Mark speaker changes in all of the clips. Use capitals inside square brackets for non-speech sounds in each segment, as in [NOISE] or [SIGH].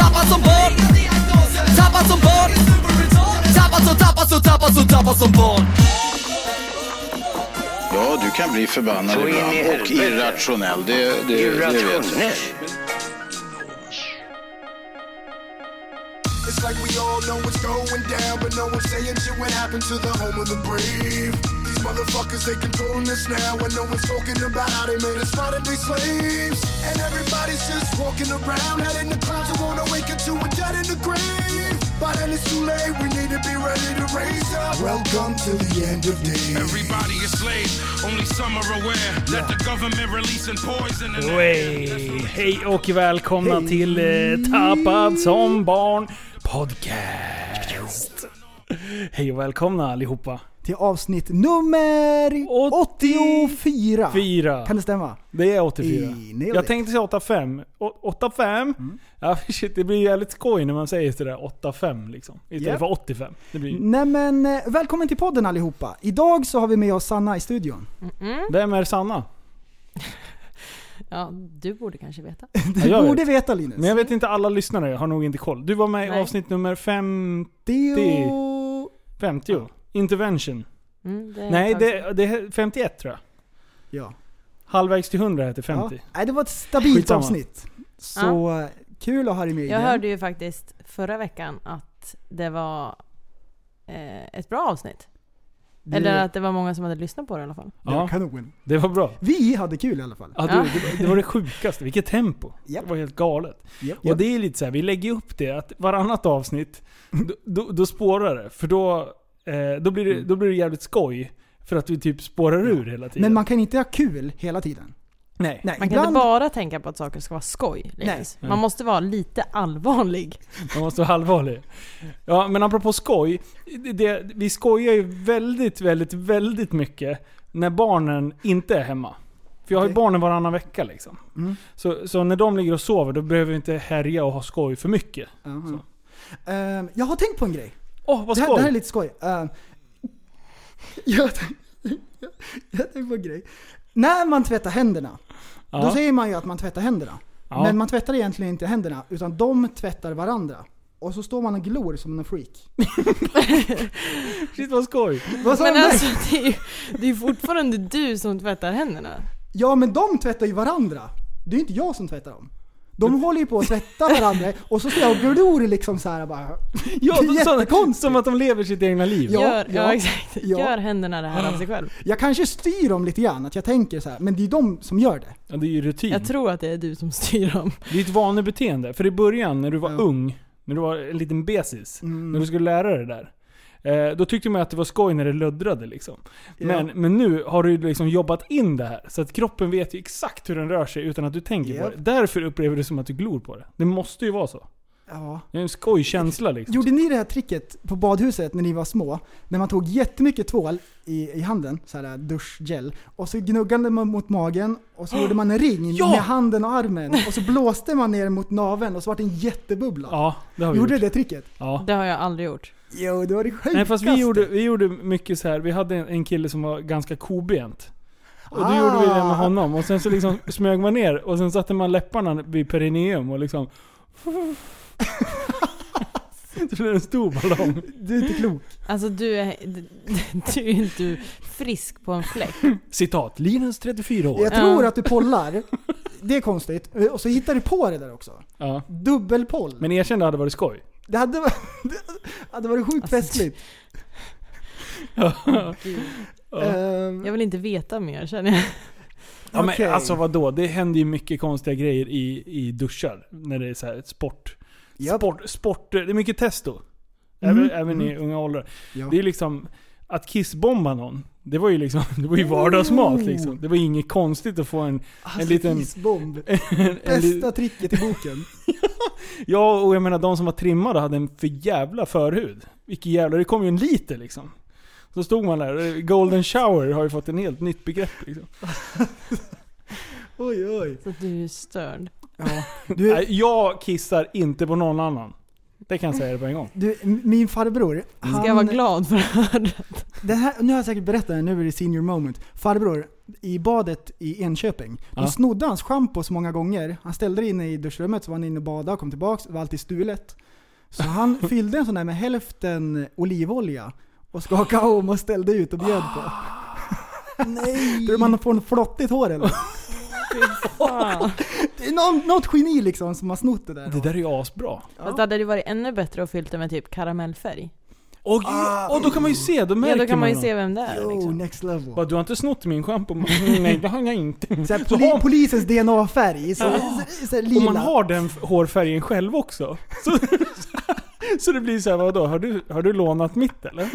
Speaker 1: Tappad som barn Tappad som barn Tappad som, tappad som, tappad som, tappad som barn
Speaker 2: Ja, du kan bli förbannad
Speaker 3: Så in i
Speaker 2: ibland och
Speaker 3: helvete.
Speaker 2: irrationell. Det, det, det vet jag.
Speaker 3: Irrationell.
Speaker 4: It's like we all know what's going down, but no one's saying shit. What happened to the home of the brave? These motherfuckers, they controlling us now. And no one's talking about how they made us modernly slaves. And everybody's just walking around, head in the clouds. I wanna wake up to a dead in the grave. By then it's too late, we need to be ready to raise up. Welcome to the end of days.
Speaker 5: Everybody is slaves, only some are aware that the government releasing poison and
Speaker 6: Way. Hej och välkomna till eh, Tappad som barn podcast. Hej och välkomna allihopa.
Speaker 7: Till avsnitt nummer 84.
Speaker 6: Fyra.
Speaker 7: Kan det stämma?
Speaker 6: Det är 84.
Speaker 7: I- Mm. nailed
Speaker 6: Jag
Speaker 7: it.
Speaker 6: tänkte säga 85. Å- 85? Ja, [LAUGHS] shit, det blir jävligt skoj när man säger sådär 85 liksom. Istället
Speaker 7: Japp.
Speaker 6: för 85. Det blir,
Speaker 7: Nej men, eh, välkommen till podden allihopa. Idag så har vi med oss Sanna i studion. Mm.
Speaker 6: vem är
Speaker 7: [LAUGHS]
Speaker 6: Sanna?
Speaker 8: Ja, du borde kanske veta.
Speaker 7: Du
Speaker 6: jag
Speaker 7: borde veta Linus.
Speaker 6: Men jag vet inte, alla lyssnare har nog inte koll. Du var med i
Speaker 8: Nej.
Speaker 6: avsnitt nummer 50.
Speaker 7: Deo...
Speaker 6: 50. Intervention.
Speaker 8: Mm, det är
Speaker 6: Nej,
Speaker 8: ett tag sedan.
Speaker 6: det, det är 51 tror jag.
Speaker 7: Ja.
Speaker 6: Halvvägs till 100 heter
Speaker 7: ja.
Speaker 6: 50.
Speaker 7: Nej, det var ett stabilt
Speaker 6: Skitsamma.
Speaker 7: avsnitt. Så eh, kul att ha dig med
Speaker 8: Jag
Speaker 7: igen.
Speaker 8: hörde ju faktiskt förra veckan att det var eh, ett bra avsnitt.
Speaker 7: Det-
Speaker 8: Eller att det var många som hade lyssnat på det i alla fall.
Speaker 7: det var
Speaker 6: Ja.
Speaker 7: kanon.
Speaker 6: Det var bra.
Speaker 7: Vi hade kul i alla fall.
Speaker 6: Ja,
Speaker 8: Ja.
Speaker 6: du, det, var- det var det sjukaste. Vilket tempo.
Speaker 7: Japp.
Speaker 6: Det var helt galet.
Speaker 7: Japp,
Speaker 6: Och det är lite så här, vi lägger upp det att varannat avsnitt, då, då, då spårar det. För då, eh, då, blir
Speaker 7: Mm.
Speaker 6: det, då blir det jävligt skoj. För att vi typ spårar ur hela tiden.
Speaker 7: Men man kan inte ha kul hela tiden.
Speaker 6: Nej.
Speaker 7: Nej,
Speaker 8: Man kan
Speaker 7: ibland,
Speaker 8: inte bara tänka på att saker ska vara skoj. Linus.
Speaker 6: Nej.
Speaker 8: Man måste vara lite allvarlig.
Speaker 6: Man måste vara allvarlig. Ja, men apropå skoj. Det, det, vi skojar ju väldigt, väldigt, väldigt mycket när barnen inte är hemma. För jag har ju
Speaker 7: Okej.
Speaker 6: barnen varannan vecka liksom.
Speaker 7: Mm.
Speaker 6: Så, så när de ligger och sover, då behöver vi inte härja och ha skoj för mycket.
Speaker 7: Jaha. Ehm, jag har tänkt på en grej.
Speaker 6: Åh, vad
Speaker 7: Det här, det här är
Speaker 6: skoj!
Speaker 7: lite skoj. Ehm, [LAUGHS] jag, jag, [LAUGHS] jag tänkte på en grej. När man tvättar händerna, då
Speaker 6: Ja.
Speaker 7: säger man ju att man tvättar händerna.
Speaker 6: Ja.
Speaker 7: Men man tvättar egentligen inte händerna, utan de tvättar varandra. Och så står man och glor som
Speaker 6: [LAUGHS]
Speaker 7: en freak.
Speaker 6: Shit vad skoj!
Speaker 7: Vad sa
Speaker 8: Men
Speaker 7: de där?
Speaker 8: alltså det är ju det är ju fortfarande du som tvättar händerna.
Speaker 7: Ja men de tvättar ju varandra. Det är ju inte jag som tvättar dem. De håller ju på att tvätta varandra och så står jag och glor liksom så här bara.
Speaker 6: [LAUGHS] Ja,
Speaker 7: Det är
Speaker 6: de, sådana,
Speaker 7: jättekonstigt.
Speaker 6: som att de lever sitt egna liv.
Speaker 7: Ja,
Speaker 8: Gör, ja,
Speaker 7: ja,
Speaker 8: exakt.
Speaker 7: ja.
Speaker 8: Gör händerna det här av sig själv.
Speaker 7: Jag kanske styr dem lite grann, att jag tänker så här. men det är ju de som gör det.
Speaker 6: Ja, det är ju rutin.
Speaker 8: Jag tror att det är du som styr dem.
Speaker 6: Det är ett vanebeteende. För i början när du var
Speaker 7: Ja. Mm.
Speaker 6: ung, när du var en liten besis, när du skulle lära dig det där. eh, Då tyckte man att det var skoj när det luddrade liksom.
Speaker 7: Ja.
Speaker 6: Men, men nu har du ju liksom jobbat in det här. Så att kroppen vet ju exakt hur den rör sig utan att du tänker på
Speaker 7: Japp.
Speaker 6: det. Därför upplever du som att du glor på det. Det måste ju vara så.
Speaker 7: Ja.
Speaker 6: Det är en skojkänsla liksom.
Speaker 7: Gjorde ni det här tricket på badhuset när ni var små? När man tog jättemycket tvål i, i handen, så här duschgel, och så gnuggade man mot magen
Speaker 6: [GASPS]
Speaker 7: och så gjorde man en ring
Speaker 6: Ja!
Speaker 7: med handen och armen och så blåste man ner mot naveln och så var det en jättebubbla.
Speaker 6: Ja, det har vi
Speaker 7: gjorde
Speaker 6: gjort.
Speaker 7: du det tricket?
Speaker 6: Ja.
Speaker 8: Det har jag aldrig gjort.
Speaker 7: Jo, det var det sjukaste.
Speaker 6: Nej fast vi gjorde, vi gjorde mycket så här. vi hade en, en kille som var ganska kobent. Och då
Speaker 7: Ah.
Speaker 6: gjorde vi det med honom och sen så liksom smög man ner och sen satte man läpparna vid perineum och liksom... [LAUGHS] det blev en stor ballong.
Speaker 7: Du är inte klok.
Speaker 8: Alltså du [LAUGHS] är, du är inte frisk på en fläck.
Speaker 6: Citat, Linus 34 år.
Speaker 7: Jag tror
Speaker 8: Ja.
Speaker 7: att du pollar. Det är konstigt. Och så hittar du på det där också.
Speaker 6: Ja.
Speaker 7: Dubbelpoll.
Speaker 6: Men erkänn det hade varit [LAUGHS] skoj.
Speaker 7: Det hade, varit- [LAUGHS] det hade varit sjukt
Speaker 8: Alltså,
Speaker 7: festligt.
Speaker 8: Gud.
Speaker 7: Ehm,
Speaker 8: Jag vill inte veta mer känner jag.
Speaker 6: Ja,
Speaker 7: Okej.
Speaker 6: men alltså vadå? Det händer ju mycket konstiga grejer i, i duschar. När det är så här sport.
Speaker 7: Japp.
Speaker 6: Sport, sport. Det är mycket Mm. testo. Även, även i unga åldrar.
Speaker 7: Ja.
Speaker 6: Det är liksom, att kissbomba någon. Det var ju liksom, [LAUGHS] det var ju vardagsmat liksom. Det var ju inget konstigt att få en...
Speaker 7: Alltså,
Speaker 6: En liten-
Speaker 7: Isbomb.
Speaker 6: en, en li-
Speaker 7: Bästa tricket i boken.
Speaker 6: ja, och jag menar de som var trimmade hade en för jävla förhud. Vilken jävla... Det kom ju en liter liksom. Så stod man där. Golden shower har ju fått en helt nytt begrepp liksom.
Speaker 7: Oj oj.
Speaker 8: Så att du är störd.
Speaker 7: Ja. Du,
Speaker 6: Nej, jag kissar inte på någon annan. Det kan jag säga det på en gång.
Speaker 7: du, min farbror, han...
Speaker 8: Ska jag vara glad för det
Speaker 7: Det här, nu har jag säkert berättat det, nu är det senior moment. Farbror, i badet i Enköping, då
Speaker 6: Ja.
Speaker 7: snodde hans schampo så många gånger. Han ställde det inne i duschrummet, så var han inne och badade och kom tillbaks, det var alltid stulet. Så han fyllde en sån där med hälften olivolja och skakade om och ställde ut och bjöd på. Nej! [LAUGHS] Tror du man får en flottigt hår eller?
Speaker 8: Fan.
Speaker 7: Det är någon, något geni liksom som har snott det där.
Speaker 6: Det där är ju asbra.
Speaker 8: Fast det hade det varit ännu bättre att fyllt det med typ karamellfärg.
Speaker 6: Och, och då kan man ju se, då märker
Speaker 8: Ja, då kan man ju
Speaker 6: något.
Speaker 8: se vem det är
Speaker 7: Oh,
Speaker 8: liksom.
Speaker 7: next level.
Speaker 6: Bara, du har inte snott min schampo? Nej, det har jag inte.
Speaker 7: Så
Speaker 6: Så
Speaker 7: här, poli,
Speaker 6: har-
Speaker 7: polisens DNA-färg, så, så, så här lila.
Speaker 6: Om man har den f- hårfärgen själv också. Så, så det blir så här, vadå? Har du, har du lånat mitt eller?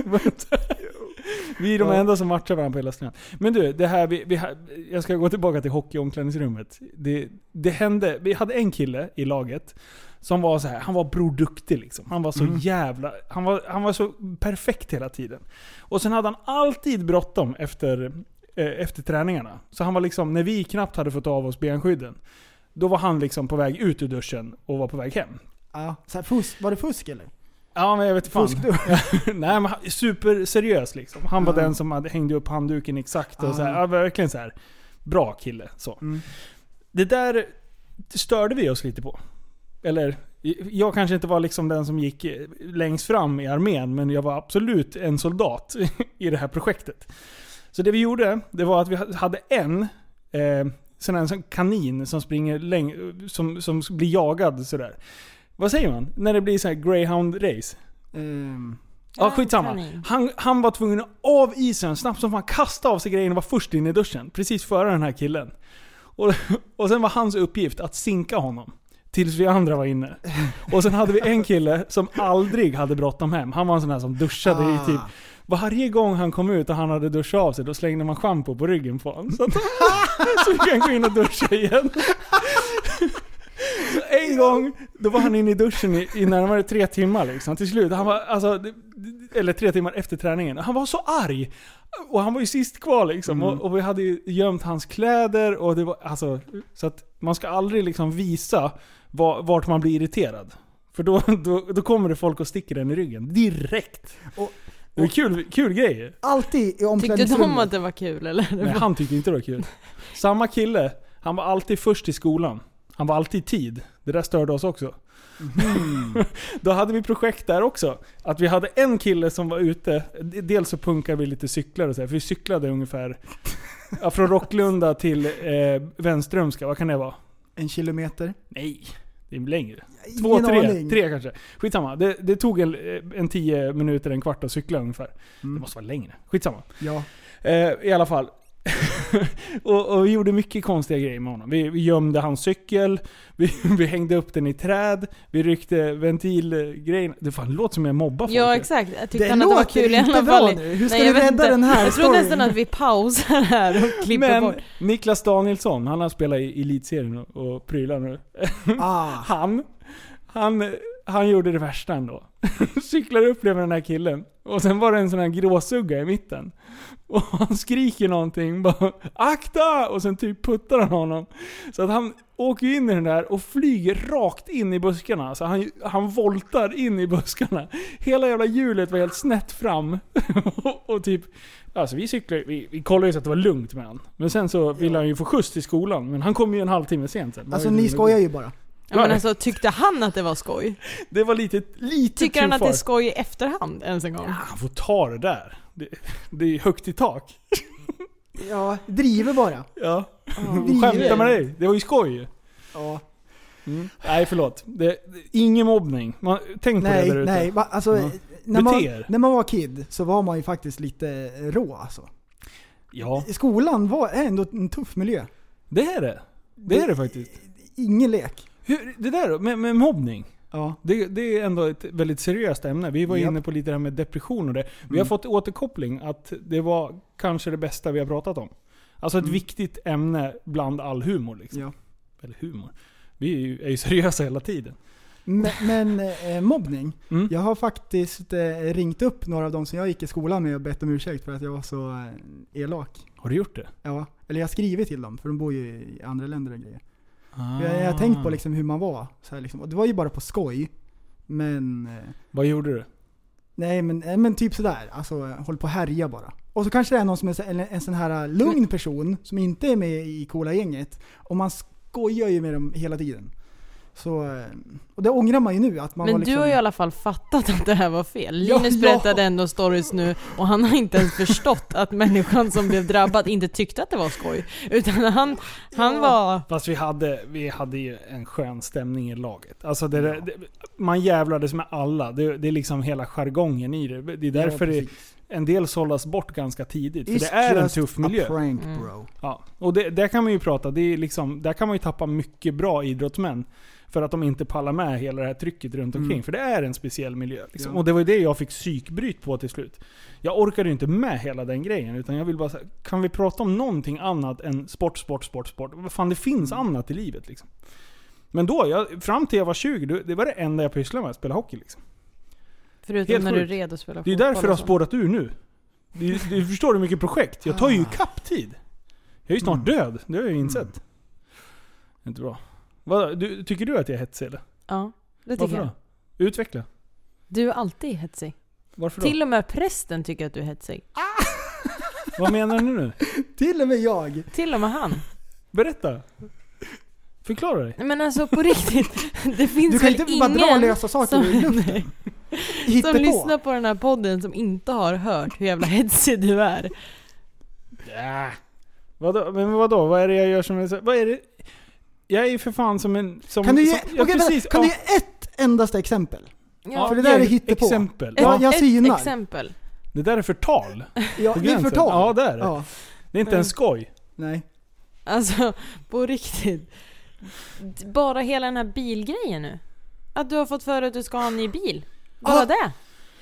Speaker 6: Vi är de enda som matchar varandra på hela stranden. Men du, det här, vi, vi, ha- jag ska gå tillbaka till hockeyomklädningsrummet. Det, det hände, vi hade en kille i laget som var så här, han var broduktig liksom. Han var så jävla, han var, han var så perfekt hela tiden. Och sen hade han alltid bråttom efter, eh, efter träningarna. Så han var liksom, när vi knappt hade fått av oss benskydden, då var han liksom på väg ut ur duschen och var på väg hem.
Speaker 7: Ja, så här, fusk, var det fusk eller?
Speaker 6: Ja men jag vet fan.
Speaker 7: Fusk
Speaker 6: [LAUGHS] Nej men han- superseriös liksom. Han var
Speaker 7: Ja.
Speaker 6: den som hade, hängde upp handduken exakt och
Speaker 7: Ja.
Speaker 6: så här, ja, verkligen så här. Bra kille. Så.
Speaker 7: Mm.
Speaker 6: Det där störde vi oss lite på. Eller, jag kanske inte var liksom den som gick eh, längst fram i armén, men jag var absolut en soldat [LAUGHS] i det här projektet. Så det vi gjorde, det var att vi hade en eh, sån här sån kanin som springer läng- som, som blir jagad sådär. Vad säger man? När det blir så här greyhound-race?
Speaker 7: Ehm,
Speaker 6: Ja, skitsamma.
Speaker 8: kanin.
Speaker 6: Han, han var tvungen att av isen snabbt som fan, kasta av sig grejen och var först in i duschen. Precis före den här killen. Och, [LAUGHS] och sen var hans uppgift att sinka honom. Tills vi andra var inne. Och sen hade vi en kille som aldrig hade bråttom hem. Han var en sån här som duschade i typ... Varje gång han kom ut och han hade duschat av sig, då slängde man schampo på ryggen på honom. Så, att, [LAUGHS] så fick han gå in och duscha igen. [LAUGHS] Så En gång, då var han inne i duschen i, i närmare tre timmar liksom. Till slut, han var, alltså, det- det- eller tre timmar efter träningen. Han var så arg! Och han var ju sist kvar liksom. Och, och vi hade ju gömt hans kläder och det var, alltså, så att man ska aldrig liksom visa var, vart man blir irriterad. För då, då, då kommer det folk och sticker den i ryggen. Direkt!
Speaker 7: Och-
Speaker 6: det var kul, kul grejer.
Speaker 7: alltid i
Speaker 8: Tyckte de att
Speaker 7: omklädningsrummet.
Speaker 8: det var kul eller?
Speaker 6: Nej, han tyckte inte det var kul. [LAUGHS] Samma kille, han var alltid först i skolan. Han var alltid i tid. Det där störde oss också. [LAUGHS] Då hade vi projekt där också. Att vi hade en kille som var ute. D- Dels så punkade vi lite cyklar och så här, för vi cyklade ungefär ja, från Rocklunda till eh, Vänströmska. Vad kan det vara?
Speaker 7: En kilometer.
Speaker 6: Nej, det är längre.
Speaker 7: Ingen
Speaker 6: Två, tre,
Speaker 7: aning.
Speaker 6: tre kanske. Skitsamma. Det, det tog en, eh, en tio minuter, en kvart att cykla ungefär.
Speaker 7: Mm.
Speaker 6: Det måste vara längre. Skitsamma.
Speaker 7: Ja.
Speaker 6: Eh, I alla fall. [LAUGHS] och, och vi gjorde mycket konstiga grejer med honom. Vi, vi gömde hans cykel, [LAUGHS] vi, vi hängde upp den i träd, vi ryckte ventilgrejen. Det fan låter som jag mobbar folk.
Speaker 8: Ja exakt. Jag tyckte
Speaker 7: Det
Speaker 8: han att det var
Speaker 7: låter
Speaker 8: kul i
Speaker 7: inte
Speaker 8: alla
Speaker 7: bra
Speaker 8: fall.
Speaker 7: nu. Hur ska du
Speaker 8: Nej, jag vet
Speaker 7: rädda
Speaker 8: inte.
Speaker 7: den här
Speaker 8: Jag tror
Speaker 7: storyn?
Speaker 8: nästan att vi pausar här och klipper
Speaker 6: Men
Speaker 8: bort.
Speaker 6: Niklas Danielsson, han har spelat i Elitserien och, och prylar nu.
Speaker 7: Ah.
Speaker 6: [LAUGHS] Han, han, han gjorde det värsta ändå. [LAUGHS] Cyklar upp bredvid den här killen. Och sen var det en sån här gråsugga i mitten. Och han skriker någonting bara ”Akta!” och sen typ puttar han honom. Så att han åker ju in i den där och flyger rakt in i buskarna. Alltså han, han voltar in i buskarna. Hela jävla hjulet var helt snett fram. [LAUGHS] och, och typ... Alltså vi cyklade vi, vi kollade ju så att det var lugnt med han. Men sen så ville han ju få skjuts till skolan. Men han kom ju en halvtimme sent sen.
Speaker 7: Alltså ni skojar ju bara.
Speaker 8: Ja, men alltså, tyckte han att det var skoj?
Speaker 6: Det var lite, lite
Speaker 8: Tycker han
Speaker 6: too
Speaker 8: att det är
Speaker 6: far.
Speaker 8: skoj i efterhand ens en gång?
Speaker 6: Han får ta det där. Det, det är högt i tak.
Speaker 7: Ja. Driver bara.
Speaker 6: Ja.
Speaker 7: driver.
Speaker 6: Skämta med dig. Det var ju skoj
Speaker 7: Ja.
Speaker 6: Nej förlåt. Det, det, ingen mobbning. Man, tänk på det
Speaker 7: Nej,
Speaker 6: där ute.
Speaker 7: nej. Va, alltså,
Speaker 6: Ja.
Speaker 7: när, man,
Speaker 6: Bete er.
Speaker 7: när man var kid så var man ju faktiskt lite rå alltså.
Speaker 6: Ja,
Speaker 7: Skolan var är ändå en tuff miljö.
Speaker 6: det är det. Det är det faktiskt.
Speaker 7: Ingen lek.
Speaker 6: Hur, det där då, med, med mobbning.
Speaker 7: Ja.
Speaker 6: Det, det är ändå ett väldigt seriöst ämne. Vi var
Speaker 7: Japp.
Speaker 6: inne på lite det här med depression och det. Vi
Speaker 7: Mm.
Speaker 6: har fått återkoppling att det var kanske det bästa vi har pratat om. Alltså ett
Speaker 7: Mm.
Speaker 6: viktigt ämne bland all humor. Liksom.
Speaker 7: ja.
Speaker 6: Eller humor. Vi är ju, är ju seriösa hela tiden.
Speaker 7: Men, men eh, mobbning.
Speaker 6: Mm.
Speaker 7: Jag har faktiskt eh, ringt upp några av dem som jag gick i skolan med och bett om ursäkt för att jag var så eh, elak.
Speaker 6: Har du gjort det?
Speaker 7: Ja, eller jag har skrivit till dem, för de bor ju i andra länder och grejer. Jag,
Speaker 8: Ah.
Speaker 7: jag har tänkt
Speaker 6: Ah.
Speaker 7: på liksom hur man var. Så här liksom. Och det var ju bara på skoj. Men... Eh,
Speaker 6: Vad gjorde du?
Speaker 7: nej men, eh, men typ sådär. Alltså eh, håll på och härja bara. Och så kanske det är någon som är så- en, en sån här eh, lugn person som inte är med i coola gänget. Och man skojar ju med dem hela tiden. Så, eh, och det ångrar man ju nu att man
Speaker 8: Men
Speaker 7: var liksom,
Speaker 8: du har ju i alla fall fattat att det här var fel.
Speaker 7: Ja,
Speaker 8: Linus
Speaker 7: ja.
Speaker 8: berättade ändå stories nu och han har inte ens förstått att människan som blev drabbad inte tyckte att det var skoj. Utan han, han var...
Speaker 6: Fast vi hade, vi hade ju en skön stämning i laget. Alltså det, det, man jävlades med alla. Det, det är liksom hela jargongen i det. Det är därför det,
Speaker 7: precis.
Speaker 6: en del sållas bort ganska tidigt. För
Speaker 7: It's
Speaker 6: det är en
Speaker 7: just
Speaker 6: tuff
Speaker 7: a
Speaker 6: miljö.
Speaker 7: Prank,
Speaker 8: Mm.
Speaker 7: bro. [LAUGHS]
Speaker 6: Ja, och det, där kan man ju prata. Det är liksom, där kan man ju tappa mycket bra idrottsmän. För att de inte pallar med hela det här trycket runt omkring.
Speaker 7: Mm.
Speaker 6: För det är en speciell miljö. Liksom.
Speaker 7: Ja.
Speaker 6: Och det var ju det jag fick psykbryt på till slut. Jag orkade ju inte med hela den grejen. Utan jag vill bara säga, kan vi prata om någonting annat än sport, sport, sport, sport? Vad fan, det finns
Speaker 7: Mm.
Speaker 6: annat i livet liksom. Men då, jag, fram till jag var 20, det- det var det enda jag pysslade med, att spela hockey. Liksom.
Speaker 8: Förutom
Speaker 6: Helt
Speaker 8: när du
Speaker 6: sjukt.
Speaker 8: red och spelade
Speaker 6: Det är
Speaker 8: fotboll
Speaker 6: därför jag har
Speaker 8: och sånt.
Speaker 6: spårat ur nu. Du, du förstår hur mycket projekt. Jag tar
Speaker 7: Ah.
Speaker 6: ju kapp tid. Jag är ju snart
Speaker 7: Mm.
Speaker 6: död, det har jag ju insett. Det är inte bra. Vad, du, tycker du att jag är hetsig eller?
Speaker 8: Ja, det tycker
Speaker 6: Varför
Speaker 8: jag.
Speaker 6: då? Utveckla.
Speaker 8: Du är alltid hetsig.
Speaker 6: Varför då?
Speaker 8: Till och med prästen tycker att du är hetsig.
Speaker 6: Vad menar du nu?
Speaker 7: Till och med jag.
Speaker 8: Till och med han.
Speaker 6: Berätta. Förklara dig.
Speaker 8: Nej, Men alltså
Speaker 7: [LAUGHS]
Speaker 8: på riktigt, det finns
Speaker 7: Du kan
Speaker 8: väl
Speaker 7: inte bara
Speaker 8: ingen
Speaker 7: dra lösa saker
Speaker 8: som,
Speaker 7: ur luften.
Speaker 8: nej,
Speaker 7: Hitta
Speaker 8: som
Speaker 7: på.
Speaker 8: lyssnar på den här podden som inte har hört hur jävla hetsig du är.
Speaker 6: Ja. Vadå? Men vadå? Vad är det jag gör som är så... Vad är det? Jag är ju för fan som en... Som,
Speaker 7: Kan du ge,
Speaker 6: som, ja,
Speaker 7: okej, vänta,
Speaker 6: precis.
Speaker 7: kan du
Speaker 6: Ja.
Speaker 7: ge ett endaste exempel?
Speaker 8: Ja,
Speaker 7: för det där
Speaker 6: ge
Speaker 7: är
Speaker 6: ett
Speaker 7: hittepå.
Speaker 6: Exempel.
Speaker 8: ett,
Speaker 6: Ja,
Speaker 7: jag synar.
Speaker 8: ett exempel.
Speaker 6: det där är förtal.
Speaker 7: Ja,
Speaker 6: På
Speaker 7: det är
Speaker 6: gränsen.
Speaker 7: förtal.
Speaker 6: Ja, det är det.
Speaker 7: Ja,
Speaker 6: Det är inte
Speaker 7: Mm.
Speaker 6: ens skoj.
Speaker 7: nej.
Speaker 8: Alltså på riktigt. D- Bara hela den här bilgrejen nu. Att du har fått för dig att du ska ha en ny bil. Bara
Speaker 7: Ah.
Speaker 8: det.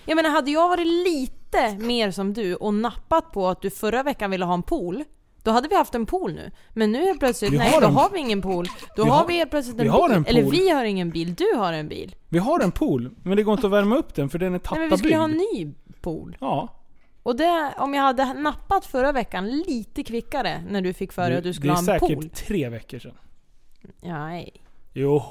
Speaker 8: Jag menar hade jag varit lite mer som du och nappat på att du förra veckan ville ha en pool. Då hade vi haft en pool nu. Men nu helt plötsligt,
Speaker 6: Vi
Speaker 8: nej
Speaker 6: har
Speaker 8: då
Speaker 6: en-
Speaker 8: har vi ingen pool. Då
Speaker 6: Vi
Speaker 8: har
Speaker 6: har-
Speaker 8: vi helt plötsligt
Speaker 6: vi
Speaker 8: en
Speaker 6: har
Speaker 8: bil.
Speaker 6: en
Speaker 8: Eller
Speaker 6: pool.
Speaker 8: vi har ingen bil, du har en bil.
Speaker 6: Vi har en pool, men det går inte att värma upp den för den är
Speaker 8: Nej men vi skulle
Speaker 6: tappabyggd.
Speaker 8: ju ha en ny pool.
Speaker 6: Ja.
Speaker 8: Och det, om jag hade nappat förra veckan lite kvickare när du fick för dig att du skulle
Speaker 6: det
Speaker 8: ha
Speaker 6: är
Speaker 8: en
Speaker 6: säkert
Speaker 8: pool.
Speaker 6: tre veckor sedan.
Speaker 8: Nej.
Speaker 6: Jo.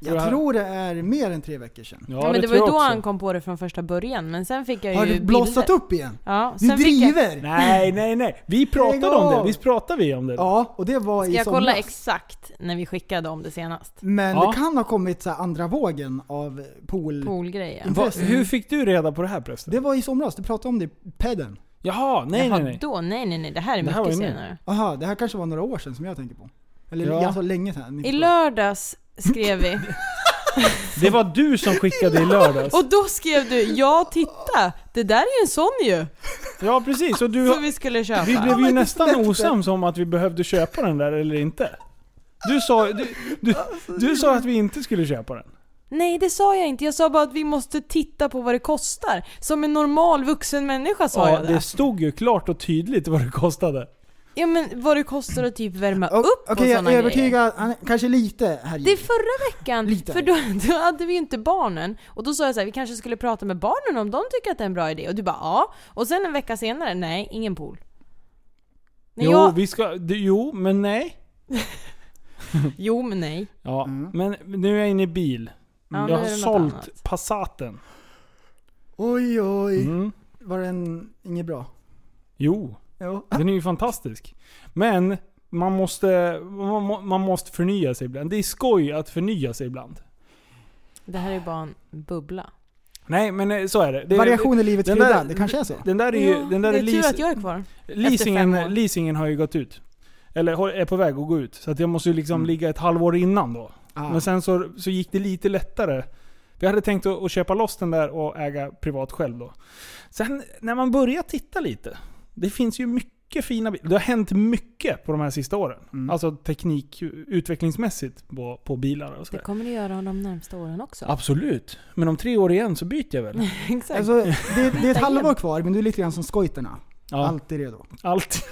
Speaker 7: Jag
Speaker 6: Det här-
Speaker 7: tror det är mer än tre veckor sedan.
Speaker 8: Ja, men det var
Speaker 6: tror
Speaker 8: ju
Speaker 6: jag
Speaker 8: då
Speaker 6: också.
Speaker 8: han kom på det från första början, men sen fick jag ju
Speaker 7: Har du blossat
Speaker 8: bilder.
Speaker 7: upp igen?
Speaker 8: Ja,
Speaker 7: Du
Speaker 8: sen fick jag,
Speaker 7: driver!
Speaker 6: Nej, nej, nej. Vi pratade om det. Visst pratade vi om det?
Speaker 7: Ja, och det var
Speaker 8: Ska
Speaker 7: i
Speaker 8: jag kolla
Speaker 7: somras.
Speaker 8: exakt när vi skickade om det senast?
Speaker 7: Men
Speaker 6: Ja.
Speaker 7: det kan ha kommit så här andra vågen av pool...
Speaker 8: Poolgrejen.
Speaker 6: Va, hur fick du reda på det här prästen?
Speaker 7: Det var i somras, du pratade om det i padden.
Speaker 6: Jaha, nej,
Speaker 8: Jaha,
Speaker 6: nej, nej.
Speaker 8: Då? Nej, nej, nej. Det här är
Speaker 6: Det här
Speaker 8: mycket
Speaker 6: var ju nu.
Speaker 8: senare.
Speaker 7: Aha, det här kanske var några år sedan som jag tänker på. Eller
Speaker 6: Ja.
Speaker 7: alltså länge sedan. ni
Speaker 8: I
Speaker 7: förstår.
Speaker 8: lördags skrev vi.
Speaker 6: Det var du som skickade i lördags.
Speaker 8: Och då skrev du ja titta, det där är ju en sån ju!
Speaker 6: Ja, precis. Och du,
Speaker 8: Som vi skulle köpa.
Speaker 6: vi blev ju
Speaker 7: men det
Speaker 6: nästan
Speaker 7: släppte.
Speaker 6: osams om att vi behövde köpa den där eller inte. Du sa, du, du, du sa att vi inte skulle köpa den.
Speaker 8: Nej det sa jag inte, jag sa bara att vi måste titta på vad det kostar. Som en normal vuxen människa sa
Speaker 6: Ja,
Speaker 8: jag det.
Speaker 6: det stod ju klart och tydligt vad det kostade.
Speaker 8: Ja men vad det kostar att typ värma
Speaker 7: Och-
Speaker 8: upp och
Speaker 7: Okej, jag
Speaker 8: såna
Speaker 7: är
Speaker 8: grejer.
Speaker 7: övertygad. Han är kanske lite här
Speaker 8: Det är förra veckan,
Speaker 7: Lite.
Speaker 8: för då, då hade vi ju inte barnen. Och då sa jag så här, vi kanske skulle prata med barnen om de tycker att det är en bra idé. Och du bara ja. Och sen en vecka senare, nej, ingen pool. Nej,
Speaker 6: Jo,
Speaker 8: jag,
Speaker 6: vi ska, du, jo, men nej.
Speaker 8: jo men nej.
Speaker 6: Ja, men nu är jag inne i bil.
Speaker 8: Ja, nu
Speaker 6: jag
Speaker 8: är
Speaker 6: har
Speaker 8: det något
Speaker 6: sålt
Speaker 8: annat.
Speaker 6: Passaten.
Speaker 7: Oj, oj.
Speaker 6: Mm.
Speaker 7: Var den inget bra?
Speaker 6: Jo,
Speaker 7: Jo.
Speaker 6: den är ju fantastisk. Men man måste, man, må- man måste förnya sig ibland. Det är skoj att förnya sig ibland.
Speaker 8: Det här är ju bara en bubbla.
Speaker 6: Nej, men eh, så är det. det
Speaker 7: Variation i livet
Speaker 6: den
Speaker 7: Frida,
Speaker 6: där-
Speaker 7: det kanske är så?
Speaker 6: Den där är ju...
Speaker 8: Ja,
Speaker 6: den där
Speaker 8: det
Speaker 6: är
Speaker 8: är tur
Speaker 6: leas,
Speaker 8: att jag är kvar. fem år.
Speaker 6: leasingen, leasingen har ju gått ut. Eller har- är på väg att gå ut. Så att jag måste ju liksom ligga ett halvår innan då.
Speaker 7: Ah.
Speaker 6: Men sen så, så gick det lite lättare. Vi hade tänkt att, att köpa loss den där och äga privat själv då. Sen när man börjar titta lite. Det finns ju mycket mycket fina bilar. Det har hänt mycket på de här sista åren.
Speaker 7: Mm.
Speaker 6: Alltså teknik, utvecklingsmässigt på, på bilar och
Speaker 8: Det
Speaker 6: sådär.
Speaker 8: kommer det göra de närmsta åren också.
Speaker 6: Absolut. Men om tre år igen så byter jag väl?
Speaker 8: [LAUGHS] Exakt.
Speaker 7: Alltså, det, det är ett halvår kvar, men du är lite grann som skojterna.
Speaker 6: Ja,
Speaker 7: Alltid redo.
Speaker 6: [LAUGHS] allt.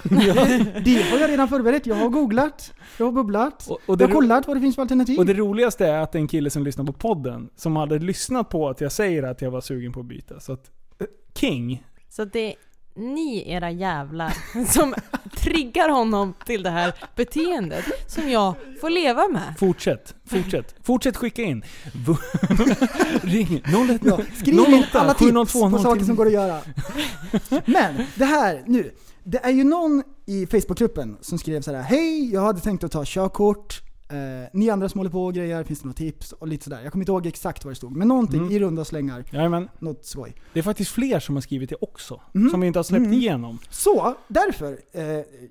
Speaker 7: Det har jag redan förberett. Jag har googlat, jag har bubblat,
Speaker 6: Och, och, det,
Speaker 7: jag har
Speaker 6: ro-
Speaker 7: kollat vad det finns för alternativ.
Speaker 6: och det roligaste är att det är en kille som lyssnar på podden, som hade lyssnat på att jag säger att jag var sugen på att byta. Så att, eh, king.
Speaker 8: Så att det är ni era jävlar som triggar honom till det här beteendet som jag får leva med.
Speaker 6: Fortsätt. Fortsätt. Fortsätt skicka in. [LAUGHS] V- Ring
Speaker 7: Ja,
Speaker 6: 01.
Speaker 7: skriv in
Speaker 6: 08,
Speaker 7: alla
Speaker 6: 702,
Speaker 7: tips på saker
Speaker 6: 010.
Speaker 7: som går att göra. Men det här nu. Det är ju någon i Facebookgruppen som skrev så här: Hej, jag hade tänkt att ta körkort. Eh, ni andra som håller på och grejer, finns det några tips? Och lite sådär. Jag kommer inte ihåg exakt vad det stod, men någonting
Speaker 6: Mm.
Speaker 7: i runda slängar.
Speaker 6: Jajamän.
Speaker 7: Något skoj.
Speaker 6: Det är faktiskt fler som har skrivit det också.
Speaker 7: Mm.
Speaker 6: Som vi inte har släppt
Speaker 7: Mm.
Speaker 6: igenom.
Speaker 7: Så därför, eh,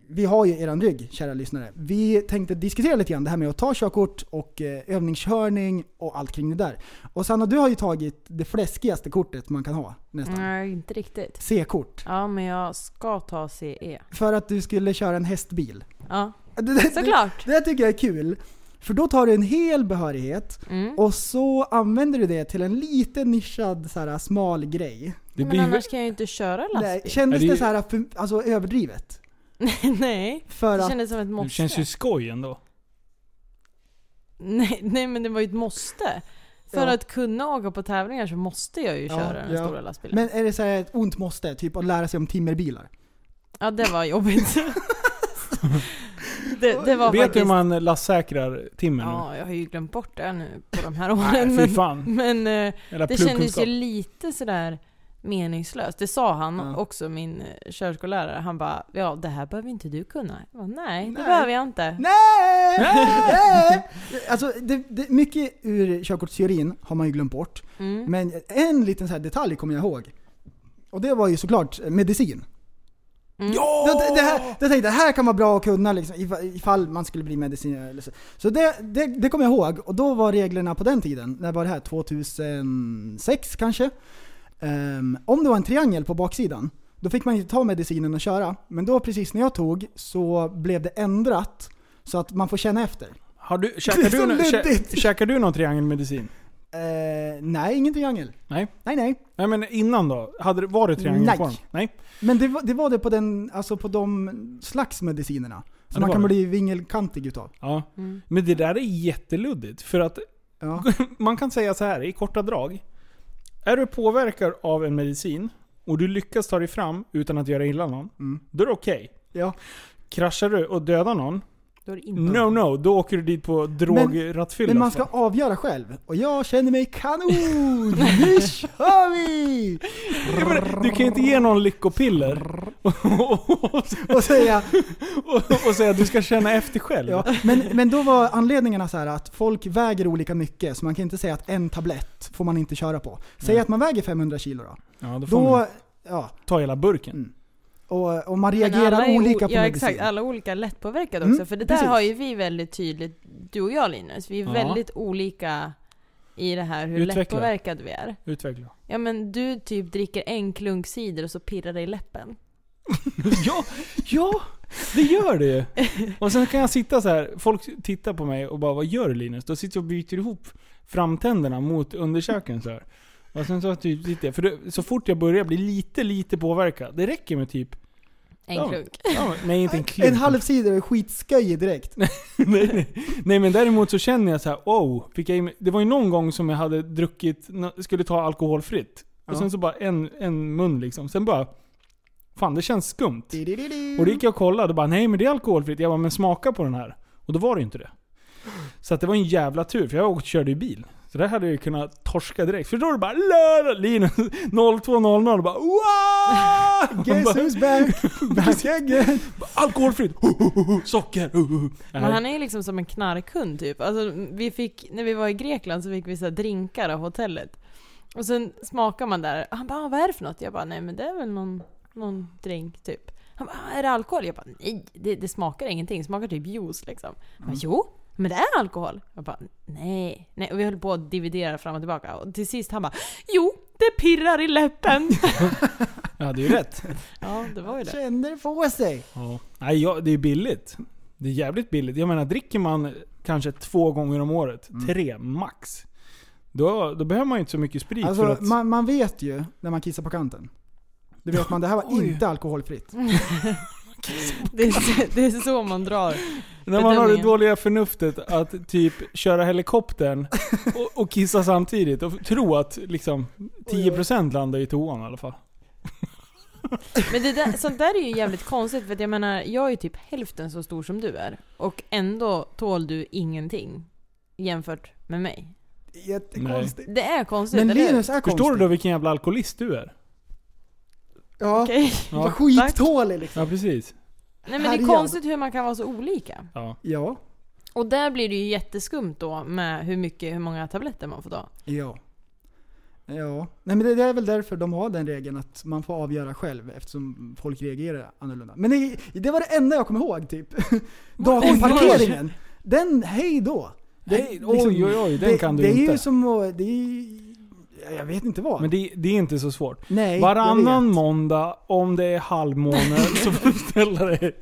Speaker 7: vi har ju eran rygg kära lyssnare. Vi tänkte diskutera lite grann det här med att ta körkort och eh, övningskörning och allt kring det där. Och Sanna, du har ju tagit det fläskigaste kortet man kan ha nästan.
Speaker 8: Nej, inte riktigt.
Speaker 7: C-kort.
Speaker 8: Ja, men jag ska ta CE.
Speaker 7: För att du skulle köra en hästbil.
Speaker 8: Ja,
Speaker 6: [LAUGHS]
Speaker 7: Det, det,
Speaker 8: såklart.
Speaker 7: Det, det tycker jag är kul. För då tar du en hel behörighet
Speaker 8: Mm.
Speaker 7: och så använder du det till en liten nischad så här, smal grej.
Speaker 6: Det
Speaker 8: Men
Speaker 6: blir ju
Speaker 8: annars kan jag ju inte köra
Speaker 7: Nej,
Speaker 8: lastbil. [LAUGHS]
Speaker 7: kändes
Speaker 6: Ja, det är-
Speaker 7: det så här, för, alltså överdrivet?
Speaker 8: Nej,
Speaker 7: För
Speaker 8: det
Speaker 7: att,
Speaker 8: kändes som ett
Speaker 6: Det känns
Speaker 8: måste.
Speaker 6: ju skoj ändå.
Speaker 8: Nej, nej, men det var ju ett måste. För
Speaker 7: Ja.
Speaker 8: att kunna åka på tävlingar så måste jag ju
Speaker 7: Ja,
Speaker 8: köra den
Speaker 7: ja.
Speaker 8: stora lastbilen.
Speaker 7: men är det så här ett ont måste? Typ att lära sig om timmerbilar?
Speaker 8: Ja, det
Speaker 6: [LAUGHS]
Speaker 8: var jobbigt. det, det var
Speaker 6: Vet du
Speaker 8: faktiskt...
Speaker 6: hur man lastsäkrar timmer nu?
Speaker 8: Ja, jag har ju glömt bort det nu på de
Speaker 6: [LAUGHS]
Speaker 8: här
Speaker 6: Nej,
Speaker 8: åren.
Speaker 6: fy
Speaker 8: men
Speaker 6: fan.
Speaker 8: men eh,
Speaker 6: Jävla
Speaker 8: det kändes ju
Speaker 6: pluggkunskap.
Speaker 8: lite sådär meningslöst. Det sa han
Speaker 7: Ja.
Speaker 8: också, min eh, körskollärare. Han bara “Ja, det här behöver inte du kunna”. Jag bara, Nej, det
Speaker 7: Nej.
Speaker 8: behöver jag inte.
Speaker 6: [LAUGHS]
Speaker 7: Nej! Nej! Alltså, det, det, mycket ur körkortsteorin har man ju glömt bort.
Speaker 8: Mm.
Speaker 7: Men en liten så här detalj kommer jag ihåg. Och det var ju såklart eh, medicin.
Speaker 8: Mm.
Speaker 7: Det, det, det, här, det, tänkte, jag, det här kan vara bra att kunna liksom, ifa- ifall man skulle bli medicinare eller så. Så det, det, det kommer jag ihåg och då var reglerna på den tiden, när var det här? 2006 kanske? Ehm, om det var en triangel på baksidan, då fick man inte ta medicinen och köra. Men då precis när jag tog så blev det ändrat så att man får känna efter.
Speaker 6: Har du,
Speaker 7: Det
Speaker 6: käkar,
Speaker 7: är [LAUGHS]
Speaker 6: du,
Speaker 7: så
Speaker 6: nå- kä-
Speaker 7: luddigt.
Speaker 6: käkar du någon triangelmedicin?
Speaker 7: Ehm, nej, ingen triangel.
Speaker 6: Nej.
Speaker 7: Nej, nej.
Speaker 6: Nej men innan då? Hade, det- var det triangelform?
Speaker 7: Nej.
Speaker 6: Nej.
Speaker 7: Men det var det, var det på, den, alltså på de slags medicinerna.
Speaker 6: det
Speaker 7: Som man
Speaker 6: var
Speaker 7: kan
Speaker 6: det.
Speaker 7: bli vingelkantig utav.
Speaker 6: Ja.
Speaker 8: Mm.
Speaker 6: Men det där är jätteluddigt. För att [LAUGHS]
Speaker 7: Ja.
Speaker 6: man kan säga så här i korta drag. Är du påverkad av en medicin och du lyckas ta dig fram utan att göra illa någon,
Speaker 7: Mm.
Speaker 6: då är det okej.
Speaker 7: Ja.
Speaker 6: Kraschar du och dödar någon,
Speaker 8: Då är det inte.
Speaker 6: no no, då åker du dit på drograttfylla.
Speaker 7: Men man ska avgöra själv. Och jag känner mig kanon! [LAUGHS] Nu kör vi!
Speaker 6: Ja, men, du kan ju inte ge någon lyckopiller
Speaker 7: [LAUGHS]
Speaker 6: och, och,
Speaker 7: Och säga,
Speaker 6: och, och säga att du ska känna efter själv.
Speaker 7: ja. men, men då var anledningarna så här att folk väger olika mycket, så man kan inte säga att en tablett får man inte köra på. Säg
Speaker 6: Nej.
Speaker 7: att man väger 500 kilo då.
Speaker 6: Ja, då får man
Speaker 7: Då,
Speaker 6: ju
Speaker 7: ja.
Speaker 6: ta hela burken.
Speaker 7: Mm. Och, och man
Speaker 8: Men alla
Speaker 7: reagerar
Speaker 8: är o-
Speaker 7: olika på
Speaker 8: ja,
Speaker 7: medicin.
Speaker 8: exakt. Alla olika lättpåverkade
Speaker 7: Mm,
Speaker 8: också. För det där
Speaker 7: precis.
Speaker 8: har ju vi väldigt tydligt, du och jag Linus, vi är
Speaker 6: Ja.
Speaker 8: väldigt olika i det här hur
Speaker 6: Utveckla.
Speaker 8: lättpåverkade vi är.
Speaker 6: Utveckla.
Speaker 8: Ja men du typ dricker en klunk cider och så pirrar det i läppen.
Speaker 6: ja, ja, det gör det ju. Och sen kan jag sitta så här. folk tittar på mig och bara vad gör du Linus? Då sitter jag och byter ihop framtänderna mot underkäken så här. Och sen så typ sitter jag, för det, så fort jag börjar bli lite, lite påverkad. Det räcker med typ...
Speaker 8: En
Speaker 6: Ja.
Speaker 8: klunk.
Speaker 6: Ja, men- nej inte en klunk.
Speaker 7: En halv sida är skitsköjig direkt.
Speaker 6: [LAUGHS] nej, nej. nej men däremot så känner jag så här, oh, fick jag i mig- Det var ju någon gång som jag hade druckit, nå- skulle ta alkoholfritt. Och
Speaker 7: Ja.
Speaker 6: sen så bara en, en mun liksom. Sen bara, fan det känns skumt.
Speaker 7: Di-di-di-di.
Speaker 6: Och då gick jag och kollade och bara nej men det är alkoholfritt. Jag bara men smaka på den här. Och då var det ju inte det. Så att det var en jävla tur för jag åkte, körde ju bil. Så där hade jag ju kunnat torska direkt. För då är det bara "Lala, Linus [LAUGHS] 02.00 och bara wow!
Speaker 7: Guess
Speaker 6: Bara,
Speaker 7: who's back?
Speaker 6: [LAUGHS]
Speaker 7: Back again!
Speaker 6: Alkoholfritt! [LAUGHS] Socker! [LAUGHS]
Speaker 8: Men
Speaker 6: Nej.
Speaker 8: han är ju liksom som en knarkhund typ. Alltså, vi fick, när vi var i Grekland så fick vi så här drinkar av hotellet. Och sen smakar man där. Han bara, "Ah, vad är det för något? Jag bara, nej men det är väl någon, någon drink typ. Han bara, "Ah, är det alkohol? Jag bara, nej det, det smakar ingenting. Det smakar typ juice liksom. Han bara, jo men det är alkohol. Jag bara, nej. nej. Och vi höll på att dividera fram och tillbaka. Och till sist han bara, jo det pirrar i läppen.
Speaker 6: Jag hade ju rätt.
Speaker 8: Ja, det var ju det.
Speaker 7: Kände på sig.
Speaker 6: Ja. Nej, jag, det är billigt. Det är jävligt billigt. Jag menar, dricker man kanske två gånger om året, tre max. Då, då behöver man ju inte så mycket sprit för
Speaker 7: Alltså,
Speaker 6: att...
Speaker 7: man, man vet ju när man kissar på kanten. Det vet man, det här var
Speaker 6: [LAUGHS] Oj.
Speaker 7: inte alkoholfritt.
Speaker 8: Det är, så- det är så man drar.
Speaker 6: När man har det
Speaker 8: Bedömningen.
Speaker 6: dåliga förnuftet att typ köra
Speaker 7: [LAUGHS]
Speaker 6: helikoptern och, och kissa samtidigt och tro att liksom 10% landar i toan i alla fall.
Speaker 8: Men det där, sånt där är ju jävligt konstigt för att jag menar, jag är typ hälften så stor som du är. Och ändå tål du ingenting jämfört med mig.
Speaker 7: Jättekonstigt.
Speaker 8: Det är konstigt,
Speaker 7: Men
Speaker 8: eller hur?
Speaker 7: Linus är konstig.
Speaker 6: Förstår du då vilken jävla alkoholist du är?
Speaker 7: Ja,
Speaker 8: Okej.
Speaker 7: var
Speaker 6: Ja.
Speaker 7: skittålig liksom.
Speaker 6: Ja precis.
Speaker 8: Nej men det är
Speaker 7: Herrejävlar.
Speaker 8: konstigt hur man kan vara så olika.
Speaker 6: Ja.
Speaker 7: Ja,
Speaker 8: Och där blir det ju jätteskumt då med hur mycket, hur många tabletter man får ta.
Speaker 7: ja. Ja, nej men det, det är väl därför de har den regeln att man får avgöra själv eftersom folk reagerar annorlunda. Men det, det var det enda jag kom ihåg typ. Datorparkeringen. Den, hej då. Det- liksom,
Speaker 6: Nej, oj, oj, oj, den kan du
Speaker 7: det
Speaker 6: inte.
Speaker 7: är ju som att- det är, Jag vet inte vad.
Speaker 6: Men det, det är inte så svårt.
Speaker 7: nej, jag
Speaker 6: Varannan
Speaker 7: vet.
Speaker 6: måndag, om det är halvmåne,
Speaker 7: [LAUGHS]
Speaker 6: så får du ställa dig.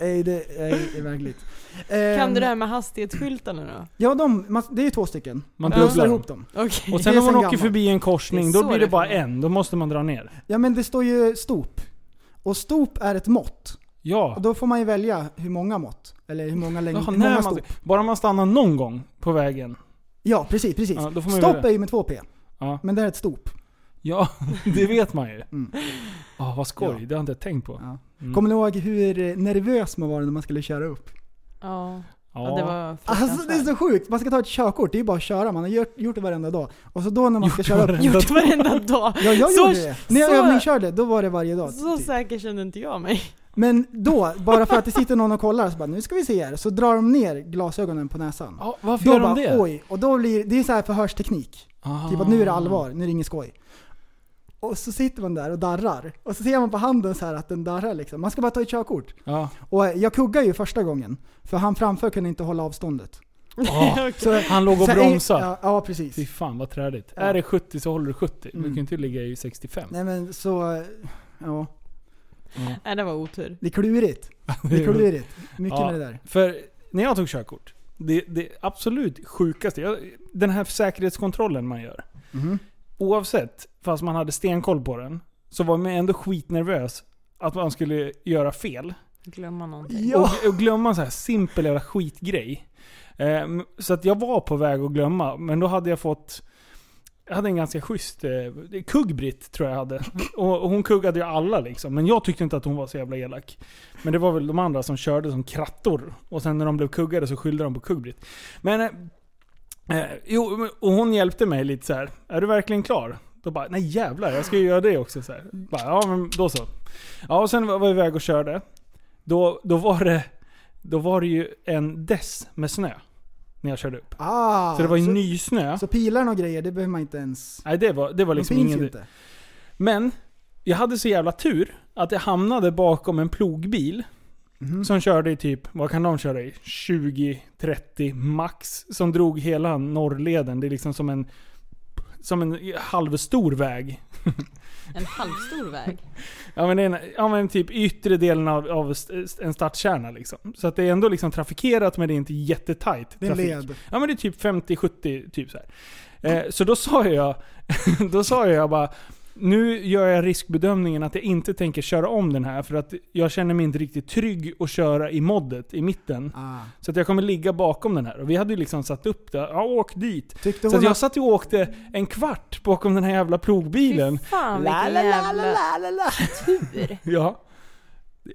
Speaker 7: Nej, det, nej, det är verkligt.
Speaker 8: [LAUGHS] Kan
Speaker 7: Ehm,
Speaker 8: du det här med hastighetsskyltarna då?
Speaker 7: Ja, de, man, det är ju två stycken.
Speaker 6: Man
Speaker 7: Man slår
Speaker 6: dubblar dem.
Speaker 7: ihop dem.
Speaker 8: Okej.
Speaker 6: Och
Speaker 7: Det
Speaker 6: sen
Speaker 7: är
Speaker 6: om man
Speaker 7: sen
Speaker 6: åker
Speaker 7: gammalt.
Speaker 6: förbi en
Speaker 8: Det
Speaker 6: korsning,
Speaker 8: är
Speaker 6: då
Speaker 8: så
Speaker 6: blir
Speaker 8: det
Speaker 6: det bara
Speaker 8: funkar.
Speaker 6: en. Då måste man dra ner.
Speaker 7: Ja men det står ju stop. Och stop är ett mått. Och
Speaker 6: Ja.
Speaker 7: då får man ju välja hur många mått. Eller hur många längd,
Speaker 6: Jaha,
Speaker 7: hur
Speaker 6: när
Speaker 7: många
Speaker 6: man-
Speaker 7: stop.
Speaker 6: Bara man stannar någon gång på vägen.
Speaker 7: Ja, precis, precis.
Speaker 6: Ja, då får man ju
Speaker 7: Stopp
Speaker 6: välja. Mm.
Speaker 7: är ju med två P.
Speaker 6: Ja.
Speaker 7: Men det här är ett stop.
Speaker 6: Ja, [LAUGHS] det vet man ju.
Speaker 7: Mm.
Speaker 6: Ah, vad skoj,
Speaker 7: Ja.
Speaker 6: det har jag inte tänkt på.
Speaker 7: Ja.
Speaker 6: Mm.
Speaker 7: Kommer ni ihåg hur nervös man var när man skulle köra upp?
Speaker 8: Ja.
Speaker 6: Ja.
Speaker 8: ja, det var
Speaker 7: Alltså det är
Speaker 8: fruktansvärt.
Speaker 7: så sjukt. Man ska ta ett körkort, det är ju bara att köra. Man har gjort, gjort det varenda dag. Och så då när man ska köra upp...
Speaker 6: varenda
Speaker 8: Gjort varenda dag.
Speaker 7: Ja, jag
Speaker 8: Så-
Speaker 7: gjorde det. När jag
Speaker 8: så-
Speaker 7: övningskörde, då var det varje dag.
Speaker 8: Så
Speaker 7: typ.
Speaker 8: säker kände inte jag mig.
Speaker 7: Men då, bara för att det sitter någon och kollar, så bara nu ska vi se här. Så drar de ner glasögonen på näsan.
Speaker 6: Ja, varför
Speaker 7: Då
Speaker 6: gör
Speaker 7: bara,
Speaker 6: de det?
Speaker 7: oj. Och då blir det är så här förhörsteknik.
Speaker 6: Ah.
Speaker 7: Typ att nu är det allvar, nu är det inget skoj. Och så sitter man där och darrar. Och så ser man på handen så här att den darrar liksom. Man ska bara ta ett körkort.
Speaker 6: Ja.
Speaker 7: Och jag kuggade ju första gången. För han framför kunde inte hålla avståndet.
Speaker 6: Ah.
Speaker 7: Så,
Speaker 6: Han låg och
Speaker 7: så här,
Speaker 6: bromsade.
Speaker 7: Ja, ja, precis.
Speaker 6: Fy fan vad trädigt.
Speaker 7: Ja.
Speaker 6: Är det 70 så håller du 70. Du
Speaker 7: Mm.
Speaker 6: kan ju inte ligga i 65.
Speaker 7: Nej men så, ja.
Speaker 8: Nej, det var otur.
Speaker 7: Det
Speaker 6: [LAUGHS]
Speaker 7: är klurigt. Det är klurigt. Mycket
Speaker 6: Ja.
Speaker 7: med det där.
Speaker 6: För när jag tog körkort, det, det absolut sjukaste, jag, den här säkerhetskontrollen man gör.
Speaker 7: Mhm.
Speaker 6: Oavsett, fast man hade stenkoll på den, så var man ändå skitnervös att man skulle göra fel.
Speaker 8: Glömma någonting.
Speaker 7: Ja.
Speaker 6: Och, och glömma en sån här simpel jävla skitgrej. Ehm, så att jag var på väg att glömma, men då hade jag fått... Jag hade en ganska schysst... Eh, Kuggbritt tror jag hade. Och, och hon kuggade ju alla liksom. Men jag tyckte inte att hon var så jävla elak. Men det var väl de andra som körde som krattor. Och sen när de blev kuggade så skyllde de på Kuggbritt. Men... Eh, eh, jo, men- och hon hjälpte mig lite så här. Är du verkligen klar? Då bara, nej jävlar, jag ska ju göra det också. Så här. Bara, ja, men då så. Ja, och sen var vi iväg och körde då, då, var det, då var det ju en dess med snö. När jag körde upp.
Speaker 7: Ah,
Speaker 6: så det var ju
Speaker 7: så,
Speaker 6: ny snö.
Speaker 7: så pilarna och grejer, det behöver man inte ens...
Speaker 6: Nej, det var, det var
Speaker 7: De
Speaker 6: liksom
Speaker 7: finns
Speaker 6: ingen...
Speaker 7: ju inte.
Speaker 6: Men, jag hade så jävla tur att jag hamnade bakom en plogbil.
Speaker 7: Mhm. Mm.
Speaker 6: Som körde i typ, vad kan de köra i? 20-30 max. Som drog hela norrleden. Det är liksom som en, som en halvstor väg.
Speaker 8: En
Speaker 6: [LAUGHS]
Speaker 8: halvstor väg.
Speaker 6: Ja men, det är en, ja men typ yttre delen av, av st- en stadskärna liksom. Så att det är ändå liksom trafikerat men det är inte jättetajt
Speaker 7: Det är en
Speaker 6: trafik.
Speaker 7: led.
Speaker 6: Ja men det är typ 50-70 typ så här. Eh, så då sa jag, [LAUGHS] då sa jag bara, nu gör jag riskbedömningen att jag inte tänker köra om den här för att jag känner mig inte riktigt trygg att köra i moddet i mitten.
Speaker 7: Ah.
Speaker 6: Så att jag kommer ligga bakom den här. Och vi hade ju liksom satt upp det, ja åk dit.
Speaker 7: Tyckte
Speaker 6: Så
Speaker 7: hon
Speaker 6: att jag
Speaker 7: att...
Speaker 6: satt ju och åkte en kvart bakom den här jävla plogbilen.
Speaker 8: Fy fan vilken jävla tur.
Speaker 6: Ja.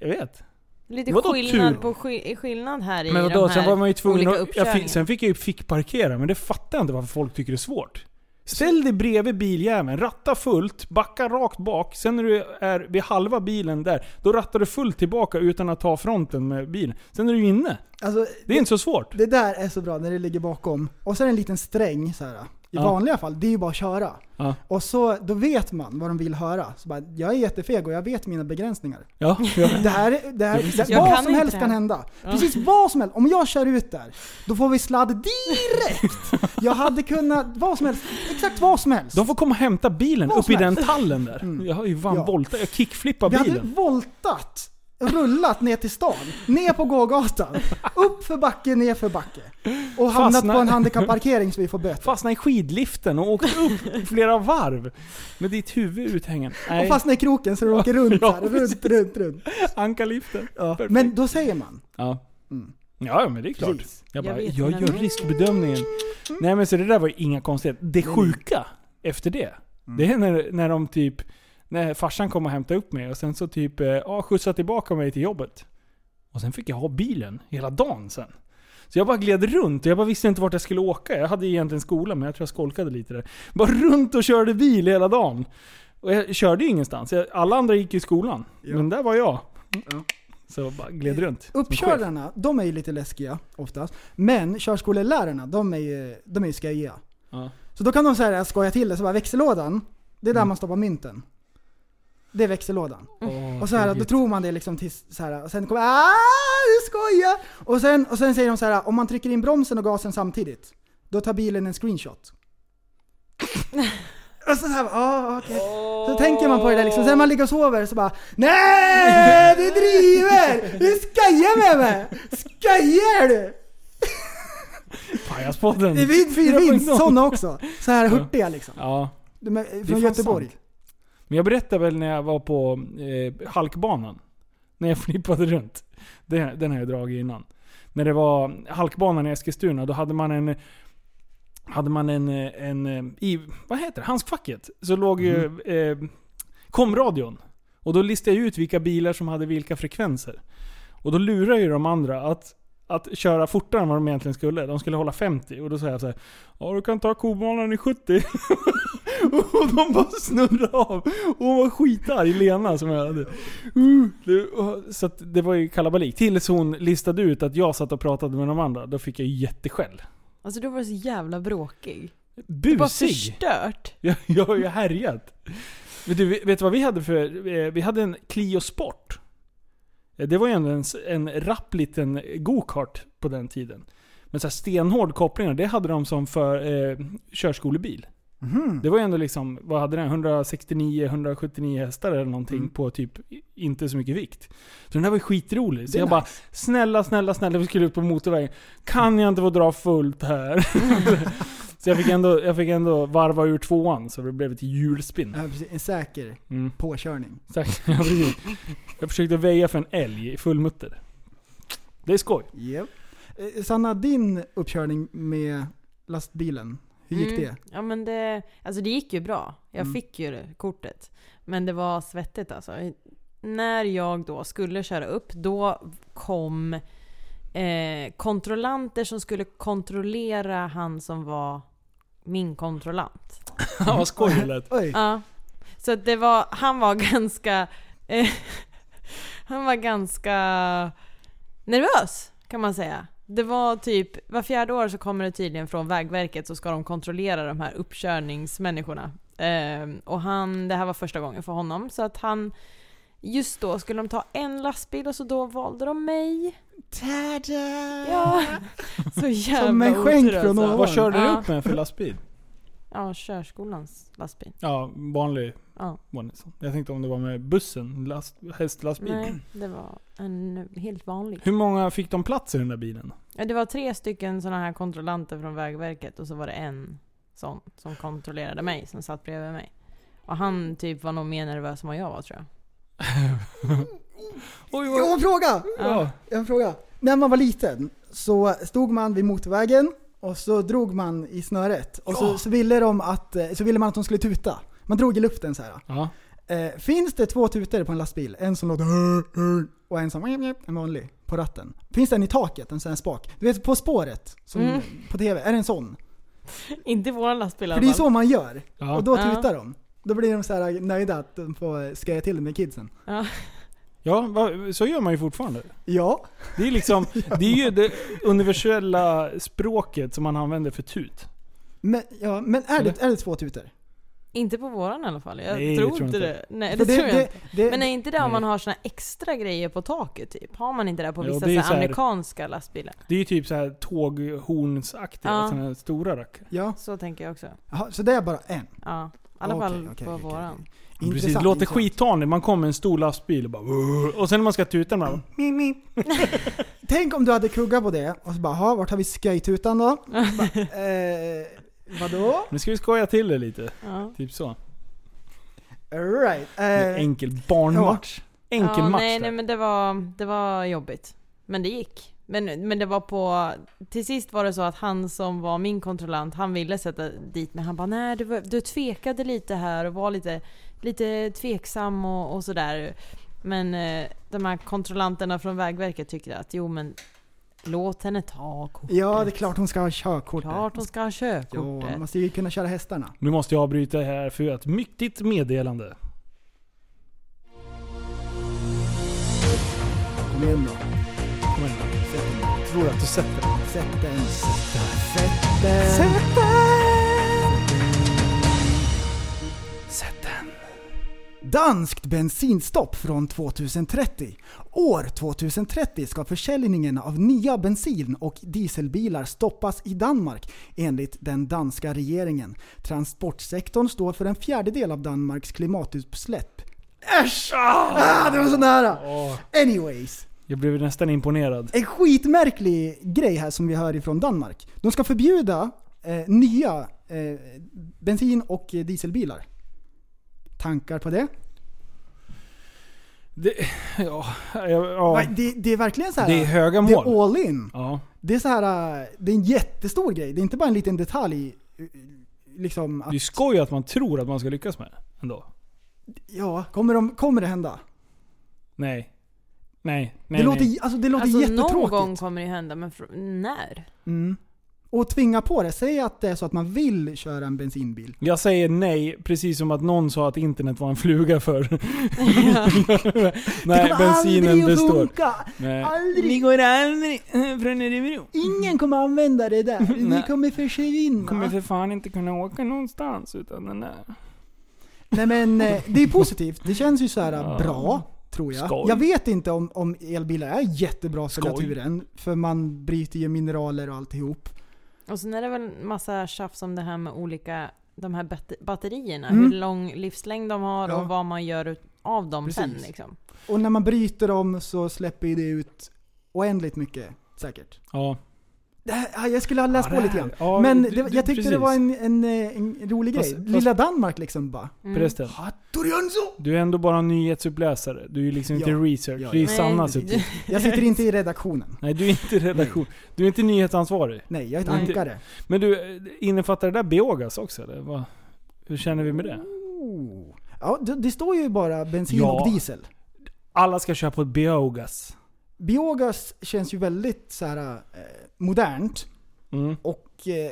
Speaker 6: Jag vet.
Speaker 8: Lite
Speaker 6: Vadå tur?
Speaker 8: skillnad, på skill- skillnad här i
Speaker 6: Men
Speaker 8: de
Speaker 6: vadå,
Speaker 8: här
Speaker 6: sen var man ju tvungen att,
Speaker 8: olika
Speaker 6: jag fick,
Speaker 8: uppkörningarna.
Speaker 6: Sen fick jag ju fick parkera, men det fattar jag inte varför folk tycker det är svårt. Ställ dig bredvid biljäveln, ratta fullt, backa rakt bak. Sen när du är vid halva bilen där, då rattar du fullt tillbaka utan att ta fronten med bilen. Sen är du inne.
Speaker 7: Alltså,
Speaker 6: Det är inte så svårt.
Speaker 7: Det där är så bra när det ligger bakom. Och så är det en liten sträng så här. I
Speaker 6: Ja.
Speaker 7: vanliga fall, det är ju bara att köra.
Speaker 6: Ja.
Speaker 7: Och så, då vet man vad de vill höra. Så bara, jag är jättefeg och jag vet mina begränsningar.
Speaker 6: Ja, ja.
Speaker 7: Det här, är- det här det,
Speaker 8: Jag
Speaker 7: vad
Speaker 8: kan
Speaker 7: som
Speaker 8: inte
Speaker 7: helst
Speaker 8: det här.
Speaker 7: kan hända. Precis vad som helst. Om jag kör ut där, då får vi
Speaker 6: [LAUGHS]
Speaker 7: sladd direkt. Jag hade kunnat, vad som helst, exakt vad som helst.
Speaker 6: De får komma och hämta bilen
Speaker 7: Vad
Speaker 6: upp i
Speaker 7: som
Speaker 6: den
Speaker 7: helst.
Speaker 6: tallen där.
Speaker 7: Mm.
Speaker 6: Jag har ju fan
Speaker 7: Ja.
Speaker 6: voltat, jag kickflippade
Speaker 7: Vi hade
Speaker 6: bilen.
Speaker 7: voltat, rullat ner till stan, ner på gågatan, upp för backe, ner för backe. Och hamnat
Speaker 6: Fastna-
Speaker 7: på en handikapparkering så vi får böter.
Speaker 6: Fastnade i skidliften och åkte
Speaker 7: [LAUGHS]
Speaker 6: upp flera varv. Med ditt huvud uthängande.
Speaker 7: Och
Speaker 6: Nej,
Speaker 7: fastna i kroken så du åker runt
Speaker 6: [LAUGHS] ja,
Speaker 7: där, runt, runt, runt.
Speaker 6: ankarliften.
Speaker 7: Ja.
Speaker 6: Perfekt.
Speaker 7: Men då säger man.
Speaker 6: Ja.
Speaker 7: Mm.
Speaker 6: Ja, men det är klart.
Speaker 7: Precis.
Speaker 6: Jag,
Speaker 8: Jag
Speaker 6: bara,
Speaker 8: vet
Speaker 6: jag
Speaker 8: när-
Speaker 6: gör riskbedömningen. Nej men så det där var ju inga konstigheter. Det sjuka efter det, det är när, när de typ, när farsan kom och hämtade upp mig och sen så typ, eh, ja skjutsade tillbaka mig till jobbet. Och sen fick jag ha bilen hela dagen sen. Så jag bara gled runt och jag bara visste inte vart jag skulle åka. Jag hade egentligen skola men jag tror jag skolkade lite där. Bara runt och körde bil hela dagen. Och jag körde ju ingenstans. Jag, alla andra gick ju i skolan.
Speaker 7: Ja.
Speaker 6: Men där var jag.
Speaker 7: Ja.
Speaker 6: Så jag bara gled runt. som chef.
Speaker 7: Uppkörarna, de är ju lite läskiga oftast. Men körskolelärarna, de är ju, de är ju sköjiga.
Speaker 6: Ja. Mm.
Speaker 7: Så då kan de säga skoja till det, så bara växellådan, det är där man stoppar mynten. Det är växellådan.
Speaker 6: Åh,
Speaker 7: Och så här, då
Speaker 6: tråkigt.
Speaker 7: tror man det liksom tills så här, och sen kommer ah, du skojar! Och sen, och sen säger de så här, om man trycker in bromsen och gasen samtidigt, då tar bilen en screenshot. [LAUGHS] och så här, ah, okej. Så tänker man på det där liksom, sen när man ligger och sover så bara Nej! Du driver! Du skojar med mig! Skojar du?
Speaker 6: Pajaspodden.
Speaker 7: Det finns, det finns sådana också. Så här hurtiga liksom.
Speaker 6: Ja.
Speaker 7: De är
Speaker 6: det är
Speaker 7: Från
Speaker 6: fan
Speaker 7: Göteborg.
Speaker 6: sant. Men jag berättade väl när jag var på eh, halkbanan. När jag [LAUGHS] flippade runt. Den, den har jag dragit innan. När det var halkbanan i Eskilstuna, då hade man en... Hade man en... eh, en eh, I, vad heter det? Handskfacket. Så låg ju... Eh, komradion. Och då listade jag ut vilka bilar som hade vilka frekvenser. Och då lurade ju de andra att, att köra fortare än vad de egentligen skulle. De skulle hålla 50. Och då sa jag så här. Ja du kan ta kobanan i 70. [LAUGHS] och de bara snurrade av. Och hon var skitarg, Lena som jag hade. Uh, det, och, så att det var ju kalabalik. Tills hon listade ut att jag satt och pratade med de andra. Då fick jag ju jätteskäll.
Speaker 8: Alltså du var du så jävla bråkig. Du var
Speaker 6: Busig!
Speaker 8: förstört.
Speaker 6: Jag, jag har ju härjat. Vet du, vet du vad vi hade för... eh, Vi hade en Clio Sport. Eh, Det var ju ändå en, s- en rapp liten go-kart på den tiden. Men så här stenhård kopplingar, det hade de som för eh, körskolebil.
Speaker 7: Mhm.
Speaker 6: Det var ju ändå liksom, vad hade den? 169-179 hästar eller någonting på typ i- inte så mycket vikt. Så den här var ju skitrolig. Så
Speaker 7: Det är
Speaker 6: jag bara, snälla, snälla, snälla, vi skulle ut på motorvägen. Kan jag inte få dra fullt [LAUGHS] här? så jag fick, ändå, jag fick ändå varva ur tvåan så det blev ett hjulspinn.
Speaker 7: Ja, precis. En säker
Speaker 6: Mm.
Speaker 7: påkörning.
Speaker 6: Exakt, ja, precis. Jag försökte väja för en älg i fullmutter. Det är skoj.
Speaker 7: Yep. Eh, Sanna, din uppkörning med lastbilen, hur gick
Speaker 8: Mm.
Speaker 7: det?
Speaker 8: Ja men det, alltså det gick ju bra. Jag
Speaker 7: Mm.
Speaker 8: fick ju det kortet. Men det var svettigt alltså. När jag då skulle köra upp, då kom eh, kontrollanter som skulle kontrollera han som var min kontrollant.
Speaker 6: [LAUGHS] Ja, vad skoj det lät.
Speaker 7: Oj,
Speaker 8: Ja. Så att det var, han var [LAUGHS] ganska... Eh, han var ganska nervös kan man säga. Det var typ, var fjärde år så kommer det tydligen från Vägverket så ska de kontrollera de här uppkörningsmänniskorna. Ehm, och han, det här var första gången för honom så att han Just då skulle de ta en lastbil och så då valde de mig.
Speaker 7: [LAUGHS]
Speaker 8: Ja. Så jävla
Speaker 7: Som en skänk
Speaker 8: otur, alltså.
Speaker 7: från
Speaker 6: Vad
Speaker 7: ovan.
Speaker 6: körde du
Speaker 8: Ja.
Speaker 6: upp med för lastbil?
Speaker 8: Ja, körskolans lastbil.
Speaker 6: Ja, vanlig.
Speaker 8: Ja.
Speaker 6: vanlig sån. Jag tänkte om det var med bussen, last, hästlastbil.
Speaker 8: Nej, det var en helt vanlig.
Speaker 6: Hur många fick de plats i den där bilen?
Speaker 8: Ja, det var tre stycken sådana här kontrollanter från Vägverket och så var det en sån som kontrollerade mig, som satt bredvid mig. Och han typ var nog mer nervös än vad jag var tror jag.
Speaker 6: Oj,
Speaker 7: jag har en fråga!
Speaker 6: Ja.
Speaker 7: Jag har en fråga. När man var liten så stod man vid motorvägen och så drog man i snöret. Och så, så, ville, de att, eh, så ville man att de skulle tuta. Man drog i luften så här.
Speaker 6: Ja.
Speaker 7: Eh, finns det två tutor på en lastbil? En som låter "Hur, hur", och en som en vanlig på ratten. Finns den i taket? En sån här spak? Du vet På spåret? Som
Speaker 8: Mm.
Speaker 7: På TV? Är det en sån?
Speaker 8: [LAUGHS] Inte i våran lastbil i
Speaker 7: För
Speaker 8: alla
Speaker 7: det är
Speaker 8: fall.
Speaker 7: så man gör.
Speaker 6: Ja.
Speaker 7: Och då
Speaker 8: Ja.
Speaker 7: tutar de. Då blir de så här nöjda att de får skoja till med kidsen.
Speaker 6: Ja, va, så gör man ju fortfarande.
Speaker 7: Ja,
Speaker 6: Det är liksom, det är ju det universella språket som man använder för tut.
Speaker 7: Men, ja, men är, det,
Speaker 6: Eller?
Speaker 7: är det två tutor?
Speaker 8: Inte på våran i alla fall. Jag
Speaker 6: Nej,
Speaker 8: tror
Speaker 6: det tror
Speaker 8: inte
Speaker 6: jag
Speaker 8: det. Nej,
Speaker 7: För
Speaker 8: det, tror jag inte.
Speaker 7: det-
Speaker 8: Men är inte det om
Speaker 6: Nej.
Speaker 8: man har såna extra grejer på taket typ? Har man inte det på
Speaker 6: Jo,
Speaker 8: vissa
Speaker 6: det är
Speaker 8: så här
Speaker 6: så här-
Speaker 8: amerikanska lastbilar?
Speaker 6: Det är ju typ så här tåghornsaktiga,
Speaker 8: Ja.
Speaker 6: såna här stora rackare.
Speaker 7: Ja,
Speaker 8: Så tänker jag också.
Speaker 7: Jaha, så det är bara en.
Speaker 8: Ja, i alla
Speaker 7: Okej,
Speaker 8: fall
Speaker 7: okej,
Speaker 8: på
Speaker 7: okej,
Speaker 8: våran.
Speaker 7: okej.
Speaker 6: Precis, det
Speaker 7: Intressant,
Speaker 6: låter
Speaker 7: intressant.
Speaker 6: skitvanligt. Man kommer med en stor lastbil och bara... Och sen när man ska tuta den bara...
Speaker 7: Mip, mip. [LAUGHS] Tänk om du hade kuggat på det och så bara, "Ha, vart har vi sköjtutan då?
Speaker 8: [LAUGHS]
Speaker 7: Bara, eh, vadå?
Speaker 6: Nu ska vi skoja till det lite.
Speaker 8: Ja.
Speaker 6: Typ så.
Speaker 7: Alright.
Speaker 6: En
Speaker 7: Eh,
Speaker 6: enkel barnmatch. Enkel
Speaker 8: ja,
Speaker 6: match
Speaker 8: nej,
Speaker 6: där.
Speaker 8: nej men det var, det var jobbigt. Men det gick. Men, men det var på... Till sist var det så att han som var min kontrollant, han ville sätta dit mig. Han bara nej du, var- du tvekade lite här och var lite, lite tveksam och, och sådär. Men eh, de här kontrollanterna från Vägverket tyckte att jo men låt henne ta kortet.
Speaker 7: ja, det är klart hon ska ha körkortet.
Speaker 8: Klart hon ska ha
Speaker 7: Ja,
Speaker 8: körkortet.
Speaker 7: man måste ju kunna köra hästarna.
Speaker 6: Nu måste jag avbryta här för ett mycket meddelande.
Speaker 7: Kom igen då.
Speaker 6: Kom igen. Tror du att du sätter den?
Speaker 7: Sätt den. Sätt den. Sätt
Speaker 6: Sätt den.
Speaker 7: Danskt bensinstopp från 2030. År 2030 ska försäljningen av nya bensin och dieselbilar stoppas i Danmark enligt den danska regeringen. Transportsektorn står för en fjärdedel av Danmarks klimatutsläpp. Äsch! Ah, det var så nära! Anyways.
Speaker 6: Jag blev nästan imponerad.
Speaker 7: En skitmärklig grej här som vi hör ifrån Danmark. De ska förbjuda eh, nya eh, bensin och eh, dieselbilar. Tankar på det?
Speaker 6: Det, ja, ja,
Speaker 7: Nej, Det, det är verkligen så här.
Speaker 6: Det är höga
Speaker 7: det
Speaker 6: mål.
Speaker 7: är all in.
Speaker 6: Ja.
Speaker 7: Det är så här, eh, det är en jättestor grej. Det är inte bara en liten detalj. eh, Liksom att,
Speaker 6: Det är skoj att man tror att man ska lyckas med ändå.
Speaker 7: ja, kommer, de, kommer det hända?
Speaker 6: Nej. Nej.
Speaker 7: Det,
Speaker 6: Nej.
Speaker 7: låter,
Speaker 6: nej.
Speaker 7: alltså, det låter
Speaker 8: Alltså någon
Speaker 7: jättetråkigt.
Speaker 8: gång kommer det ju hända, men fr- när?
Speaker 7: Mm. Och tvinga på det. Säg att det är så att man vill köra en bensinbil.
Speaker 6: Jag säger nej, precis som att någon sa att internet var en fluga för. [LAUGHS]
Speaker 7: det
Speaker 6: nej,
Speaker 7: kommer
Speaker 6: bensinen
Speaker 7: aldrig att
Speaker 6: består.
Speaker 7: funka!
Speaker 6: Nej.
Speaker 7: Aldrig!
Speaker 6: går aldrig från Örebro.
Speaker 7: Ingen kommer använda det där.
Speaker 6: [LAUGHS]
Speaker 7: Ni
Speaker 6: Nej.
Speaker 7: kommer försvinna.
Speaker 6: fan inte kunna åka någonstans utan den där.
Speaker 7: Nej men eh, det är positivt. Det känns ju så här
Speaker 6: [LAUGHS] Ja.
Speaker 7: bra, tror jag.
Speaker 6: Skoj.
Speaker 7: Jag vet inte om, om elbilar är jättebra för
Speaker 6: Skoj.
Speaker 7: naturen. För man bryter ju mineraler och alltihop.
Speaker 8: Och sen är det väl massa tjafs om det här med olika de här bat- batterierna.
Speaker 7: Mm.
Speaker 8: Hur lång livslängd de har
Speaker 7: Ja.
Speaker 8: och vad man gör ut- av dem
Speaker 7: Precis.
Speaker 8: sen. Liksom.
Speaker 7: Och när man bryter dem så släpper ju det ut oändligt mycket, säkert.
Speaker 6: Ja.
Speaker 7: Det här, ah, jag skulle ha
Speaker 6: Ja,
Speaker 7: läst på
Speaker 6: det
Speaker 7: lite grann.
Speaker 6: här- ja,
Speaker 7: men
Speaker 6: du-
Speaker 7: det,
Speaker 6: du-
Speaker 7: jag tyckte det
Speaker 6: precis.
Speaker 7: var en, en, eh, en rolig grej.
Speaker 6: Fast- fast-
Speaker 7: Lilla Danmark liksom bara.
Speaker 8: Mm.
Speaker 6: Förresten. [LAUGHS] Du är ändå bara en nyhetsuppläsare. Du är ju liksom
Speaker 7: Ja.
Speaker 6: inte research.
Speaker 7: Ja, ja.
Speaker 6: Det är
Speaker 8: Nej.
Speaker 6: Sannas uppgift.
Speaker 7: Jag sitter inte i redaktionen.
Speaker 6: Nej, du är inte redaktion. Du är inte nyhetsansvarig.
Speaker 7: Nej, jag är ett
Speaker 6: Nej.
Speaker 7: ankare.
Speaker 6: Men du, innefattar det där biogas också eller? Vad, hur känner vi med det?
Speaker 7: Oh. Ja, det, det står ju bara bensin
Speaker 6: Ja.
Speaker 7: och diesel.
Speaker 6: Alla ska köpa biogas.
Speaker 7: Biogas känns ju väldigt så här, eh, modernt
Speaker 6: Mm.
Speaker 7: och eh,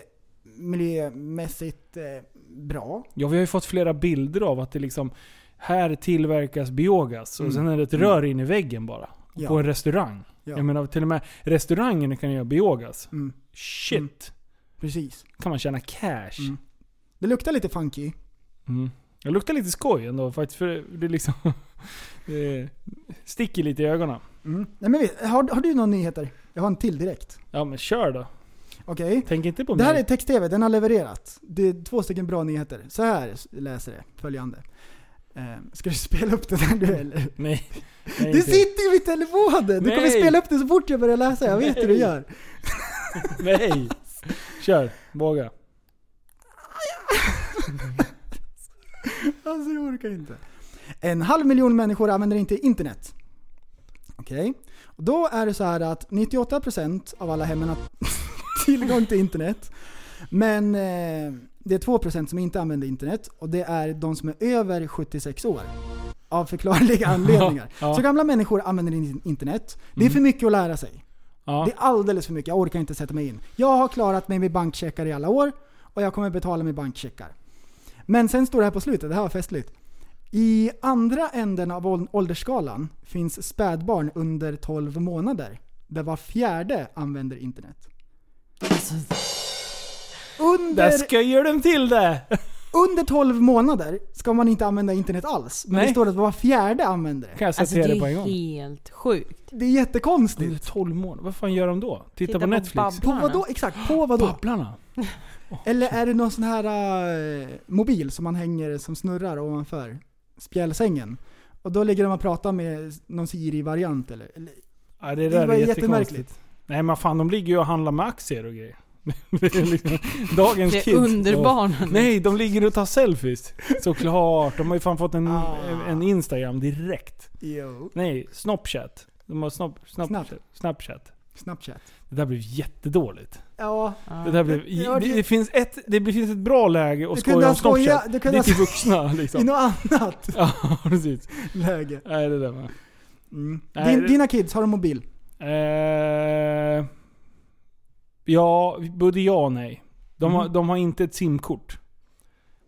Speaker 7: miljömässigt eh, bra.
Speaker 6: Ja, vi har ju fått flera bilder av att det liksom... Här tillverkas biogas och
Speaker 7: Mm.
Speaker 6: sen är det ett rör in i väggen bara.
Speaker 7: Ja.
Speaker 6: På en restaurang.
Speaker 7: Ja.
Speaker 6: Jag menar till och med restaurangen kan göra biogas.
Speaker 7: Mm,
Speaker 6: Shit!
Speaker 7: Mm. precis.
Speaker 6: kan man tjäna cash.
Speaker 7: Mm. Det luktar lite funky.
Speaker 6: Mm. Det luktar lite skoj ändå faktiskt. För det är liksom... [LAUGHS] det sticker lite i ögonen.
Speaker 7: Mm. Nej, men vi- har, har du några nyheter? Jag har en till direkt.
Speaker 6: Ja men kör då.
Speaker 7: Okej.
Speaker 6: Tänk inte på
Speaker 7: Det här
Speaker 6: mig.
Speaker 7: är text-tv, den har levererat. Det är två stycken bra nyheter. Så här läser det, följande. Eh, ska du spela upp det där du eller?
Speaker 6: Nej.
Speaker 7: [LAUGHS]
Speaker 6: Nej,
Speaker 7: Det
Speaker 6: inte.
Speaker 7: sitter ju vid telefonen! Du kommer
Speaker 6: Nej.
Speaker 7: spela upp det så fort jag börjar läsa, jag vet hur du
Speaker 6: Nej.
Speaker 7: gör.
Speaker 6: Nej! Kör. Våga.
Speaker 7: [LAUGHS] Alltså jag orkar inte. En halv miljon människor använder inte internet. Okej. Och Då är det så här att 98% av alla hemmen har [LAUGHS] tillgång till internet. Men eh, det är 2% som inte använder internet och det är de som är över 76 år. Av förklarliga anledningar.
Speaker 6: [LAUGHS] Ja. Mm.
Speaker 7: Så gamla människor använder in- internet. Det är för mycket att lära sig.
Speaker 6: Ja.
Speaker 7: Det är alldeles för mycket, jag orkar inte sätta mig in. Jag har klarat mig med bankcheckar i alla år och jag kommer betala med bankcheckar. Men sen står det här på slutet, det här var festligt. I andra änden av ål- åldersskalan finns spädbarn under 12 månader. Där var fjärde använder internet.
Speaker 6: Där
Speaker 7: under,
Speaker 6: sköjer de till det!
Speaker 7: under 12 månader ska man inte använda internet alls. Men
Speaker 6: Nej.
Speaker 7: det står att var fjärde använder det.
Speaker 6: Kan jag
Speaker 8: Alltså
Speaker 6: citera
Speaker 8: det
Speaker 6: det på en
Speaker 8: är
Speaker 6: gång.
Speaker 8: helt sjukt.
Speaker 7: Det är jättekonstigt.
Speaker 6: Under 12 månader, vad fan gör de då? Titta,
Speaker 8: Titta
Speaker 6: på,
Speaker 8: på
Speaker 6: Netflix?
Speaker 8: Babblarna.
Speaker 7: På vad då? Exakt, på vad då?
Speaker 6: Babblarna?
Speaker 7: Eller är det någon sån här eh, mobil som man hänger, som snurrar ovanför spjälsängen? Och då ligger de och pratar med någon Siri-variant eller? eller
Speaker 6: Ja, det
Speaker 7: det
Speaker 6: där
Speaker 7: var
Speaker 6: är jättekonstigt.
Speaker 7: jättemärkligt.
Speaker 6: Nej men fan, de ligger ju och handlar med aktier och grejer. [LAUGHS] Det är liksom Dagens
Speaker 8: Det är
Speaker 6: kids.
Speaker 8: underbarnen.
Speaker 6: Nej, de ligger och tar selfies. Såklart. De har ju fan fått en,
Speaker 7: Ah.
Speaker 6: en Instagram direkt.
Speaker 7: Jo.
Speaker 6: Nej, Snapchat. De har snop, snop,
Speaker 7: Snap.
Speaker 6: Snapchat.
Speaker 7: Snapchat.
Speaker 6: Det där blev jättedåligt.
Speaker 7: Ja.
Speaker 6: Det, där blev,
Speaker 7: Ja,
Speaker 6: det,
Speaker 7: det-
Speaker 6: det, finns ett, det finns ett bra läge att
Speaker 7: Du kunde
Speaker 6: skoja
Speaker 7: ha
Speaker 6: om
Speaker 7: skoja,
Speaker 6: Snapchat.
Speaker 7: du
Speaker 6: Det
Speaker 7: kunde
Speaker 6: är typ till
Speaker 7: ha
Speaker 6: vuxna
Speaker 7: [LAUGHS] i
Speaker 6: liksom.
Speaker 7: något annat
Speaker 6: Ja, [LAUGHS] precis.
Speaker 7: läge.
Speaker 6: Nej, det där var...
Speaker 7: Mm.
Speaker 6: Nej,
Speaker 7: Din,
Speaker 6: det-
Speaker 7: dina kids, har de mobil?
Speaker 6: Eh, ja, både ja och nej. De, har, de har inte ett simkort.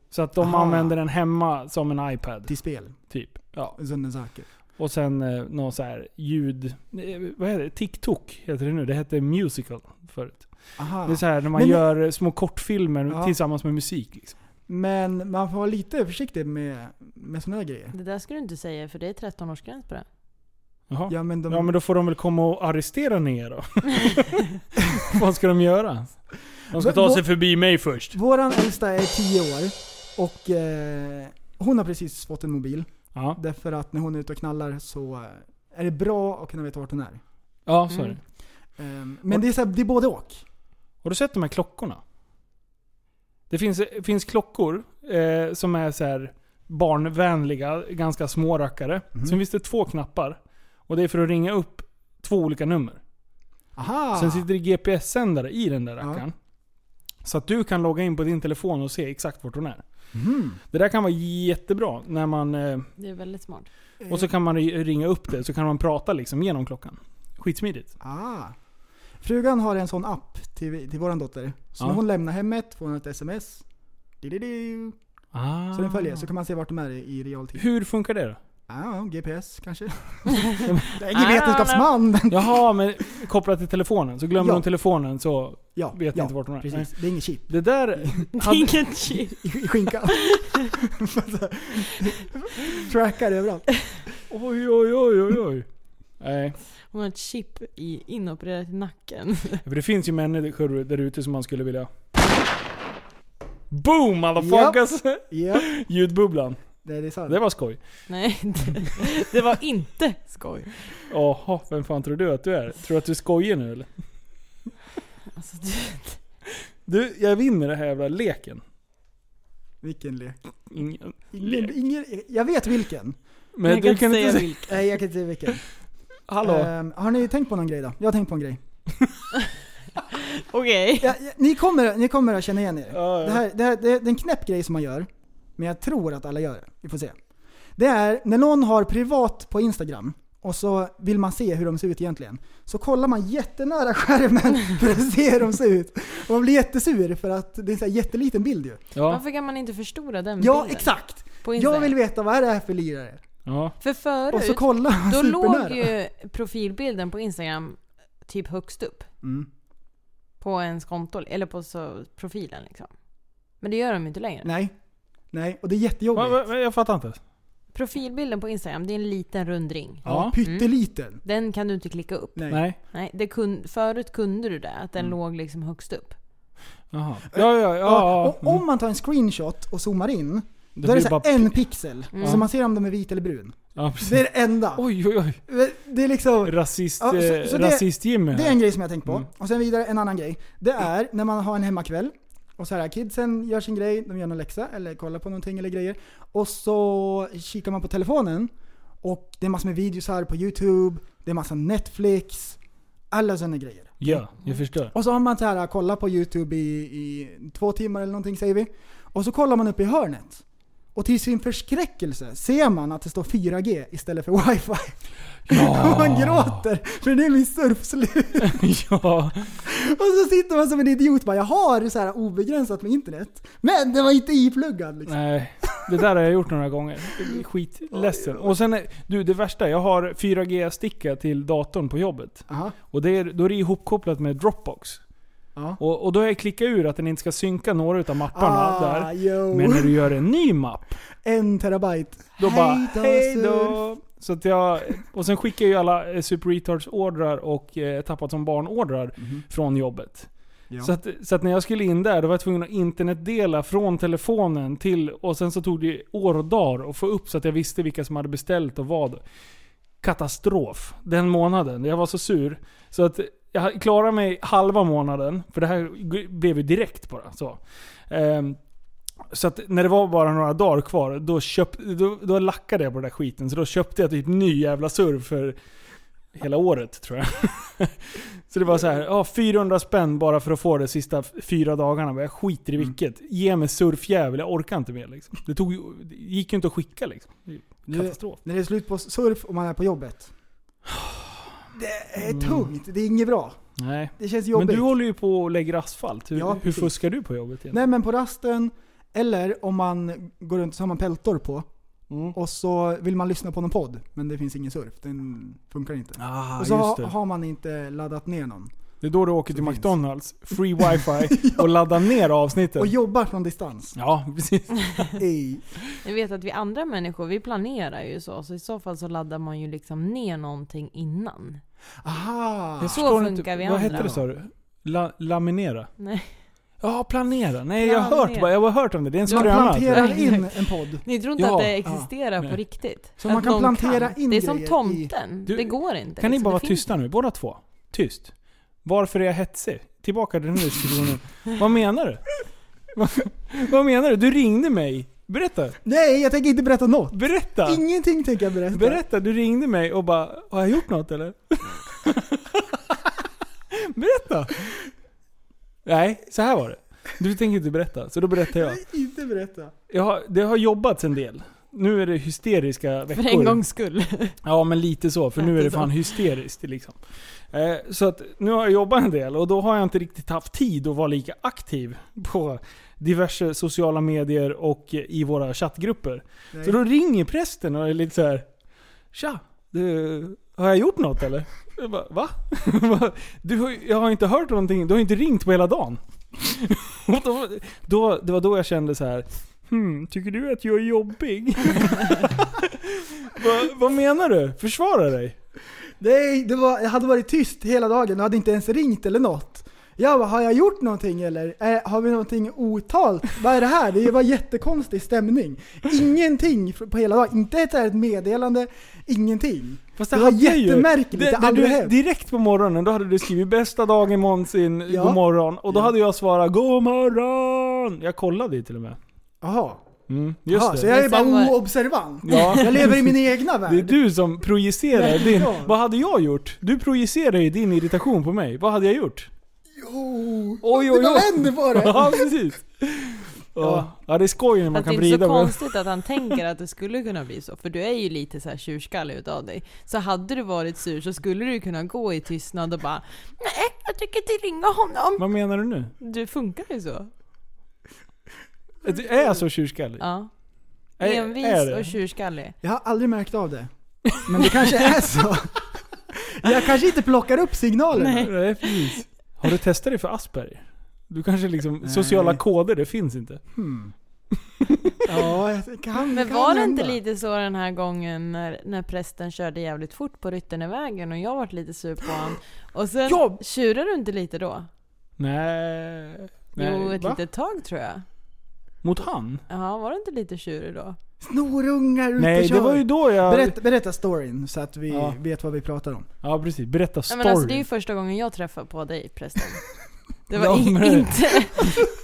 Speaker 6: Så att de
Speaker 7: Mm. Aha.
Speaker 6: använder den hemma som en iPad.
Speaker 7: Till spel?
Speaker 6: Typ. Ja.
Speaker 7: Sådana saker.
Speaker 6: Och sen eh, någon så här ljud... eh, Vad heter det? TikTok heter det nu. Det hette Musical förut.
Speaker 7: Aha.
Speaker 6: Det är så här när man
Speaker 7: Ah. Men-
Speaker 6: gör eh, små kortfilmer
Speaker 7: Ja.
Speaker 6: tillsammans med musik. Liksom.
Speaker 7: Men man får vara lite försiktig med, med sådana här grejer.
Speaker 8: Det där ska du inte säga för det är 13-årsgräns på det.
Speaker 6: Jaha. Ja,
Speaker 7: Ja men de...
Speaker 6: men då får de väl komma och arrestera ner då. [LAUGHS] vad ska de göra? De ska
Speaker 7: Men
Speaker 6: ta
Speaker 7: vad-
Speaker 6: sig förbi mig först.
Speaker 7: Våran äldsta är 10 år och eh, hon har precis fått en mobil.
Speaker 6: Ja,
Speaker 7: Därför att när hon är ute och knallar så eh, är det bra att kunna veta vart hon är.
Speaker 6: ja så är det.
Speaker 8: Mm.
Speaker 7: Ehm, Men det är, så här, det är både och.
Speaker 6: Har du sett de här klockorna? Det finns, det finns klockor eh, som är så här barnvänliga, ganska små rackare. Sen finns det två knappar. Och det är för att ringa upp två olika nummer.
Speaker 7: Aha!
Speaker 6: Sen sitter det GPS-sändare i den där rackaren. Så att du kan logga in på din telefon och se exakt vart hon är.
Speaker 7: Mhm.
Speaker 6: Det där kan vara jättebra. När man, eh,
Speaker 8: Det är
Speaker 6: [LAUGHS]
Speaker 8: väldigt smart.
Speaker 6: och så kan man ri- ringa upp det, så kan man prata liksom genom klockan. Skitsmidigt.
Speaker 7: Ah. Frugan har en sån app till, till våran dotter. Så
Speaker 6: Ja.
Speaker 7: när hon lämnar hemmet får hon ett sms. Di-di-di.
Speaker 6: Ah.
Speaker 7: Så den följer, så kan man se vart de är i, i realtid.
Speaker 6: Hur funkar det då?
Speaker 7: Ah, GPS
Speaker 6: [LAUGHS]
Speaker 7: kanske? det är ingen
Speaker 6: Ah,
Speaker 7: vetenskapsman! men-
Speaker 6: Jaha, men kopplat till telefonen. Så glömmer
Speaker 7: Ja.
Speaker 6: hon telefonen så
Speaker 7: ja,
Speaker 6: vet
Speaker 7: ja,
Speaker 6: inte vart hon är. Nej.
Speaker 7: Precis, det är inget chip
Speaker 6: Det där... Hade,
Speaker 8: Inget shit.
Speaker 7: i
Speaker 6: [LAUGHS]
Speaker 7: i skinkan. [LAUGHS] Trackar överallt.
Speaker 6: oj, oj, oj, oj, oj. Nej.
Speaker 8: Hon har ett chip i, inopererat i nacken. [LAUGHS]
Speaker 6: För det finns ju människor där ute som man skulle vilja... Boom motherfuckers!
Speaker 7: Ja,
Speaker 6: [LAUGHS] Ljudbubblan.
Speaker 7: det är sant.
Speaker 6: Det var skoj.
Speaker 8: Nej, det, det var inte skoj.
Speaker 6: Jaha, vem fan tror du att du är? Tror du att du skojar nu eller?
Speaker 8: Alltså, du,
Speaker 6: Du, jag vinner den här jävla leken.
Speaker 7: Vilken lek.
Speaker 6: Ingen.
Speaker 7: Ingen, ingen, jag vet vilken.
Speaker 6: Men,
Speaker 8: men jag
Speaker 6: du
Speaker 8: kan inte
Speaker 6: kan
Speaker 8: säga
Speaker 6: inte säga...
Speaker 8: vilken.
Speaker 7: Nej, jag kan inte säga vilken.
Speaker 6: Hallå?
Speaker 7: Ehm, har ni tänkt på någon grej då? Jag har tänkt på en grej.
Speaker 8: Okej.
Speaker 7: Ja, ja, ni, kommer, ni kommer att känna igen er.
Speaker 6: Ja, ja.
Speaker 7: Det, här, det, här, det, det är en knäpp grej som man gör, men jag tror att alla gör det. Vi får se. Det är när någon har privat på Instagram och så vill man se hur de ser ut egentligen. Så kollar man jättenära skärmen [LAUGHS] för att se hur de ser ut. Och man blir jättesur för att det är en sån här jätteliten bild ju.
Speaker 6: ja.
Speaker 8: Varför kan man inte förstora den
Speaker 7: Ja,
Speaker 8: bilden?
Speaker 7: exakt!
Speaker 8: På
Speaker 7: Jag
Speaker 8: Instagram?
Speaker 7: vill veta vad är det här för lirare?
Speaker 6: ja.
Speaker 8: För
Speaker 7: Och så
Speaker 8: förut,
Speaker 7: kollar man
Speaker 8: då
Speaker 7: supernära.
Speaker 8: låg ju profilbilden på Instagram typ högst upp.
Speaker 7: Mm.
Speaker 8: På ens konto, eller på så, profilen liksom. Men det gör de ju inte längre.
Speaker 7: Nej. Nej, och det är
Speaker 6: Va,
Speaker 7: jättejobbigt.
Speaker 6: va, va, jag fattar inte.
Speaker 8: Profilbilden på Instagram, det är en liten rund ring.
Speaker 6: Ja. Mm.
Speaker 7: Pytteliten.
Speaker 8: Den kan du inte klicka upp.
Speaker 7: Nej. Mm.
Speaker 6: Nej.
Speaker 8: Nej, det kun, förut kunde du det, att den låg liksom högst upp.
Speaker 6: Jaha. Ja, ja, ja. ja. Mm.
Speaker 7: Och Eh, om man tar en screenshot och zoomar in,
Speaker 6: Det
Speaker 7: då är det
Speaker 6: blir
Speaker 7: så här
Speaker 6: bara- Mm.
Speaker 7: en pixel.
Speaker 8: Mm.
Speaker 7: Så man ser om de är vit eller brun.
Speaker 6: Ja, precis.
Speaker 7: Det är det enda.
Speaker 6: Oj, oj, oj.
Speaker 7: Det är liksom...
Speaker 6: Rasist,
Speaker 7: Ja, så-
Speaker 6: eh,
Speaker 7: så det-
Speaker 6: rasist-Jimmy.
Speaker 7: Det är en grej som jag tänkt på.
Speaker 6: Mm.
Speaker 7: Och sen vidare en annan grej. Det är när man har en hemmakväll och så här, kidsen gör sin grej, de gör någon läxa eller kollar på någonting eller grejer. Och så kikar man på telefonen och det är massor med videos här på YouTube, det är massa Netflix, alla sådana grejer.
Speaker 6: Ja, jag förstår. [LAUGHS]
Speaker 7: Och så har man så här kollat på YouTube i, i två timmar eller någonting säger vi. Och så kollar man upp i hörnet. Och till sin förskräckelse ser man att det står 4G istället för wifi. [LAUGHS] Och man gråter, för nu är min surf slut.
Speaker 6: ja.
Speaker 7: Och så sitter man som en idiot och bara jag har så här obegränsat med internet. Men det var inte ipluggat liksom.
Speaker 6: Nej, det där har jag gjort några gånger. Jag blir Skitledsen. Och sen, är- du det värsta. Jag har 4G-sticka till datorn på jobbet.
Speaker 7: Aha.
Speaker 6: Och det är, då är det ihopkopplat med Dropbox.
Speaker 7: Ja.
Speaker 6: Och, och då har jag klickat ur att den inte ska synka några utav mapparna
Speaker 7: Ah,
Speaker 6: där.
Speaker 7: jo.
Speaker 6: Men när du gör en ny mapp,
Speaker 7: En terabyte.
Speaker 6: då bara
Speaker 7: då,
Speaker 6: hej
Speaker 7: surf.
Speaker 6: då. Så att jag, och sen skickar jag ju alla eh, Super Retards ordrar och eh, Tappat som barn-ordrar från jobbet.
Speaker 7: Mhm. Ja.
Speaker 6: Så, att, så att när jag skulle in där, då var jag tvungen att internetdela från telefonen till... Och sen så tog det år och dagar att få upp så att jag visste vilka som hade beställt och vad. Katastrof. Den månaden. Jag var så sur. Så att jag klarade mig halva månaden. För det här g- blev ju direkt bara. Så. Ehm, så att när det var bara några dagar kvar, då, köp, då, då lackade jag på den där skiten. Så då köpte jag typ ny jävla surf för hela året tror jag. [LAUGHS] så det var så här, ja 400 spänn bara för att få det sista f- fyra dagarna. Men Jag skiter i
Speaker 7: Mm.
Speaker 6: vilket. Ge mig surfjävel, jag orkar inte mer liksom. Det, tog, ju- det gick ju inte att skicka liksom.
Speaker 7: Nu,
Speaker 6: Katastrof.
Speaker 7: när det är slut på surf och man är på jobbet. Det
Speaker 6: Mm.
Speaker 7: är tungt. Det är inget bra.
Speaker 6: Nej.
Speaker 7: Det känns
Speaker 6: Men
Speaker 7: jobbigt.
Speaker 6: du håller ju på och lägger asfalt. Hur,
Speaker 7: Ja,
Speaker 6: hur
Speaker 7: precis.
Speaker 6: fuskar du på jobbet egentligen?
Speaker 7: Nej men på rasten, eller om man går runt så har man peltor på.
Speaker 6: Mm.
Speaker 7: Och så vill man lyssna på någon podd, men det finns ingen surf. Den funkar inte.
Speaker 6: Ah,
Speaker 7: och så
Speaker 6: just
Speaker 7: ha,
Speaker 6: det.
Speaker 7: har man inte laddat ner någon.
Speaker 6: Det är då du åker till
Speaker 7: finns.
Speaker 6: McDonalds, free [LAUGHS] wifi och laddar ner avsnittet.
Speaker 7: Och jobbar
Speaker 6: [LAUGHS]
Speaker 7: från distans.
Speaker 6: Ja, precis.
Speaker 7: Ej.
Speaker 8: Ni vet att vi andra människor, vi planerar ju så. Så i så fall så laddar man ju liksom ner någonting innan.
Speaker 7: Aha!
Speaker 8: Så
Speaker 6: Förstår
Speaker 8: funkar
Speaker 6: inte-
Speaker 8: vi
Speaker 6: Vad
Speaker 8: andra.
Speaker 6: hette det sa du? La, laminera?
Speaker 8: Nej.
Speaker 6: Ja, planera. Nej, jag har hört,
Speaker 8: Planera.
Speaker 6: bara- jag har hört om det. Det är en
Speaker 7: Man
Speaker 6: skröna.
Speaker 7: planterar
Speaker 8: Ja,
Speaker 7: in
Speaker 8: exakt.
Speaker 7: en podd.
Speaker 8: Ni tror inte
Speaker 6: Ja.
Speaker 8: att det existerar
Speaker 6: Nej.
Speaker 8: på riktigt?
Speaker 7: Så
Speaker 8: Att
Speaker 7: man kan
Speaker 8: någon
Speaker 7: plantera
Speaker 8: kan.
Speaker 7: in
Speaker 8: Det är som
Speaker 7: grejer i-
Speaker 8: tomten.
Speaker 6: Du-
Speaker 8: det går inte.
Speaker 6: Kan ni
Speaker 8: liksom.
Speaker 6: bara
Speaker 8: Det
Speaker 6: vara
Speaker 8: finns-
Speaker 6: tysta nu, båda två? Tyst. Varför är jag hetsig? Tillbaka till den här diskussionen. Vad menar du? [LAUGHS] Vad, vad menar du? Du ringde mig. Berätta.
Speaker 7: Nej, jag tänker inte berätta något.
Speaker 6: Berätta.
Speaker 7: Ingenting tänker jag berätta.
Speaker 6: Berätta. Du ringde mig och bara, har jag gjort något
Speaker 7: [LAUGHS]
Speaker 6: eller? Berätta. Nej, så här var det. Du tänker inte berätta, så då berättar jag.
Speaker 7: Inte berätta.
Speaker 6: jag har, det har jobbats en del. Nu är det hysteriska veckor.
Speaker 8: För en gångs skull.
Speaker 6: Ja, men lite så. För nu är det
Speaker 8: Lite så.
Speaker 6: fan hysteriskt. Liksom. Eh, så att nu har jag jobbat en del och då har jag inte riktigt haft tid att vara lika aktiv på diverse sociala medier och eh, i våra chattgrupper.
Speaker 7: Nej.
Speaker 6: Så då ringer prästen och är lite så här. Tja, du, har jag gjort något eller? Jag bara, Va? [LAUGHS] Du, har ju- jag har inte hört någonting. Du har inte ringt på hela dagen. [LAUGHS] Och då, då, det var då jag kände så här. Hmm, tycker du att jag är jobbig? Va, vad menar du? Försvara dig.
Speaker 7: Nej, det var, jag hade varit tyst hela dagen och hade inte ens ringt eller något. Jag bara, har jag gjort någonting eller? Eh, har vi någonting otalt? Vad är det här? Det var jättekonstig stämning. Ingenting på hela dagen. Inte ett, ett meddelande, ingenting.
Speaker 6: Fast
Speaker 7: Det var
Speaker 6: hade jag ju-
Speaker 7: jättemärkligt, det hade aldrig
Speaker 6: du,
Speaker 7: hänt.
Speaker 6: Direkt på morgonen, då hade du skrivit 'Bästa dagen någonsin,
Speaker 7: Ja.
Speaker 6: god morgon Och då
Speaker 7: Ja.
Speaker 6: hade jag svarat 'God morgon' Jag kollade ju till och med.
Speaker 7: Jaha.
Speaker 6: Mm, just
Speaker 7: Jaha
Speaker 6: det.
Speaker 7: så jag är
Speaker 8: Men sen
Speaker 7: bara
Speaker 8: var-
Speaker 7: oobservant.
Speaker 6: Ja.
Speaker 7: Jag lever i min egna värld.
Speaker 6: Det är du som projicerar
Speaker 7: Nej,
Speaker 6: din...
Speaker 7: ja.
Speaker 6: Vad hade jag gjort? Du projicerar ju din irritation på mig. Vad hade jag gjort?
Speaker 7: Jo.
Speaker 6: Oj,
Speaker 7: Det bara [LAUGHS] vänder på det.
Speaker 6: Ja, precis. Ja. ja, det är skoj när man
Speaker 8: Fast det
Speaker 6: kan
Speaker 8: är inte
Speaker 6: vrida
Speaker 8: så
Speaker 6: på...
Speaker 8: konstigt att han tänker att det skulle kunna bli så. För du är ju lite så här tjurskallig utav dig. Så hade du varit sur så skulle du kunna gå i tystnad och bara Nej, jag tycker inte ringa honom.
Speaker 6: Vad menar du nu?
Speaker 8: Du funkar ju så.
Speaker 6: Du är jag så tjurskallig?
Speaker 8: Ja.
Speaker 6: Är- är det?
Speaker 8: Envis och tjurskallig.
Speaker 7: Jag har aldrig märkt av det. Men det kanske
Speaker 8: [LAUGHS]
Speaker 7: är så. Jag kanske inte plockar upp signalerna.
Speaker 6: Nej, precis. Har du testat det för Asperger? Du kanske liksom, sociala koder, det finns inte.
Speaker 7: Ja, jag kan,
Speaker 8: Men
Speaker 7: kan
Speaker 8: var det inte
Speaker 7: hända.
Speaker 8: lite så den här gången när, när prästen körde jävligt fort på Ryttenevägen och jag vart lite sur på honom? Och sen
Speaker 6: Ja.
Speaker 8: tjurade du inte lite då?
Speaker 6: Nej. Nej.
Speaker 8: jo, ett
Speaker 6: va?
Speaker 8: litet tag tror jag.
Speaker 6: Mot han?
Speaker 8: Ja, var det inte lite tjurig då?
Speaker 7: Snorungar ute
Speaker 6: Nej,
Speaker 7: och
Speaker 6: det
Speaker 7: kör.
Speaker 6: var ju då jag...
Speaker 7: berätta, berätta storyn så att vi
Speaker 6: Ja.
Speaker 7: vet vad vi pratar om.
Speaker 6: Ja, precis. Berätta
Speaker 8: Ja,
Speaker 6: storyn.
Speaker 8: men alltså, det är ju första gången jag träffar på dig prästen.
Speaker 7: [LAUGHS]
Speaker 8: Det var
Speaker 6: Ja,
Speaker 8: i-
Speaker 6: men-
Speaker 8: inte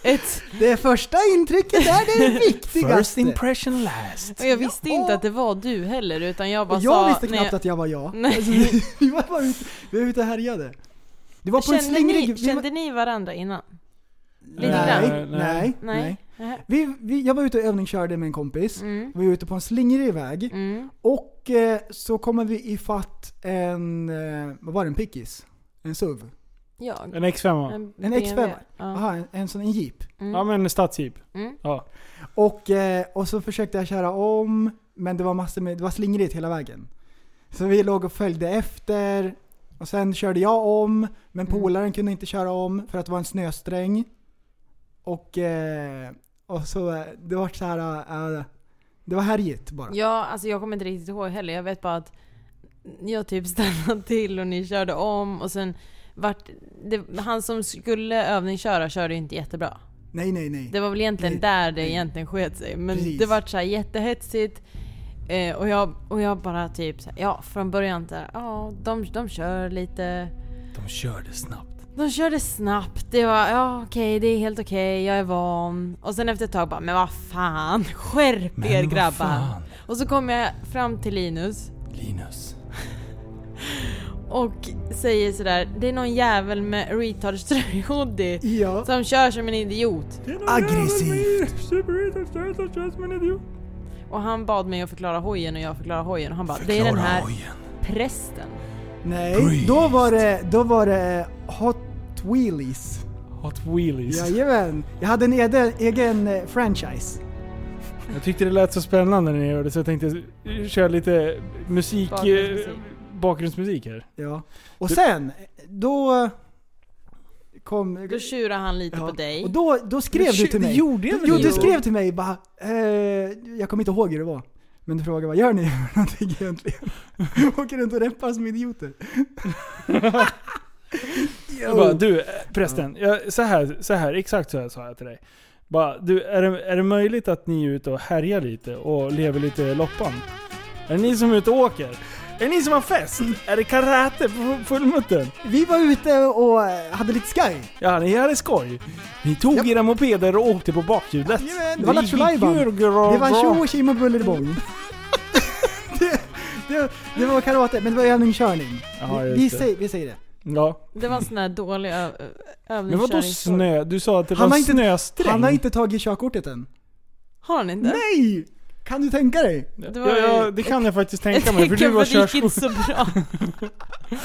Speaker 8: ett...
Speaker 7: Det första intrycket är det viktigaste.
Speaker 6: [LAUGHS] First impression last.
Speaker 8: Och jag visste
Speaker 7: Ja.
Speaker 8: inte att det var du heller utan jag bara
Speaker 7: och jag
Speaker 8: sa... Mm.
Speaker 7: visste
Speaker 8: när
Speaker 7: knappt att jag var jag.
Speaker 8: Nej.
Speaker 7: Alltså, vi, [LAUGHS] vi var bara ute, vi var ute och härjade. Det var på en
Speaker 8: Kände,
Speaker 7: slingrig...
Speaker 8: ni,
Speaker 7: vi var-
Speaker 8: kände ni varandra innan? Lite
Speaker 7: nej,
Speaker 8: grann?
Speaker 7: nej,
Speaker 6: Nej,
Speaker 7: nej.
Speaker 8: Nej. Nej.
Speaker 7: Vi, vi, jag var ute och övningskörde med en kompis.
Speaker 8: Mm.
Speaker 7: Vi var ute på en slingrig väg.
Speaker 8: Mm.
Speaker 7: Och eh, så kommer vi ifatt en, eh, vad var det, en pickis? En SUV?
Speaker 8: Jag.
Speaker 6: En X5
Speaker 8: En,
Speaker 7: X5.
Speaker 8: BMW. Ja.
Speaker 7: Aha, en, en sån en jeep.
Speaker 6: Ja men stadsjeep.
Speaker 8: Mm.
Speaker 6: Ja.
Speaker 7: Och, eh, och så försökte jag köra om, men det var massor med, det var slingrigt hela vägen. Så vi låg och följde efter Och sen körde jag om, men
Speaker 8: Mm.
Speaker 7: polaren kunde inte köra om för att det var en snösträng. Och, eh, och så, eh, det var så här, eh, det var härjigt bara.
Speaker 8: Ja, alltså jag kommer inte riktigt ihåg heller. Jag vet bara att jag typ [LAUGHS] stannade till och ni körde om och sen vart... Det, han som skulle övningsköra körde ju inte jättebra.
Speaker 7: Nej, nej, nej.
Speaker 8: Det var väl egentligen
Speaker 7: Nej,
Speaker 8: där det
Speaker 7: nej.
Speaker 8: egentligen sket sig. Men
Speaker 7: Precis.
Speaker 8: det vart så här jättehetsigt. Eh, och, jag, och jag bara typ, så här, ja från början där, ja de, de kör lite.
Speaker 6: De körde snabbt.
Speaker 8: De körde snabbt, det var ja okej det är helt okej, jag är van. Och sen efter ett tag bara, men vad fan, [LAUGHS] skärp
Speaker 6: Men
Speaker 8: er
Speaker 6: vad
Speaker 8: grabbar.
Speaker 6: fan.
Speaker 8: Och så kom jag fram till Linus
Speaker 6: Linus.
Speaker 8: [LAUGHS] och säger sådär, det är någon jävel med retards tröja hoodie
Speaker 7: Ja.
Speaker 8: som kör som en idiot.
Speaker 7: Aggressivt.
Speaker 8: Och han bad mig att förklara hojen och jag förklarar hojen och han bara, det är den här prästen.
Speaker 7: Nej, då var det, då var det Hot Wheelies.
Speaker 6: Hot wheelies.
Speaker 7: Jajamän. Jag hade en egen, egen eh, franchise.
Speaker 6: Jag tyckte det lät så spännande när ni gjorde det så jag tänkte eh, köra lite musik,
Speaker 8: Bakgrundsmusik.
Speaker 6: eh, bakgrundsmusik här.
Speaker 7: Ja. Och sen, då kom...
Speaker 8: Då tjurar han lite
Speaker 7: Ja.
Speaker 8: på dig.
Speaker 7: Och då, då skrev
Speaker 6: Men
Speaker 7: du
Speaker 6: shit,
Speaker 7: till mig.
Speaker 6: det gjorde jag väl
Speaker 7: Jo,
Speaker 6: inte?
Speaker 7: du skrev till mig bara... Eh, jag kommer inte ihåg hur det var. Men du frågade vad gör ni för någonting egentligen? [LAUGHS] Åker runt och reppar
Speaker 6: [LAUGHS]
Speaker 7: som idioter. [LAUGHS]
Speaker 6: Jag bara, du eh, prästen, jag, så, här, så här, exakt så här sa jag till dig. Bara, du, är, det, är det möjligt att ni är ute och härjar lite och lever lite loppan? Är det ni som är ute och åker? Är det ni som har fest? Är det karate på fullmutten?
Speaker 7: Vi var ute och eh, hade lite sky.
Speaker 6: Ja, ni hade skoj. Ni tog
Speaker 7: Japp.
Speaker 6: era mopeder och åkte på bakhjulet.
Speaker 7: Jajamän, det var
Speaker 6: gick
Speaker 7: Lattjo Lajban.
Speaker 6: ju bra.
Speaker 7: Det var tjo och tjim och bullerbång.
Speaker 6: [LAUGHS]
Speaker 7: det, det, det var karate, men det var övningskörning.
Speaker 6: Ja,
Speaker 7: vi,
Speaker 6: just
Speaker 7: vi,
Speaker 6: det.
Speaker 7: säger, vi säger det.
Speaker 6: Ja.
Speaker 8: Det var en sån här dålig ö-
Speaker 6: Men vadå
Speaker 8: övningskörningsform.
Speaker 6: snö? Du sa att det var
Speaker 7: Han har inte-
Speaker 6: snösträng.
Speaker 7: Han har inte tagit körkortet än.
Speaker 8: Har han inte?
Speaker 7: Nej! Kan du tänka dig?
Speaker 8: Det
Speaker 6: Det,
Speaker 8: var-
Speaker 6: ja, ja, det kan jag faktiskt
Speaker 8: Jag
Speaker 6: tänka
Speaker 8: [LAUGHS]
Speaker 6: mig, för
Speaker 8: tänker
Speaker 6: du
Speaker 8: på
Speaker 6: var
Speaker 8: att det gick inte
Speaker 6: körskola. [LAUGHS]
Speaker 8: så bra.
Speaker 7: Yo!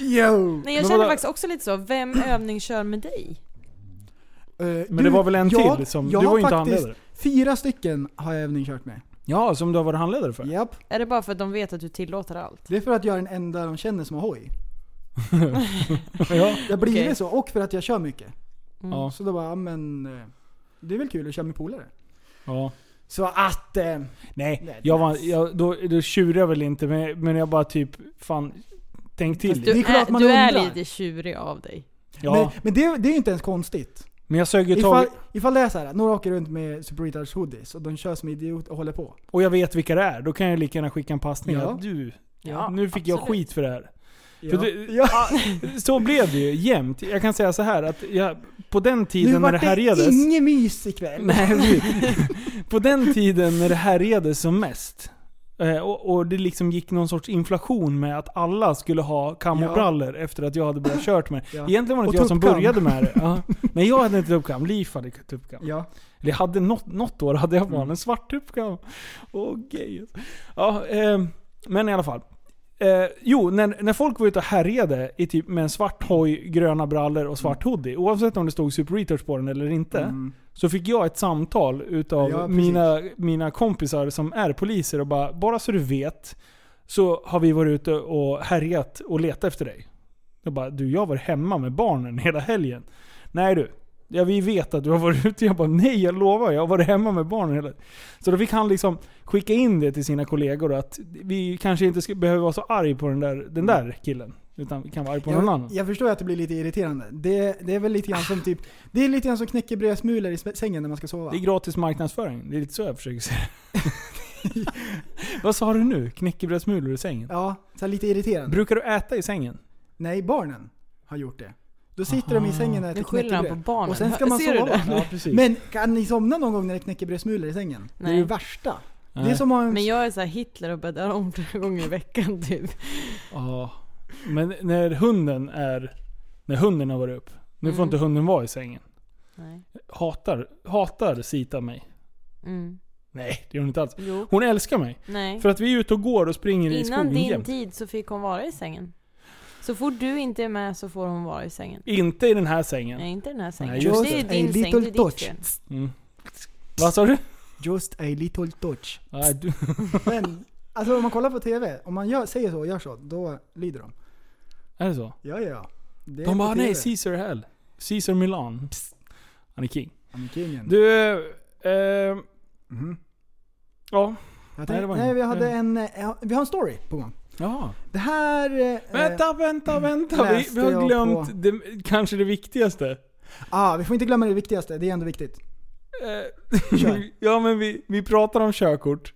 Speaker 8: Nej jag
Speaker 6: Men
Speaker 8: känner
Speaker 6: vadå?
Speaker 8: faktiskt också lite så, vem övning kör med dig?
Speaker 6: Men det var väl en till som...
Speaker 7: Eh, jag
Speaker 6: du var
Speaker 7: har
Speaker 6: ju inte
Speaker 7: faktiskt-
Speaker 6: handledare.
Speaker 7: Fyra stycken har jag övningskört med.
Speaker 6: Ja, som du har varit handledare för.
Speaker 7: Japp.
Speaker 8: Är det bara för att de vet att du tillåter allt?
Speaker 7: Det är för att jag är den enda de känner som har
Speaker 6: [LAUGHS]
Speaker 7: hoj.
Speaker 6: Ja.
Speaker 7: Jag blir
Speaker 8: Okej.
Speaker 7: det så, och för att jag kör mycket.
Speaker 8: Mm.
Speaker 6: Ja.
Speaker 7: Så då bara, ja, men... eh, Det är väl kul att köra med polare.
Speaker 6: ja.
Speaker 7: Så att... Eh,
Speaker 6: Nej,
Speaker 7: Nej,
Speaker 6: jag var,
Speaker 7: nice.
Speaker 6: jag, då, då tjurade jag väl inte, men, men jag bara typ... Fan, tänk till.
Speaker 7: Fast
Speaker 8: Du,
Speaker 7: Det
Speaker 6: lite.
Speaker 7: är klart
Speaker 8: är,
Speaker 7: man
Speaker 8: du är
Speaker 7: undrar.
Speaker 8: lite tjurig av dig.
Speaker 6: ja.
Speaker 7: Men, men det, det är ju inte ens konstigt.
Speaker 6: Men jag sög ju tag
Speaker 7: Ifall, ifall det är så här, några åker runt med Super Retards hoodies och de kör som idiot och håller på.
Speaker 6: och jag vet vilka det är. Då kan jag lika gärna skicka en passning.
Speaker 7: Ja.
Speaker 6: Ja. Du,
Speaker 8: Ja,
Speaker 6: nu fick jag
Speaker 8: absolut.
Speaker 6: skit för det här.
Speaker 7: Ja.
Speaker 6: För det- ah,
Speaker 7: ja.
Speaker 6: Så blev det ju jämt. Jag kan säga så här att jag, på den
Speaker 7: Nu
Speaker 6: tiden när det
Speaker 7: vart det
Speaker 6: härjades...
Speaker 7: inget mys ikväll.
Speaker 6: [LAUGHS] Nej, vi- på den tiden när det härjades som mest. eh, Och, och det liksom gick någon sorts inflation med att alla skulle ha kamobrallor efter att jag hade börjat kört med det.
Speaker 7: Ja.
Speaker 6: Egentligen var det
Speaker 7: Och
Speaker 6: inte jag som
Speaker 7: tuppkam.
Speaker 6: började med det.
Speaker 7: [LAUGHS]
Speaker 6: Ja. Nej, jag hade inte tuppkam. Liv hade tuppkam.
Speaker 7: Ja.
Speaker 6: Eller jag hade något, något år hade jag fan en svart tuppkam. Åh gej. Ja, eh, men i alla fall. Eh, jo, när, när folk var ute och härjade i typ med en svart hoj, gröna brallor och svart hoodie. Oavsett om det stod Super Retards på den eller inte.
Speaker 7: Mm.
Speaker 6: Så fick jag ett samtal utav
Speaker 7: Ja, precis.
Speaker 6: mina, mina kompisar som är poliser och bara, bara så du vet så har vi varit ute och härjat och letat efter dig. Jag bara, du jag var hemma med barnen [LAUGHS] hela helgen. Nej du, ja, vi vet att du har varit ute. Jag bara, nej jag lovar, jag har varit hemma med barnen hela Så då fick han liksom skicka in det till sina kollegor att vi kanske inte ska, behöver vara så arg på den där, den där killen. Utan vi kan vara arg på någon
Speaker 7: Jag,
Speaker 6: annan.
Speaker 7: jag förstår att det blir lite irriterande. Det, det är väl lite grann som typ, det är lite grann som knäcker brödsmulor i sm- sängen när man ska sova.
Speaker 6: Det är gratis marknadsföring. Det är lite så jag försöker säga [LAUGHS] Vad sa du nu? Knäckebrödsmulor i sängen?
Speaker 7: Ja, så här lite irriterande.
Speaker 6: Brukar du äta i sängen?
Speaker 7: Nej, barnen har gjort det. Då sitter de i sängen och
Speaker 8: Nu
Speaker 7: äter
Speaker 8: skyller han på
Speaker 7: knäckebröd.
Speaker 8: barnen.
Speaker 7: Och sen ska man
Speaker 8: Ser
Speaker 7: sova.
Speaker 8: du det?
Speaker 6: Ja, precis.
Speaker 7: Men kan ni somna någon gång när det är knäckebrödsmulor i sängen? Det är
Speaker 8: Nej.
Speaker 7: ju värsta. Det
Speaker 6: Nej.
Speaker 7: är som att ha en
Speaker 8: Men jag är så här Hitler och bäddar om flera gånger i veckan typ.
Speaker 6: Ja. Men när hunden är... När hunden har varit upp. Nu får
Speaker 8: Mm.
Speaker 6: inte hunden vara i sängen.
Speaker 8: Nej.
Speaker 6: Hatar, hatar Sita mig?
Speaker 8: Mm.
Speaker 6: Nej, det gör hon inte alls.
Speaker 8: Jo.
Speaker 6: Hon älskar mig.
Speaker 8: Nej.
Speaker 6: För att vi är ute och går och springer i
Speaker 8: Innan
Speaker 6: skogen
Speaker 8: din
Speaker 6: jämt.
Speaker 8: tid så fick hon vara i sängen. Så fort du inte är med så får hon vara i sängen.
Speaker 6: Inte i den här sängen.
Speaker 8: Nej, inte den här sängen.
Speaker 6: Nej, just
Speaker 8: det är
Speaker 7: det.
Speaker 8: din
Speaker 7: A
Speaker 8: säng, det är
Speaker 7: little
Speaker 8: ditt
Speaker 7: touch.
Speaker 8: fel.
Speaker 6: Mm. Vad sa du?
Speaker 7: Just a little touch.
Speaker 6: Nej, du?
Speaker 7: Men alltså om man kollar på TV, om man gör, säger så och gör så, då lyder de.
Speaker 6: Är det så?
Speaker 7: Ja, ja. Det är
Speaker 6: De
Speaker 7: på
Speaker 6: bara
Speaker 7: TV.
Speaker 6: nej, Caesar Hell. Caesar Milan. Psst. Han är king.
Speaker 7: Han är kingen.
Speaker 6: Du... Eh,
Speaker 7: Mhm.
Speaker 6: ja.
Speaker 7: Jag
Speaker 6: Nej, det
Speaker 7: tänkte,
Speaker 6: var
Speaker 7: nej,
Speaker 6: ingen.
Speaker 7: vi hade en, eh, ja, vi har en story på gång.
Speaker 6: Jaha.
Speaker 7: Det här... eh,
Speaker 6: Vänta, vänta, vänta. Vi, vi
Speaker 7: läste
Speaker 6: har
Speaker 7: jag
Speaker 6: glömt
Speaker 7: på.
Speaker 6: det, kanske det viktigaste.
Speaker 7: Eh, ah, vi får inte glömma det viktigaste, det är
Speaker 6: [LAUGHS]
Speaker 7: ändå viktigt.
Speaker 6: Eh,
Speaker 7: Kör.
Speaker 6: [LAUGHS] ja men vi, vi pratar om körkort.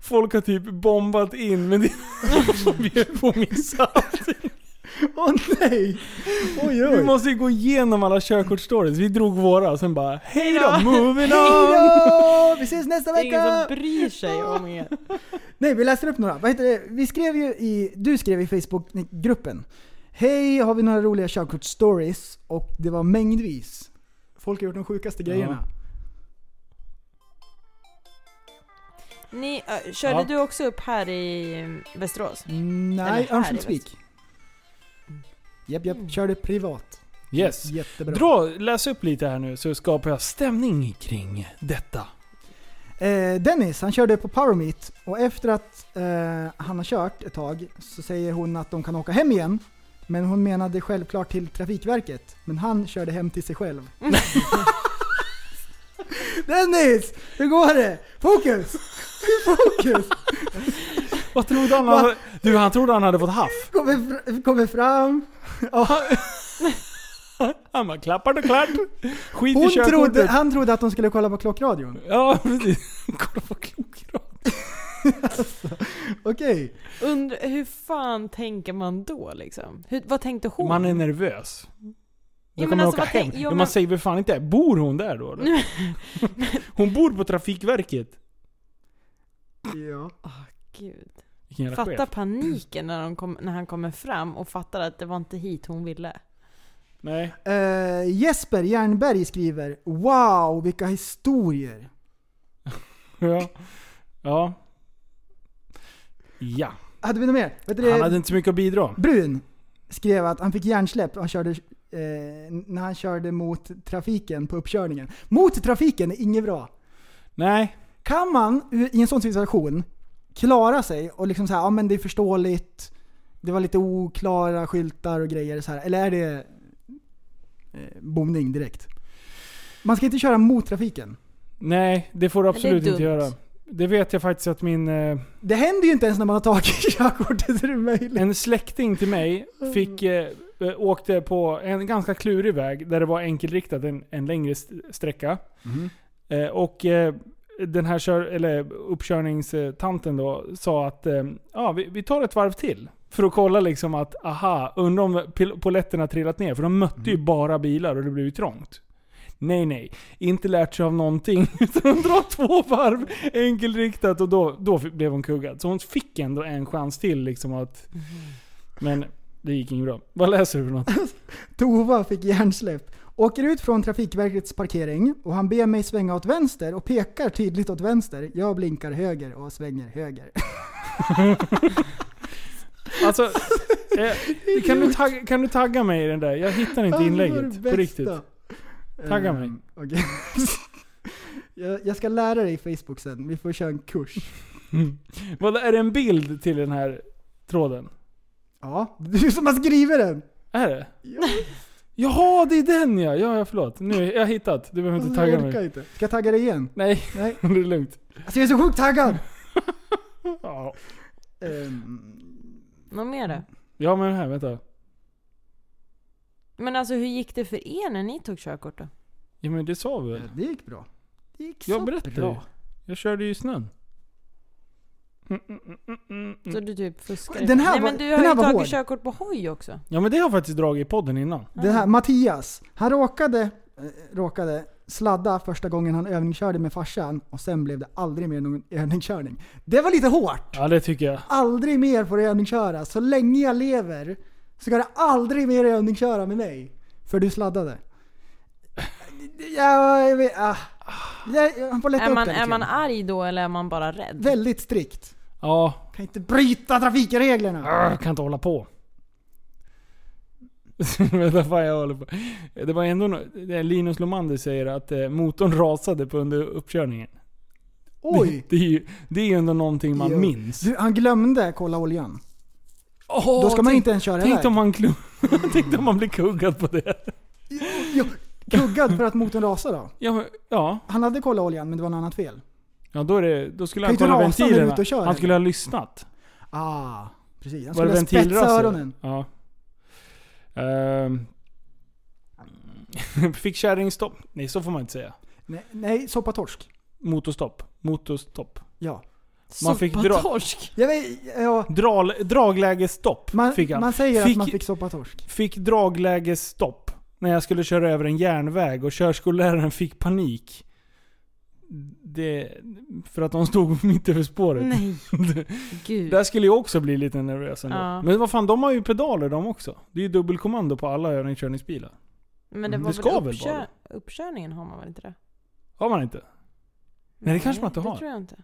Speaker 6: Folk har typ bombat in men [LAUGHS] det vi höll på att missa allting.
Speaker 7: [LAUGHS] Åh nej! Oj
Speaker 6: Vi
Speaker 7: oj.
Speaker 6: måste ju gå igenom alla körkortstories. Vi drog våra och sen bara hej då, moving on!
Speaker 7: Hejdå! Vi ses nästa
Speaker 8: Det är ingen
Speaker 7: vecka!
Speaker 8: som bryr sig om er.
Speaker 7: Nej, vi läser upp några. Vad heter det? Vi skrev ju i, du skrev i Facebookgruppen. Hej, har vi några roliga körkortsstories? Och det var mängdvis. Folk har gjort de sjukaste [LAUGHS] grejerna.
Speaker 8: Ni, äh, körde
Speaker 6: Ja.
Speaker 8: du också upp här i mm, Västerås?
Speaker 7: Mm,
Speaker 8: Eller här
Speaker 7: Nej,
Speaker 8: i Mm.
Speaker 7: Örnsköldsvik. Japp, japp. Körde privat.
Speaker 6: Yes.
Speaker 7: Jättebra.
Speaker 6: Dra, läs upp lite här nu så skapar jag stämning kring detta.
Speaker 7: Eh, Dennis, han körde på Powermeet och efter att eh, han har kört ett tag så säger hon att de kan åka hem igen. Men hon menade självklart till Trafikverket. Men han körde hem till sig
Speaker 8: [LAUGHS]
Speaker 7: själv. Dennis! Hur går det? Fokus! Fokus!
Speaker 6: Vad trodde han? hade- Du, han trodde han hade fått haff.
Speaker 7: Kommer, fr- kommer fram.
Speaker 6: Ja. Han bara klappar och klart. Skit i
Speaker 7: Hon
Speaker 6: körkortet.
Speaker 7: trodde, han trodde att de skulle kolla på klockradion.
Speaker 6: Ja, [LAUGHS] precis. Kolla på klockrad.
Speaker 7: [LAUGHS] Okej.
Speaker 8: Undra, hur fan tänker man då liksom? Hur, vad tänkte hon?
Speaker 6: Man är nervös. Då
Speaker 8: Ja, men
Speaker 6: kommer
Speaker 8: alltså,
Speaker 6: åka
Speaker 8: vad tänk-
Speaker 6: hem.
Speaker 8: ja,
Speaker 6: men... Man
Speaker 8: men-
Speaker 6: säger väl fan inte bor hon där då?
Speaker 8: [LAUGHS]
Speaker 6: Eller? hon bor på Trafikverket.
Speaker 7: Ja.
Speaker 8: Gud.
Speaker 6: Vilken jävla
Speaker 8: Fatta
Speaker 6: chef.
Speaker 8: paniken när, de kom, när han kommer fram och fattar att det var inte hit hon ville.
Speaker 6: Nej.
Speaker 7: Eh, Jesper Jernberg skriver Wow, vilka historier!
Speaker 6: Ja. Ja. Ja.
Speaker 7: Hade vi något mer? Vet du det-
Speaker 6: Han hade inte så mycket att bidra.
Speaker 7: Brun skrev att han fick hjärnsläpp och han körde, eh, när han körde mot trafiken på uppkörningen. Mot trafiken är inget bra.
Speaker 6: Nej.
Speaker 7: Kan man u- i en sån situation klara sig och liksom säga ja men det är förståeligt, det var lite oklara skyltar och grejer så här. Eller är det eh, bomning direkt? Man ska inte köra mot trafiken.
Speaker 6: Nej, det får du
Speaker 8: det är
Speaker 6: absolut inte
Speaker 8: dumt.
Speaker 6: göra. Det vet jag faktiskt att min... Eh,
Speaker 7: Det händer ju inte ens när man har tagit [LAUGHS] körkortet, är det möjligt?
Speaker 6: En släkting till mig fick, eh, eh, åkte på en ganska klurig väg där det var enkelriktat en, en längre st- sträcka. Eh, och eh, den här kör, eller uppkörningstanten då sa att eh, ja, vi, vi tar ett varv till. För att kolla liksom att, aha, undrar om pil- polletterna trillat ner. För de mötte ju bara bilar och det blev ju trångt. Nej, nej. Inte lärt sig av någonting. [LAUGHS] Utan hon drar två varv enkelriktat och då, då f- blev hon kuggad. Så hon fick ändå en chans till liksom att... Men det gick inget bra. Vad läser du för något?
Speaker 7: Tova fick hjärnsläpp. Åker ut från Trafikverkets parkering och han ber mig svänga åt vänster och pekar tydligt åt vänster. Jag blinkar höger och svänger höger.
Speaker 6: Alltså, eh, kan, du tagga, kan du tagga mig i den där? Jag hittar inte inlägget. På riktigt. Tagga mig.
Speaker 7: Ehm, okej. [LAUGHS] jag, jag ska lära dig Facebook sen. Vi får köra en kurs.
Speaker 6: Vad, är det en bild till den här tråden?
Speaker 7: Ja, du som har skrivit den!
Speaker 6: Är det? Jaha, det är den ja! Ja, ja förlåt. Nu, jag har hittat. Du behöver inte
Speaker 7: jag
Speaker 6: tagga
Speaker 7: orkar
Speaker 6: mig.
Speaker 7: inte. Ska jag tagga dig igen?
Speaker 6: Nej,
Speaker 7: Nej.
Speaker 6: det är lugnt.
Speaker 7: Alltså jag är så
Speaker 6: [LAUGHS]
Speaker 7: sjukt taggad!
Speaker 6: Ja,
Speaker 7: Ehm,
Speaker 8: Något mer då?
Speaker 6: ja men här, vänta.
Speaker 8: Men alltså hur gick det för er när ni tog körkort då?
Speaker 6: Ja men det sa vi väl?
Speaker 7: det gick bra. Det gick så
Speaker 6: Jag berättade ju.
Speaker 7: bra.
Speaker 6: Jag körde ju i snön. Mm, mm, mm, mm, mm, mm.
Speaker 8: Så du typ fuskade?
Speaker 7: Den här
Speaker 8: Nej
Speaker 7: var-
Speaker 8: men du
Speaker 7: den
Speaker 8: har
Speaker 7: här
Speaker 8: ju
Speaker 7: var
Speaker 8: tagit
Speaker 7: hård.
Speaker 8: körkort på hoj också.
Speaker 6: Ja men det har jag faktiskt dragit i podden innan.
Speaker 7: Det
Speaker 8: Ah.
Speaker 7: här, Mattias, han råkade, eh, råkade sladda första gången han övningskörde med farsan och sen blev det aldrig mer någon övningskörning. Det var lite hårt!
Speaker 6: Ja det tycker jag.
Speaker 7: Aldrig mer får du övningsköra. Så länge jag lever så ska du aldrig mer övningsköra med mig. För du sladdade. Ja, jag vet, ah. Jag- Han får lätta
Speaker 8: Är
Speaker 7: upp
Speaker 8: man,
Speaker 7: det
Speaker 8: är
Speaker 7: lite
Speaker 8: man
Speaker 7: grann.
Speaker 8: arg då eller är man bara rädd?
Speaker 7: Väldigt strikt.
Speaker 6: Ja,
Speaker 7: Kan inte bryta
Speaker 8: Ah.
Speaker 7: trafikreglerna.
Speaker 6: Arr, kan inte hålla på. [LAUGHS] Vänta fan jag håller på. Det var ändå nå- det är Linus Lomander säger att eh, motorn rasade på under uppkörningen. [LAUGHS]
Speaker 7: Oj!
Speaker 6: Det, det är ju det är ju ändå någonting man
Speaker 7: Jo.
Speaker 6: minns.
Speaker 7: Du, han glömde kolla oljan.
Speaker 6: Åh,
Speaker 7: Då ska man
Speaker 6: tänk-
Speaker 7: inte ens köra
Speaker 6: Tänk
Speaker 7: iväg.
Speaker 6: om man, klu- [LAUGHS] tänk om man blir kuggad på det.
Speaker 7: Ja, Kuggad för att motorn rasar då?
Speaker 6: Ja, men, ja.
Speaker 7: Han hade kollat oljan men det var något annat fel.
Speaker 6: ja då, är det, då skulle han
Speaker 7: Kan inte
Speaker 6: kolla
Speaker 7: rasa när du är
Speaker 6: ventilerna.
Speaker 7: ute och kör,
Speaker 6: Han skulle ha lyssnat.
Speaker 7: Ah, precis. Han
Speaker 6: Var det
Speaker 7: skulle spetsa
Speaker 6: ventilraser?
Speaker 7: öronen.
Speaker 6: Ja. Ehm. [LAUGHS] fick kärringstopp? Nej, så får man inte säga.
Speaker 7: Nej, nej soppatorsk.
Speaker 6: Motorstopp. Motorstopp.
Speaker 7: Ja.
Speaker 6: Man fick dra-
Speaker 8: Soppatorsk.
Speaker 7: Jag vet, ja
Speaker 6: Dral, draglägesstopp
Speaker 7: man,
Speaker 6: fick han.
Speaker 7: man säger
Speaker 6: Fick-
Speaker 7: att man fick soppatorsk.
Speaker 6: Fick draglägesstopp när jag skulle köra över en järnväg och körskolläraren fick panik. Det, för att de stod [LAUGHS] mitt över spåret.
Speaker 8: Nej, gud.
Speaker 6: Där skulle jag också bli lite nervös ändå.
Speaker 8: Ja.
Speaker 6: Men vad fan, de har ju pedaler de också. Det är ju dubbelkommando på alla övningskörningsbilar.
Speaker 8: Men det
Speaker 6: Mm,
Speaker 8: var
Speaker 6: det ska väl
Speaker 8: väl uppkö-
Speaker 6: vara
Speaker 8: uppkörningen har man väl inte det?
Speaker 6: Har man inte? Nej, det kanske man inte har.
Speaker 8: Det tror jag inte.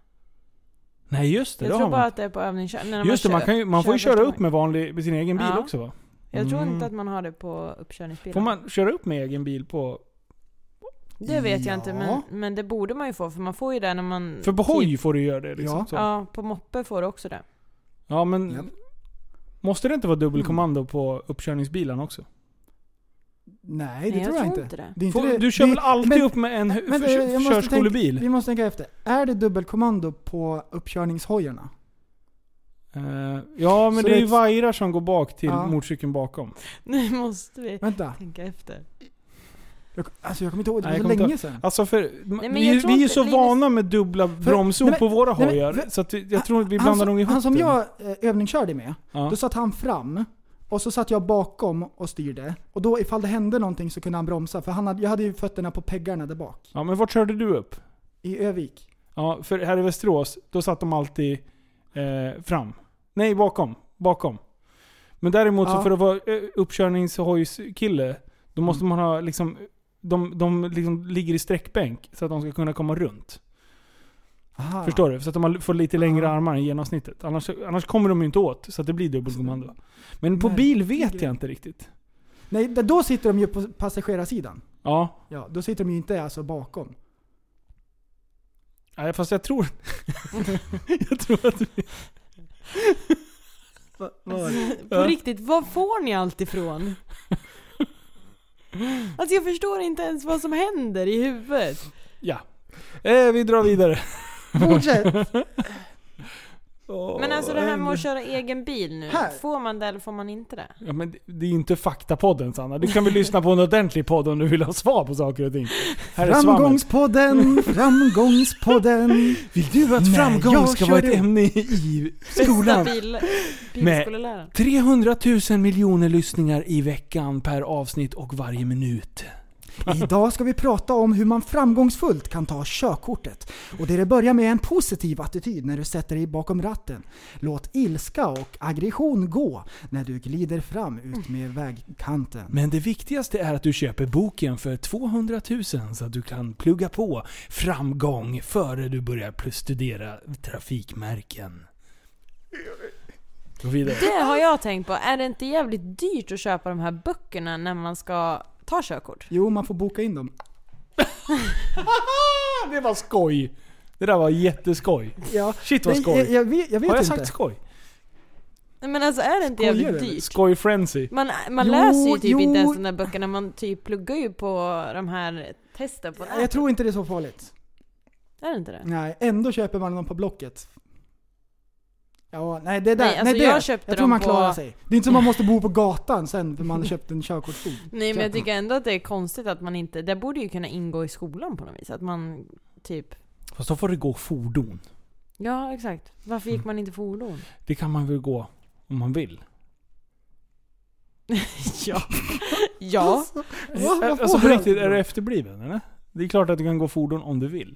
Speaker 6: Nej just det,
Speaker 8: Jag
Speaker 6: det
Speaker 8: tror
Speaker 6: har
Speaker 8: bara
Speaker 6: man.
Speaker 8: att det är på övningskör. när
Speaker 6: Just det, man,
Speaker 8: kör-
Speaker 6: kan ju, man får ju
Speaker 8: kör
Speaker 6: köra
Speaker 8: första
Speaker 6: upp med, vanlig, med sin egen bil
Speaker 8: Ja.
Speaker 6: också va?
Speaker 8: Jag tror
Speaker 6: Mm.
Speaker 8: inte att man har det på uppkörningsbilar.
Speaker 6: Får man köra upp med egen bil på...
Speaker 8: Det vet jag inte, men,
Speaker 7: Ja.
Speaker 8: men det borde man ju få. För man får ju det när man... typ-
Speaker 6: För på hoj får du göra det liksom.
Speaker 7: Mm. Ja.
Speaker 6: Så.
Speaker 8: Ja, på moppe får du också det.
Speaker 6: Ja men...
Speaker 7: Japp.
Speaker 6: Måste det inte vara
Speaker 7: Mm.
Speaker 6: dubbelkommando på uppkörningsbilarna också?
Speaker 7: Nej, det
Speaker 8: Nej,
Speaker 7: tror
Speaker 8: jag
Speaker 7: jag
Speaker 8: tror
Speaker 7: inte.
Speaker 8: inte det. [LAUGHS]
Speaker 7: är inte
Speaker 6: Får,
Speaker 7: det-
Speaker 6: du kör
Speaker 7: det-
Speaker 6: väl alltid
Speaker 7: men-
Speaker 6: upp med en
Speaker 7: men det- jag
Speaker 6: kö-
Speaker 7: måste
Speaker 6: körskolebil?
Speaker 7: Vi måste tänka efter. Är det dubbelkommando på uppkörningshojarna?
Speaker 6: Eh, ja men
Speaker 7: Så
Speaker 6: det är
Speaker 7: det-
Speaker 6: ju vajrar som går bak till
Speaker 7: Ja.
Speaker 6: motorcykeln bakom.
Speaker 8: Nu måste vi
Speaker 7: Vänta.
Speaker 8: tänka efter.
Speaker 7: Jag, alltså jag kommer inte ihåg, det
Speaker 6: Nej,
Speaker 7: var
Speaker 6: jag
Speaker 7: så
Speaker 6: kommer
Speaker 7: länge sedan.
Speaker 6: Alltså för,
Speaker 8: men
Speaker 6: vi,
Speaker 8: jag
Speaker 6: är-
Speaker 8: tror
Speaker 6: vi är ju
Speaker 8: inte-
Speaker 6: så
Speaker 8: Linus-
Speaker 6: vana med dubbla bromsor
Speaker 7: nej, men-
Speaker 6: på våra
Speaker 7: nej, men-
Speaker 6: hojar,
Speaker 7: för-
Speaker 6: så att vi- jag tror att vi
Speaker 7: han,
Speaker 6: blandar nog
Speaker 7: som-
Speaker 6: ihop
Speaker 7: han som
Speaker 6: det.
Speaker 7: jag eh, övningskörde med,
Speaker 6: Ja.
Speaker 7: då satt han fram. Och så satt jag bakom och styrde. Och då ifall det hände någonting så kunde han bromsa. För han hade, jag hade ju fötterna på peggarna där bak.
Speaker 6: ja, men vart körde du upp?
Speaker 7: I Övik.
Speaker 6: Ja, för här i Västerås, då satt de alltid eh, fram. Nej, bakom. Bakom. Men däremot så
Speaker 7: Ja. Mm.
Speaker 6: för att vara eh, uppkörningshojskille, då måste man ha liksom... De, de liksom ligger i sträckbänk så att de ska kunna komma runt.
Speaker 7: Aha.
Speaker 6: Förstår du? Så att de får lite längre
Speaker 7: Ja.
Speaker 6: armar än genomsnittet. Annars, annars kommer de ju inte åt, så att det blir dubbelkommando. Men på
Speaker 7: Nej,
Speaker 6: bil
Speaker 7: vilken
Speaker 6: vet
Speaker 7: grej.
Speaker 6: jag inte riktigt.
Speaker 7: Nej, d- då sitter de ju på passagerarsidan.
Speaker 6: Ja,
Speaker 7: Ja, då sitter de ju inte alltså bakom.
Speaker 6: Nej, fast jag tror... [LAUGHS] jag tror att... vi-
Speaker 8: På riktigt, var får ni
Speaker 7: [LAUGHS]
Speaker 8: allt ifrån? Alltså jag förstår inte ens vad som händer i huvudet.
Speaker 6: Ja. Eh, vi drar vidare.
Speaker 7: Fortsätt!
Speaker 8: Men alltså det här med att köra egen bil nu,
Speaker 7: Här.
Speaker 8: får man det eller får man inte det?
Speaker 6: Ja, men det- det är ju inte faktapodden Sanna. Du kan väl lyssna på en ordentlig podd om du vill ha svar på saker och ting. Här är Framgångs...
Speaker 7: Framgångspodden, framgångspodden.
Speaker 6: Vill du att
Speaker 7: Nej,
Speaker 6: framgång
Speaker 7: jag
Speaker 6: ska
Speaker 7: kör
Speaker 6: vara ett
Speaker 7: det.
Speaker 6: ämne i
Speaker 8: Bästa
Speaker 6: skolan?
Speaker 7: [LAUGHS]
Speaker 8: bil, bilskoleläraren.
Speaker 6: 300 000 miljoner lyssningar i veckan per avsnitt och varje minut.
Speaker 7: Idag ska vi prata om hur man framgångsfullt kan ta körkortet. Och det börjar med en positiv attityd när du sätter dig bakom ratten. Låt ilska och aggression gå när du glider fram ut med vägkanten.
Speaker 6: Men det viktigaste är att du köper boken för 200 000 så att du kan plugga på framgång före du börjar pl- studera trafikmärken. Gå vidare.
Speaker 8: Det har jag tänkt på. Är det inte jävligt dyrt att köpa de här böckerna när man ska ta körkort?
Speaker 7: Jo, man får boka in dem.
Speaker 6: [LAUGHS] Det var skoj! Det där var jätteskoj.
Speaker 7: Ja.
Speaker 6: Shit vad
Speaker 7: Nej,
Speaker 6: skoj.
Speaker 7: Jag, jag vet, jag vet
Speaker 6: Har jag
Speaker 7: inte.
Speaker 6: sagt skoj?
Speaker 8: Nej, Men alltså är det inte
Speaker 7: Skojar
Speaker 8: jävligt
Speaker 7: du, eller?
Speaker 8: dyrt?
Speaker 6: Skoj frenzy.
Speaker 8: Man, man
Speaker 7: Jo,
Speaker 8: läser ju typ
Speaker 7: jo.
Speaker 8: inte ens de där böckerna, man typ pluggar ju på de här testen på
Speaker 7: jag tror inte det är så farligt.
Speaker 8: Är det inte det?
Speaker 7: Nej, ändå köper man dem på Blocket. Ja, nej det där.
Speaker 8: Nej,
Speaker 7: Nej,
Speaker 8: alltså
Speaker 7: det.
Speaker 8: jag köpte
Speaker 7: jag tror
Speaker 8: dem
Speaker 7: man
Speaker 8: på-
Speaker 7: klarar sig. Det är inte som man måste bo på gatan sen för man har köpt en körkortsbok.
Speaker 8: Nej men jag tycker ändå att det är konstigt att man inte, det borde ju kunna ingå i skolan på något vis. Att man typ,
Speaker 6: Fast då får det gå fordon.
Speaker 8: ja exakt. Varför gick man inte fordon?
Speaker 6: Det kan man väl gå om man vill?
Speaker 8: [LAUGHS] ja. [LAUGHS] ja.
Speaker 7: Vad- vad får
Speaker 6: Alltså på
Speaker 7: man?
Speaker 6: riktigt, är du efterbliven eller? Det är klart att du kan gå fordon om du vill.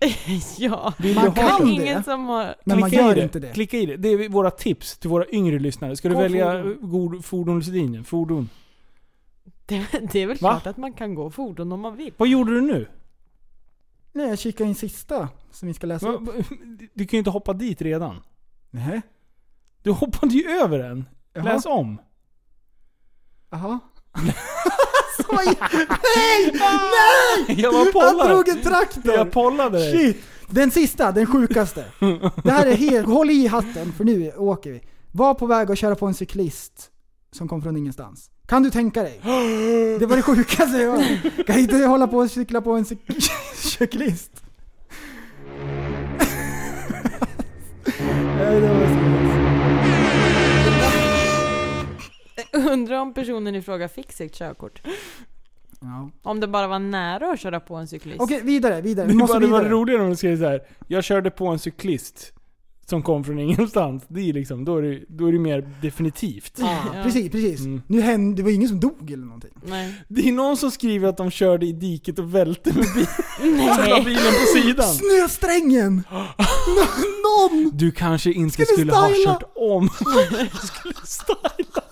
Speaker 8: ja.
Speaker 6: Vill
Speaker 7: Eh, Man
Speaker 6: du ha
Speaker 7: kan
Speaker 8: Det
Speaker 7: det.
Speaker 8: är ingen som har...
Speaker 7: Men man
Speaker 6: Klicka i
Speaker 7: gör
Speaker 6: det.
Speaker 7: inte det.
Speaker 6: Klicka i det. Det är våra tips till våra yngre lyssnare. Ska du
Speaker 8: Gå
Speaker 6: välja
Speaker 8: fordon.
Speaker 6: god fordonslinjen? Fordon.
Speaker 8: Det, det är väl
Speaker 6: Va?
Speaker 8: klart att man kan gå fordon om man vill. [LAUGHS]
Speaker 6: Vad gjorde du nu?
Speaker 7: Nej, jag kikar in sista som vi ska läsa upp.
Speaker 6: Va- [LAUGHS] Du kan ju inte hoppa dit redan.
Speaker 7: Nej.
Speaker 6: Du hoppade ju över den.
Speaker 7: Jaha.
Speaker 6: Läs om.
Speaker 7: [LAUGHS]
Speaker 6: [LAUGHS]
Speaker 7: Jaha.
Speaker 6: Jag var
Speaker 7: Han drog
Speaker 6: pollare.
Speaker 7: en traktor!
Speaker 6: Jag pollade dig.
Speaker 7: Shit! Den sista, den sjukaste. Det här är helt... Håll i hatten för nu åker vi. Var på väg att köra på en cyklist som kom från ingenstans. Kan du tänka dig? Det var det sjukaste jag hört. Kan inte du hålla på och cykla på en cyk- [LAUGHS] cyklist? Nej, det var så-
Speaker 8: Undrar om personen i fråga fick sitt körkort.
Speaker 7: Ja.
Speaker 8: Om det bara var nära att köra på en cyklist.
Speaker 7: Okej, vidare, vidare. Vi
Speaker 6: Det
Speaker 7: måste
Speaker 6: hade varit
Speaker 7: vidare.
Speaker 6: roligare om du skrev såhär. Jag körde på en cyklist. Som kom från [LAUGHS] ingenstans. Det är liksom, då är det, då är det mer definitivt.
Speaker 8: [LAUGHS] Ja.
Speaker 7: Precis, precis.
Speaker 6: Mm.
Speaker 7: Nu hände, det var ingen som dog eller någonting. [LAUGHS]
Speaker 8: Nej.
Speaker 6: Det är någon som skriver att de körde i diket och välte med bilen,
Speaker 8: Nej.
Speaker 6: bilen på sidan.
Speaker 7: Snösträngen! Nå- Någon!
Speaker 6: Du kanske inte
Speaker 7: Skulle
Speaker 6: skulle ha
Speaker 7: styla.
Speaker 6: kört om. [LAUGHS] skulle styla.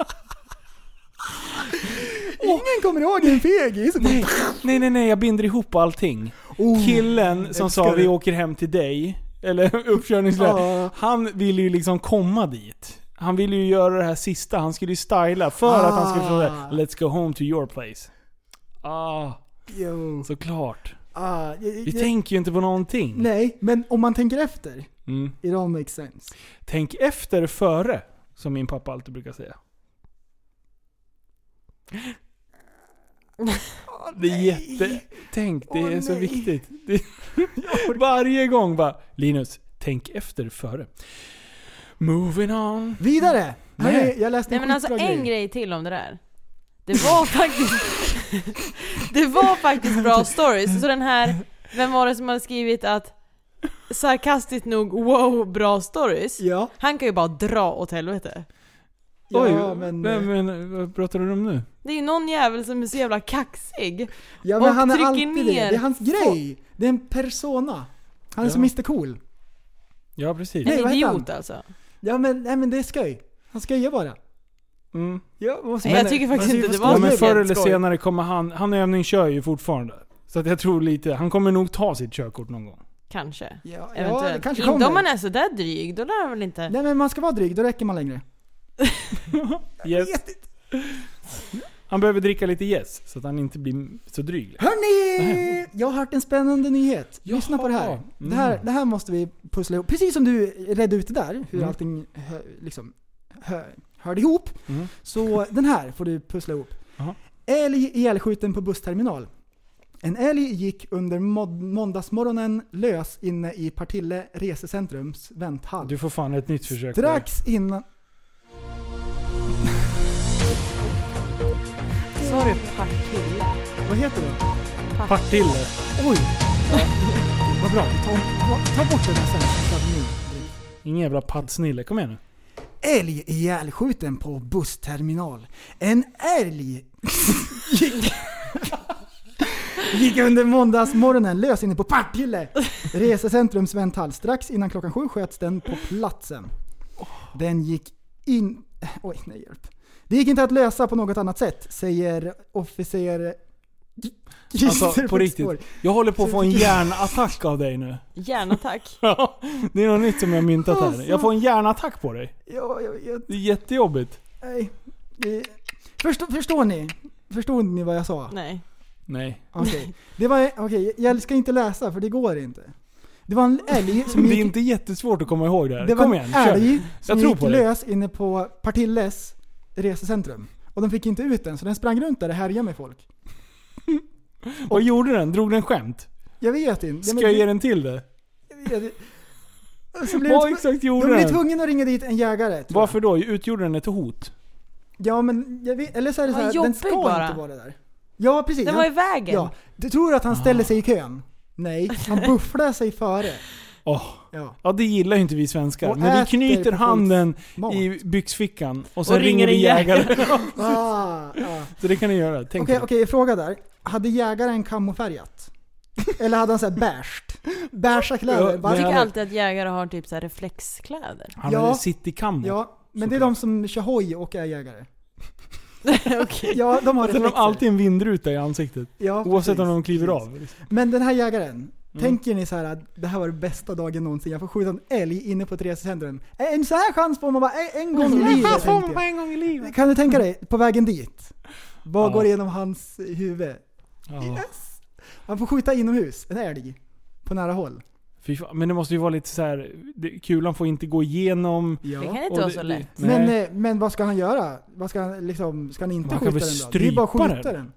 Speaker 7: Ingen kommer ihåg en fegis.
Speaker 6: Nej, nej, nej, nej, jag binder ihop allting.
Speaker 7: Oh.
Speaker 6: Killen som sa
Speaker 7: älskar det.
Speaker 6: vi åker hem till dig, eller [LAUGHS] uppkörningsläge,
Speaker 7: Ja.
Speaker 6: han ville ju liksom komma dit. Han ville ju göra det här sista, han skulle ju styla för att han skulle få det här,
Speaker 7: Ah.
Speaker 6: Let's go home to your place. Ah,
Speaker 7: Jo.
Speaker 6: såklart.
Speaker 7: Ah, jag-
Speaker 6: Vi
Speaker 7: jag-
Speaker 6: tänker ju inte på någonting.
Speaker 7: Nej, men om man tänker efter.
Speaker 6: Mm.
Speaker 7: It all makes sense.
Speaker 6: Tänk efter före, som min pappa alltid brukar säga. Det är jätte... Tänk, det
Speaker 7: Åh,
Speaker 6: är så
Speaker 7: nej.
Speaker 6: viktigt.
Speaker 8: [LAUGHS]
Speaker 6: Det... Varje gång bara, Linus, tänk efter före. Moving on.
Speaker 7: Vidare!
Speaker 6: Nej.
Speaker 7: Nej. Jag läste
Speaker 8: Nej
Speaker 7: en
Speaker 8: men alltså
Speaker 7: skitbra
Speaker 8: en grej till om det där. Det var [LAUGHS] faktiskt... det var faktiskt bra stories. Så den här, vem var det som hade skrivit att sarkastiskt nog wow bra stories.
Speaker 7: Ja,
Speaker 8: Han kan ju bara dra åt helvete.
Speaker 7: ja
Speaker 6: Oj,
Speaker 7: men...
Speaker 6: vem,
Speaker 8: eh,
Speaker 6: men, vad pratar du om nu?
Speaker 8: Det är ju någon jävel som är så jävla kaxig.
Speaker 7: Ja men
Speaker 8: Och
Speaker 7: han är
Speaker 8: trycker
Speaker 7: alltid det. Det
Speaker 8: ner.
Speaker 7: är hans grej. Det är en persona. Han är som
Speaker 6: Ja.
Speaker 7: Mr Cool.
Speaker 6: Ja, precis.
Speaker 7: Nej,
Speaker 8: En
Speaker 7: vad heter han?
Speaker 8: idiot alltså.
Speaker 7: Ja men, nej, men det är skoj. Han skojar bara.
Speaker 6: Mm.
Speaker 7: Ja, vad
Speaker 8: Nej, jag tycker faktiskt inte det
Speaker 6: Ja,
Speaker 8: var
Speaker 6: men
Speaker 8: så
Speaker 6: förr eller
Speaker 8: jävla skoj.
Speaker 6: senare kommer han, han övning kör ju fortfarande. Så att jag tror lite, han kommer nog ta sitt körkort någon gång.
Speaker 8: Kanske.
Speaker 7: Ja, ja det
Speaker 8: Eventuellt.
Speaker 7: kanske
Speaker 8: inte
Speaker 7: kommer.
Speaker 8: om man är sådär dryg, då lär han väl inte...
Speaker 7: Nej men man ska vara dryg, då räcker man längre.
Speaker 6: Yes. Han behöver dricka lite yes så att han inte blir så dryg. [LAUGHS]
Speaker 7: Hörni! Jag har hört en spännande nyhet. Lyssna på det här.
Speaker 6: Jaha.
Speaker 7: Det, här
Speaker 6: Mm.
Speaker 7: det här måste vi pussla ihop. Precis som du redde ut det där, hur
Speaker 6: Mm.
Speaker 7: allting hö, liksom, hö, hörde ihop.
Speaker 6: Mm.
Speaker 7: Så den här får du pussla ihop.
Speaker 6: Jaha.
Speaker 7: Älg ihjälskjuten på bussterminal. En älg gick under mod- måndagsmorgonen lös inne i Partille resecentrums vänthall.
Speaker 6: Du får fan ett nytt försök.
Speaker 7: Strax innan...
Speaker 8: Sa du Partille?
Speaker 7: Vad heter det?
Speaker 6: Partille.
Speaker 7: Oj! Vad bra. Ta, ta bort det där sen. så att ni-
Speaker 6: Ingen jävla pattsnille. Kom igen nu.
Speaker 7: Älg ihjälskjuten på bussterminal. En älg [LAUGHS] gick, gick under måndagsmorgonen lös inne på Partille resecentrums vänthall. Strax innan klockan sju sköts den på platsen. Den gick in... Oj, nej hjälp. Det gick inte att lösa på något annat sätt, säger officer...
Speaker 6: Alltså på riktigt.
Speaker 7: Svår.
Speaker 6: Jag håller på att
Speaker 7: [LAUGHS]
Speaker 6: få en hjärnattack av dig nu.
Speaker 8: Hjärnattack.
Speaker 6: Ja, det är något nytt som jag har myntat här.
Speaker 7: Alltså.
Speaker 6: Jag får en hjärnattack på dig.
Speaker 7: Ja, jag vet.
Speaker 6: Det är jättejobbigt.
Speaker 7: Nej. Det, förstår, förstår ni? Förstod ni vad jag sa?
Speaker 8: Nej.
Speaker 6: Nej.
Speaker 7: Okej, det var, okej, jag ska inte läsa för det går inte. Det var en älg som
Speaker 6: Det är
Speaker 7: gick,
Speaker 6: inte jättesvårt att komma ihåg det här.
Speaker 7: det var
Speaker 6: Kom igen,
Speaker 7: en
Speaker 6: kör.
Speaker 7: älg
Speaker 6: Jag
Speaker 7: som
Speaker 6: tror
Speaker 7: gick
Speaker 6: på dig.
Speaker 7: lös inne på Partilles resecentrum. Och de fick inte ut den så den sprang runt där och härjade med folk.
Speaker 6: Vad gjorde den? Drog den skämt?
Speaker 7: Jag vet inte.
Speaker 6: Ska jag ge den till det?
Speaker 7: jag vet, och så blev
Speaker 6: Vad
Speaker 7: de, tv-
Speaker 6: exakt
Speaker 7: de
Speaker 6: gjorde
Speaker 7: blev
Speaker 6: den?
Speaker 7: tvungna att ringa dit en jägare. tror
Speaker 6: Varför då? Utgjorde den ett hot?
Speaker 7: jag. Ja men, jag vet, eller så är det så
Speaker 8: Vad
Speaker 7: här, den
Speaker 8: jobbig
Speaker 7: ska
Speaker 8: bara.
Speaker 7: inte vara där. Ja precis.
Speaker 8: Den
Speaker 7: han-
Speaker 8: var i vägen.
Speaker 7: ja, du tror att han
Speaker 6: Ah.
Speaker 7: ställer sig i kön? Nej, han bufflar sig före.
Speaker 6: Åh.
Speaker 7: Ja.
Speaker 6: Ja det gillar ju inte vi svenskar.
Speaker 7: Och
Speaker 6: Men vi
Speaker 7: äter på
Speaker 6: knyter
Speaker 7: folks
Speaker 6: handen
Speaker 7: mat.
Speaker 6: i byxfickan och sen
Speaker 8: Och
Speaker 6: ringer
Speaker 8: ringer
Speaker 6: vi
Speaker 8: en
Speaker 6: jägare.
Speaker 8: [LAUGHS]
Speaker 7: Ah, ah.
Speaker 6: så det kan ni göra. Tänk
Speaker 7: Okej,
Speaker 6: på det.
Speaker 7: okej, fråga där. Hade jägaren kamofärgat? Eller hade han såhär bärst? Bärsa kläder?
Speaker 6: Ja,
Speaker 7: bara-
Speaker 8: Jag tycker
Speaker 6: Jävlar.
Speaker 8: alltid att jägare har typ så här reflexkläder.
Speaker 6: Han
Speaker 7: Ja.
Speaker 6: är citykammo.
Speaker 7: ja, men det är de som kör hoj och är jägare.
Speaker 8: [LAUGHS] Okej.
Speaker 7: [LAUGHS] Ja,
Speaker 6: [LAUGHS]
Speaker 7: de har
Speaker 6: [LAUGHS] Sen har de
Speaker 7: reflexer.
Speaker 6: alltid en vindruta i ansiktet.
Speaker 7: ja,
Speaker 6: Oavsett
Speaker 7: precis.
Speaker 6: om de Mm. kliver av.
Speaker 7: Men den här jägaren, tänker ni så här att det här var den bästa dagen någonsin, jag får skjuta en älg inne på ett resecentrum. En så här chans får man bara en, en gång i livet. tänkte
Speaker 6: [LAUGHS]
Speaker 7: jag.
Speaker 6: en gång i livet.
Speaker 7: Kan du tänka dig, på vägen dit, vad
Speaker 6: Ja.
Speaker 7: går igenom hans huvud?
Speaker 6: Ja.
Speaker 7: Han får skjuta inomhus, en älg, på nära håll.
Speaker 6: Fy fan. Men det måste ju vara lite så här. Det, kulan får inte gå igenom.
Speaker 8: Det kan
Speaker 7: Ja.
Speaker 8: inte
Speaker 6: och
Speaker 8: vara
Speaker 6: det-
Speaker 8: så
Speaker 6: det-
Speaker 8: lätt.
Speaker 6: Nej.
Speaker 7: Men, eh, men vad ska han göra? Vad ska han, liksom, ska han inte
Speaker 6: Man kan
Speaker 7: skjuta
Speaker 6: väl
Speaker 7: den då? Det är bara att
Speaker 6: strypa
Speaker 7: skjuta den.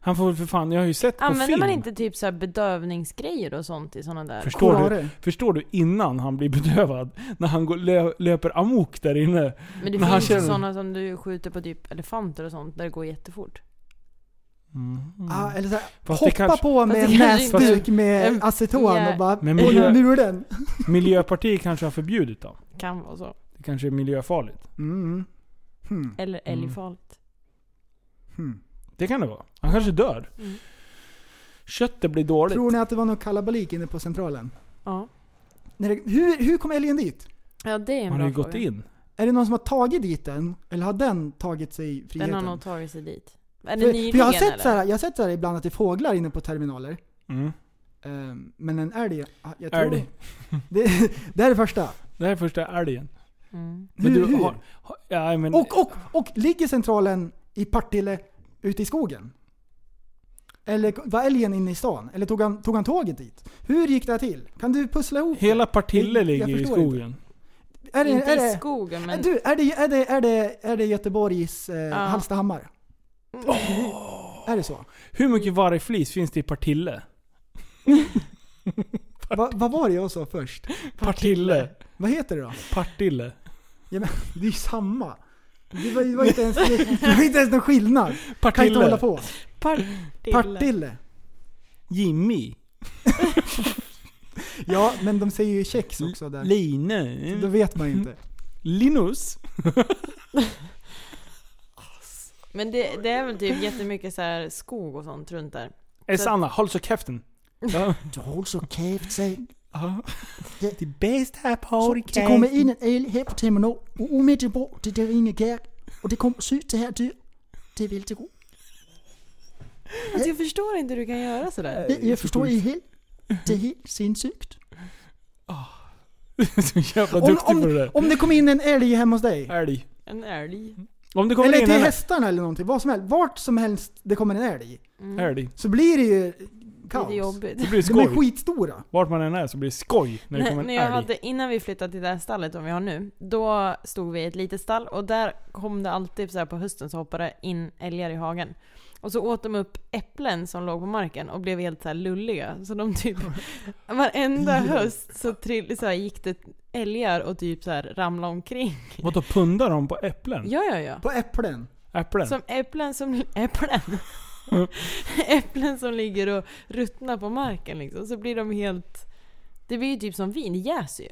Speaker 6: Han får väl för fan, jag har ju sett på
Speaker 8: Använder
Speaker 6: film.
Speaker 8: man inte typ så här bedövningsgrejer och sånt i sådana där?
Speaker 6: Förstår du?
Speaker 7: Kurare.
Speaker 6: Förstår du? Innan han blir bedövad. När han går, lö, löper amok där inne.
Speaker 8: Men det
Speaker 6: Men han
Speaker 8: finns ju
Speaker 6: känner-
Speaker 8: sådana som du skjuter på typ elefanter och sånt där det går jättefort.
Speaker 7: Ah, eller så här,
Speaker 6: Fast det
Speaker 7: hoppa
Speaker 6: kanske-
Speaker 7: på med
Speaker 8: Fast
Speaker 7: en
Speaker 8: det kanske inte-
Speaker 7: näsduk med
Speaker 8: En-
Speaker 7: aceton
Speaker 8: Ja.
Speaker 7: och bara
Speaker 6: Men
Speaker 7: på
Speaker 6: miljö-
Speaker 7: muren.
Speaker 6: Miljöpartiet kanske har förbjudit dem.
Speaker 8: Kan vara så.
Speaker 6: Det kanske är miljöfarligt.
Speaker 7: Mm. Hmm.
Speaker 8: Eller
Speaker 6: Mm.
Speaker 8: älgfarligt.
Speaker 7: Hmm.
Speaker 6: Det kan det vara. Han kanske dör.
Speaker 8: Mm.
Speaker 6: Köttet blir dåligt.
Speaker 7: Tror ni att det var någon kalabalik inne på centralen?
Speaker 8: Ja.
Speaker 7: När det, hur, hur kom älgen dit?
Speaker 8: Ja det är en
Speaker 6: Han
Speaker 8: bra
Speaker 6: har ju gått
Speaker 8: fråga.
Speaker 6: in.
Speaker 7: Är det någon som har tagit dit den? Eller har den tagit sig friheten?
Speaker 8: Den har nog tagit sig dit. Är det
Speaker 7: För-
Speaker 8: nyligen
Speaker 7: för jag har
Speaker 8: eller?
Speaker 7: sett, så här, jag har sett så här ibland att det är fåglar inne på terminaler.
Speaker 6: Mm.
Speaker 7: Ehm, men en älg, ah, jag tror...
Speaker 6: Älg.
Speaker 7: Det, det här är det första.
Speaker 6: Det här är första älgen.
Speaker 8: Mm.
Speaker 7: Hur, hur?
Speaker 6: har- har- ja, men,
Speaker 7: Och, och, och ligger centralen i Partille ute i skogen? Eller var älgen inne i stan? Eller tog han, tog han tåget dit? Hur gick det här till? Kan du pussla ihop det?
Speaker 6: Hela Partille
Speaker 7: Jag- jag
Speaker 6: ligger i
Speaker 7: förstår inte.
Speaker 6: skogen.
Speaker 7: är det,
Speaker 8: Inte
Speaker 7: är
Speaker 8: i
Speaker 7: det,
Speaker 8: skogen men...
Speaker 7: Du, är det, är det, är det, är det Göteborgs eh,
Speaker 8: Ja.
Speaker 7: Hallstahammar?
Speaker 8: Mm.
Speaker 7: Är det så?
Speaker 6: Hur mycket vargflis finns det i Partille?
Speaker 7: Va, vad var det jag sa först?
Speaker 6: Partille.
Speaker 7: Vad heter det då?
Speaker 6: Partille.
Speaker 7: Ja, men, det är ju samma. Det var, det var, inte, ens, det, det var inte ens någon skillnad. Kan inte hålla
Speaker 6: Partille.
Speaker 7: på.
Speaker 8: Partille.
Speaker 7: Partille.
Speaker 6: Jimmy.
Speaker 7: Ja, men de säger ju kex också där. Så Då
Speaker 6: Line.
Speaker 7: vet man ju inte.
Speaker 6: Linus.
Speaker 8: Men det, det är väl typ jättemycket så här skog och sånt runt där.
Speaker 6: Eh, Sanna, håll så käften.
Speaker 7: [LAUGHS]
Speaker 6: Ja.
Speaker 7: Du håller så käft sig.
Speaker 6: Det är bäst här
Speaker 7: Så det kommer in en älg här på terminal och omedelbart det där ingen kärk. Och det kommer sy det här dyr. Det är väldigt god.
Speaker 8: Alltså jag förstår inte hur du kan göra sådär.
Speaker 7: Det, jag förstår
Speaker 6: [LAUGHS]
Speaker 7: i helt. Det är helt sinnessjukt.
Speaker 6: så jävla
Speaker 7: Om,
Speaker 6: duktig på det
Speaker 7: om,
Speaker 6: där.
Speaker 7: om det kom in en älg hemma hos dig.
Speaker 6: Älg.
Speaker 8: En älg.
Speaker 6: Om det kommer
Speaker 7: Eller
Speaker 6: in
Speaker 7: till
Speaker 6: en
Speaker 7: hästarna eller någonting. Vad som helst. Vart som helst det kommer en älg.
Speaker 6: älg.
Speaker 7: Så blir det ju kaos.
Speaker 8: Mm. Lite jobbigt.
Speaker 6: Det blir
Speaker 7: De är
Speaker 6: skoj.
Speaker 7: skitstora.
Speaker 6: Vart man än är så blir det skoj när det
Speaker 8: Nej,
Speaker 6: kommer en
Speaker 8: när jag
Speaker 6: älg.
Speaker 8: hade, innan vi flyttade till det här stallet som vi har nu, då stod vi i ett litet stall och där kom det alltid så här på hösten så hoppade in älgar i hagen. Och så åt de upp äpplen som låg på marken och blev helt så här lulliga. Så
Speaker 6: [LAUGHS]
Speaker 8: de typ, varenda höst så, trill, så här gick det älgar och typ så här ramlade omkring.
Speaker 6: Vadå pundar de på äpplen?
Speaker 8: Ja, ja, ja.
Speaker 7: På äpplen.
Speaker 6: Äpplen?
Speaker 8: Som äpplen som... Äpplen?
Speaker 6: [LAUGHS]
Speaker 8: äpplen som ligger och ruttnar på marken liksom. Så blir de helt... Det blir ju typ som vin, det jäser ju.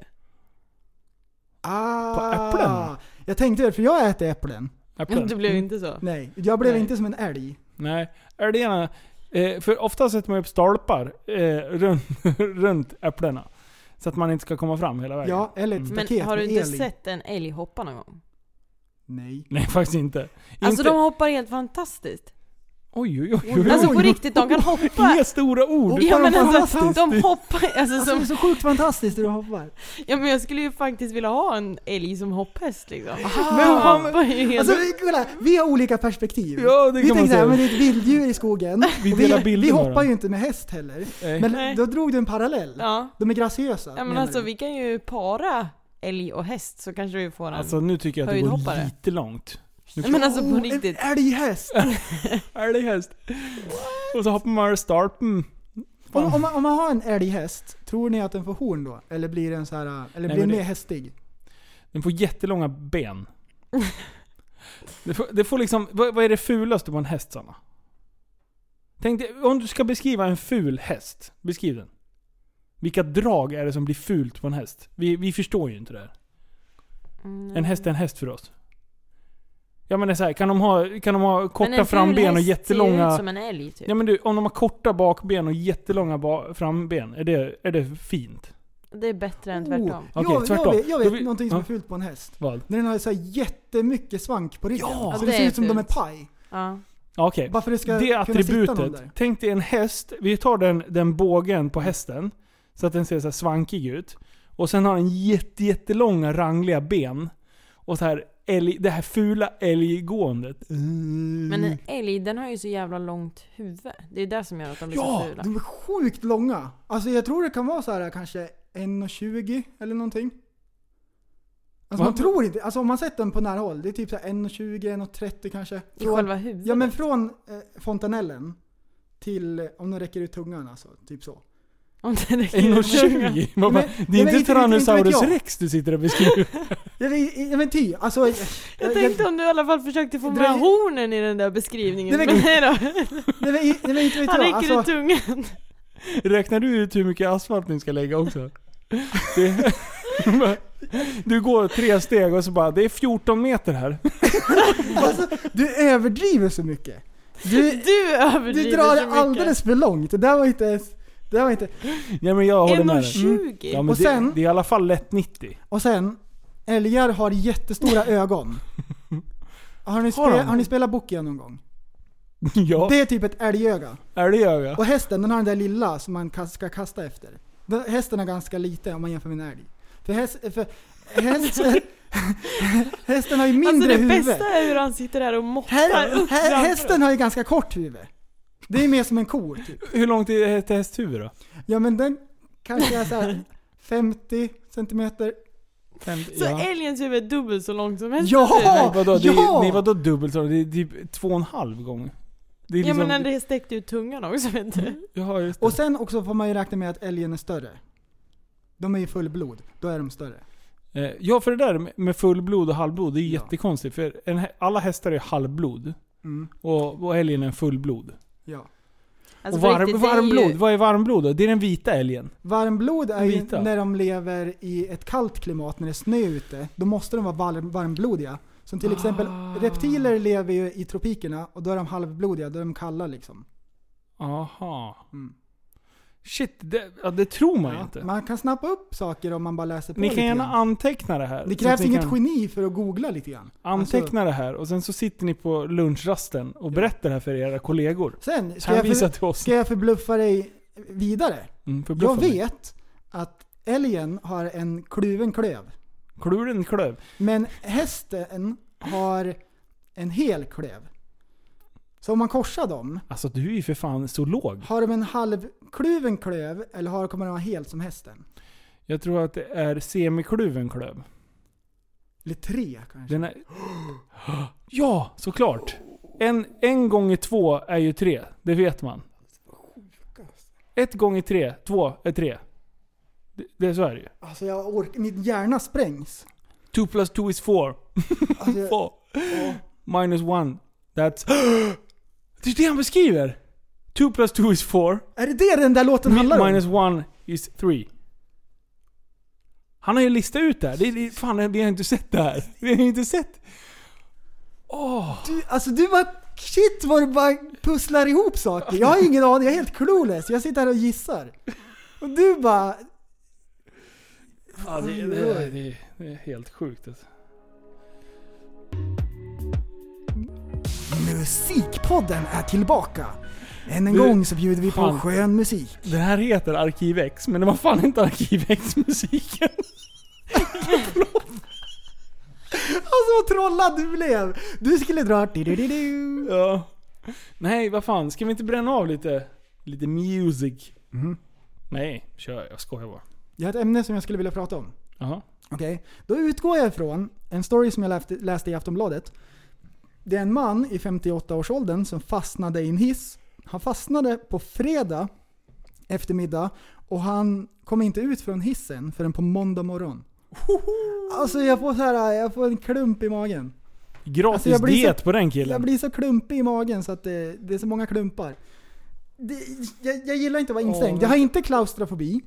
Speaker 7: Ah,
Speaker 6: På äpplen?
Speaker 7: Jag tänkte det, för jag äter äpplen.
Speaker 6: äpplen.
Speaker 8: Det [LAUGHS] blev
Speaker 6: Mm.
Speaker 8: inte så.
Speaker 7: Nej, jag blev
Speaker 8: Nej.
Speaker 7: inte som en älg.
Speaker 6: Nej, älgarna... Eh, för ofta sätter man upp stolpar eh, runt, [LAUGHS] runt äpplena. Så att man inte ska komma fram hela vägen.
Speaker 7: Ja, eller ett
Speaker 6: Mm.
Speaker 7: staket
Speaker 8: Men har du
Speaker 7: med
Speaker 8: inte
Speaker 7: el i.
Speaker 8: sett en älg hoppa någon gång?
Speaker 7: Nej.
Speaker 6: Nej, faktiskt inte.
Speaker 8: Alltså
Speaker 6: inte...
Speaker 8: de hoppar helt fantastiskt.
Speaker 6: Oj, oj, oj. oj.
Speaker 8: Alltså på riktigt, de kan hoppa.
Speaker 6: Inga stora ord.
Speaker 7: Oj.
Speaker 8: Ja
Speaker 7: hoppar
Speaker 8: men
Speaker 7: de
Speaker 8: alltså,
Speaker 7: fantastiskt?
Speaker 8: de hoppar alltså,
Speaker 7: Alltså, det
Speaker 8: som,
Speaker 7: är så sjukt fantastiskt hur du hoppar.
Speaker 8: Ja men jag skulle ju faktiskt vilja ha en älg som hopphäst liksom.
Speaker 7: Men
Speaker 8: De
Speaker 7: han-
Speaker 8: hoppar ju helt...
Speaker 7: alltså, vi- kolla, vi har olika perspektiv.
Speaker 6: Ja, det kan
Speaker 7: vi
Speaker 6: man
Speaker 7: tänker såhär,
Speaker 6: säga.
Speaker 7: men det är ett vilddjur i skogen. och
Speaker 6: Vi delar
Speaker 7: vi,
Speaker 6: bilder
Speaker 7: vi
Speaker 6: med
Speaker 7: hoppar
Speaker 6: dem.
Speaker 7: ju inte med häst heller.
Speaker 6: Nej.
Speaker 7: Men
Speaker 8: Nej.
Speaker 7: då drog du en parallell.
Speaker 8: ja.
Speaker 7: De är graciösa.
Speaker 8: ja men
Speaker 7: menar
Speaker 8: alltså
Speaker 7: du.
Speaker 8: vi kan ju para älg och häst så kanske vi får en...
Speaker 6: Alltså nu tycker jag att det går
Speaker 8: Höjdhoppare.
Speaker 6: lite långt.
Speaker 8: Nej, men alltså på
Speaker 7: Oh,
Speaker 8: riktigt.
Speaker 6: [LAUGHS]
Speaker 7: En älghäst!
Speaker 6: Älghäst. Och så hoppar man över stolpen. Fan.
Speaker 7: om, om, man, om man har en älghäst, tror ni att den får horn då? Eller blir den så här, äh, eller blir den
Speaker 6: men det-
Speaker 7: mer hästig?
Speaker 6: Den får jättelånga ben. Det får, det får liksom, vad, vad är det fulaste på en häst Sanna? Tänk dig, om du ska beskriva en ful häst, beskriv den. Vilka drag är det som blir fult på en häst? Vi, vi förstår ju inte det här.
Speaker 8: Mm.
Speaker 6: En häst är en häst för oss. Ja men det är så här, kan de ha, kan de ha
Speaker 8: Men en
Speaker 6: korta
Speaker 8: ful häst
Speaker 6: framben och
Speaker 8: ser ju ut
Speaker 6: jättelånga...
Speaker 8: som en älg typ.
Speaker 6: Ja men du, om de har korta bakben och jättelånga ba- framben, är det, är det fint?
Speaker 8: Det är bättre än
Speaker 7: Oh,
Speaker 8: tvärtom.
Speaker 6: Okej,
Speaker 7: jag, jag
Speaker 6: tvärtom.
Speaker 7: vet, jag
Speaker 6: Då
Speaker 7: vet
Speaker 6: vi-
Speaker 7: någonting som
Speaker 6: ja.
Speaker 7: är fult på en häst.
Speaker 6: Vad?
Speaker 7: När den har så här jättemycket svank på ryggen.
Speaker 6: Ja.
Speaker 7: så
Speaker 8: Ja,
Speaker 7: det,
Speaker 8: det
Speaker 7: ser
Speaker 8: är
Speaker 7: ut som de är
Speaker 8: fult.
Speaker 7: paj.
Speaker 8: Ja.
Speaker 6: Ja, Okej.
Speaker 7: Bara för att det ska
Speaker 6: Det
Speaker 7: kunna sitta någon
Speaker 6: attributet.
Speaker 7: där.
Speaker 6: Tänk dig en häst. Vi tar den, den bågen på hästen. Så att den ser så här svankig ut. Och sen har den jätte, jättelånga rangliga ben. Och så här älg, det här fula älggåendet.
Speaker 8: Men
Speaker 7: Mm.
Speaker 8: en älg den har ju så jävla långt huvud. Det är det som gör att de blir så
Speaker 7: Ja,
Speaker 8: fula.
Speaker 7: de är sjukt långa. Alltså jag tror det kan vara så här kanske 1,20 eller någonting.
Speaker 6: Va?
Speaker 7: Alltså man tror inte, alltså om man sett den på nära håll, det är typ så här 1,20, 1,30 kanske.
Speaker 8: I
Speaker 7: Från-
Speaker 8: själva huvudet?
Speaker 7: Ja men från eh, fontanellen till, eh, om den räcker ut tungan alltså, typ så.
Speaker 8: Om
Speaker 7: [LAUGHS]
Speaker 8: det räcker att sjunga.
Speaker 6: 1,20? Man bara,
Speaker 7: Nej, men-
Speaker 6: det är
Speaker 7: nej,
Speaker 6: inte
Speaker 7: men inte- inte
Speaker 6: Tyrannosaurus
Speaker 7: vet jag.
Speaker 6: rex du sitter och beskriver. [LAUGHS]
Speaker 7: Ja men, ja, men ty, alltså. Jag,
Speaker 8: Jag tänkte om du i alla fall försökte få
Speaker 7: Det
Speaker 8: med
Speaker 7: var-
Speaker 8: hornen i den där beskrivningen.
Speaker 7: Det
Speaker 8: Men
Speaker 7: var-
Speaker 8: nej då.
Speaker 7: nej, men, nej, men inte vet
Speaker 8: [LAUGHS] Han
Speaker 7: jag.
Speaker 8: räcker ut
Speaker 7: Alltså,
Speaker 8: tungan.
Speaker 6: Räknar du ut hur mycket asfalt ni ska lägga också? Det, [LAUGHS] du går tre steg och så bara, det är 14 meter här.
Speaker 7: du överdriver så mycket.
Speaker 8: [LAUGHS]
Speaker 7: Du,
Speaker 8: Du överdriver
Speaker 7: du drar
Speaker 8: så
Speaker 7: det
Speaker 8: mycket.
Speaker 7: alldeles för långt. Det där var inte ens, det där var inte.
Speaker 6: Ja, men jag håller med dig.
Speaker 8: 1,20?
Speaker 6: Ja, men
Speaker 7: Och sen-
Speaker 6: det, det är i alla fall lätt 90.
Speaker 7: Och sen, älgar har
Speaker 8: [LAUGHS]
Speaker 7: jättestora ögon. Har ni,
Speaker 6: Har
Speaker 7: spe,
Speaker 6: de?
Speaker 7: har ni spelat Bokia någon gång?
Speaker 6: Ja,
Speaker 7: Det är typ ett älgöga.
Speaker 6: är det gör jag.
Speaker 7: Och hästen den har den där lilla som man kas- ska kasta efter. Den, hästen är ganska liten om man jämför med en älg. För, häst, för
Speaker 8: [LAUGHS]
Speaker 7: hästen, hästen har ju
Speaker 8: Alltså
Speaker 7: mindre
Speaker 8: det
Speaker 7: huvud.
Speaker 8: bästa är hur han sitter här och måttar
Speaker 7: Här,
Speaker 8: upp
Speaker 7: här,
Speaker 8: framför oss.
Speaker 7: hästen har ju ganska kort huvud. Det är mer som en ko typ.
Speaker 6: Hur långt är ett hästhuvud då?
Speaker 7: Ja men den kanske är
Speaker 8: [LAUGHS]
Speaker 7: såhär 50 centimeter.
Speaker 8: Så
Speaker 6: ja.
Speaker 8: älgens huvud är dubbelt så långt som hästens
Speaker 7: Ja!
Speaker 8: huvud?
Speaker 6: Nej, vadå, det
Speaker 7: Ja!
Speaker 6: är, nej, vadå dubbelt så? Det är typ två och en halv gång. Det är
Speaker 8: Ja
Speaker 6: liksom,
Speaker 8: men när det sträckte ut tungan också vet du.
Speaker 6: Jaha, just det.
Speaker 7: Och sen också får man ju räkna med att älgen är större. De är ju fullblod, då är de större.
Speaker 6: Eh, Ja, för det där med- med fullblod och halvblod, det är
Speaker 7: Ja.
Speaker 6: jättekonstigt. För en, hä- alla hästar är halvblod.
Speaker 7: Mm,
Speaker 6: Och, och älgen är en fullblod.
Speaker 7: ja.
Speaker 8: Alltså,
Speaker 6: och
Speaker 8: för
Speaker 6: varm,
Speaker 8: riktigt, det är
Speaker 6: varmblod,
Speaker 8: ju-
Speaker 6: vad är varmblod då? Det är den vita älgen.
Speaker 7: Varmblod är ju
Speaker 6: Vita.
Speaker 7: när de lever i ett kallt klimat, när det är snö ute. Då måste de vara varm, varmblodiga. Som till exempel,
Speaker 6: Ah.
Speaker 7: reptiler lever ju i tropikerna och då är de halvblodiga, då är de kalla liksom.
Speaker 6: Aha.
Speaker 7: Mm.
Speaker 6: Shit, det, ja, det tror man ju
Speaker 7: Ja,
Speaker 6: inte.
Speaker 7: man kan snappa upp saker om man bara läser på
Speaker 6: Ni
Speaker 7: lite
Speaker 6: kan gärna
Speaker 7: grann.
Speaker 6: anteckna det här.
Speaker 7: Det
Speaker 6: Så att
Speaker 7: krävs
Speaker 6: ni
Speaker 7: inget
Speaker 6: kan
Speaker 7: geni för att googla lite grann.
Speaker 6: Anteckna
Speaker 7: Alltså,
Speaker 6: det här och sen så sitter ni på lunchrasten och berättar det här för era kollegor.
Speaker 7: Alltså, sen, ska jag,
Speaker 6: Hänvisa
Speaker 7: för,
Speaker 6: till oss.
Speaker 7: ska jag förbluffa dig vidare?
Speaker 6: Mm, förbluffa
Speaker 7: Jag
Speaker 6: mig.
Speaker 7: vet att älgen har en kluven klöv.
Speaker 6: Kluren klöv.
Speaker 7: Men hästen har en hel klöv. Så om man korsar dem,
Speaker 6: Alltså du är ju för fan så låg.
Speaker 7: har de en halvkluven klöv eller har, kommer de vara helt som hästen?
Speaker 6: Jag tror att det är semikluven klöv.
Speaker 7: Eller tre kanske?
Speaker 6: Den är... [GASPS] Ja, såklart! En, en gånger två är ju tre, det vet man. Ett gånger tre, två är tre. Det, det är så är det ju.
Speaker 7: Alltså jag orkar, min hjärna sprängs.
Speaker 6: Two plus two is four.
Speaker 7: Alltså
Speaker 6: [LAUGHS]
Speaker 7: jag,
Speaker 6: Four. Minus one. That's... [GASPS] Det är det han beskriver! Two plus two is four.
Speaker 7: är det det den där låten handlar om?
Speaker 6: Minus one is three. Han har ju listat ut det här. Det, är- det, är- fan, vi har inte sett det här. Vi har ju inte sett...
Speaker 7: Du, alltså du bara, shit vad du bara pusslar ihop saker. Jag har ingen aning, jag är helt clueless. Jag sitter här och gissar. Och du bara,
Speaker 6: Ja, det,
Speaker 7: Oj,
Speaker 6: det,
Speaker 7: oj.
Speaker 6: det, det är helt sjukt alltså.
Speaker 7: musikpodden är tillbaka. Än en
Speaker 6: Du,
Speaker 7: gång så bjuder vi på
Speaker 6: fan.
Speaker 7: skön musik.
Speaker 6: Den här heter Arkiv X, men det var fan inte Arkiv
Speaker 7: [LAUGHS]
Speaker 6: X-musiken.
Speaker 7: Alltså vad trollad du blev! Du skulle dra... di-di-di-du.
Speaker 6: Ja. Nej, vad fan. Ska vi inte bränna av lite, lite music?
Speaker 7: Mhm.
Speaker 6: Nej, kör. Jag skojar bara.
Speaker 7: Jag har ett ämne som jag skulle vilja prata om.
Speaker 6: Jaha.
Speaker 7: Okej? Då utgår jag ifrån en story som jag läste, läste i Aftonbladet. Det är en man i 58-årsåldern som fastnade i en hiss. Han fastnade på fredag eftermiddag och han kom inte ut från hissen förrän på måndag morgon. Alltså jag får, så här, jag får en klump i magen. Alltså,
Speaker 6: Gratis
Speaker 7: jag blir så-
Speaker 6: diet på den killen.
Speaker 7: Jag blir så klumpig i magen så att det, det är så många klumpar. Det, jag, jag gillar inte att vara instängd.
Speaker 6: Åh,
Speaker 7: jag har inte klaustrofobi.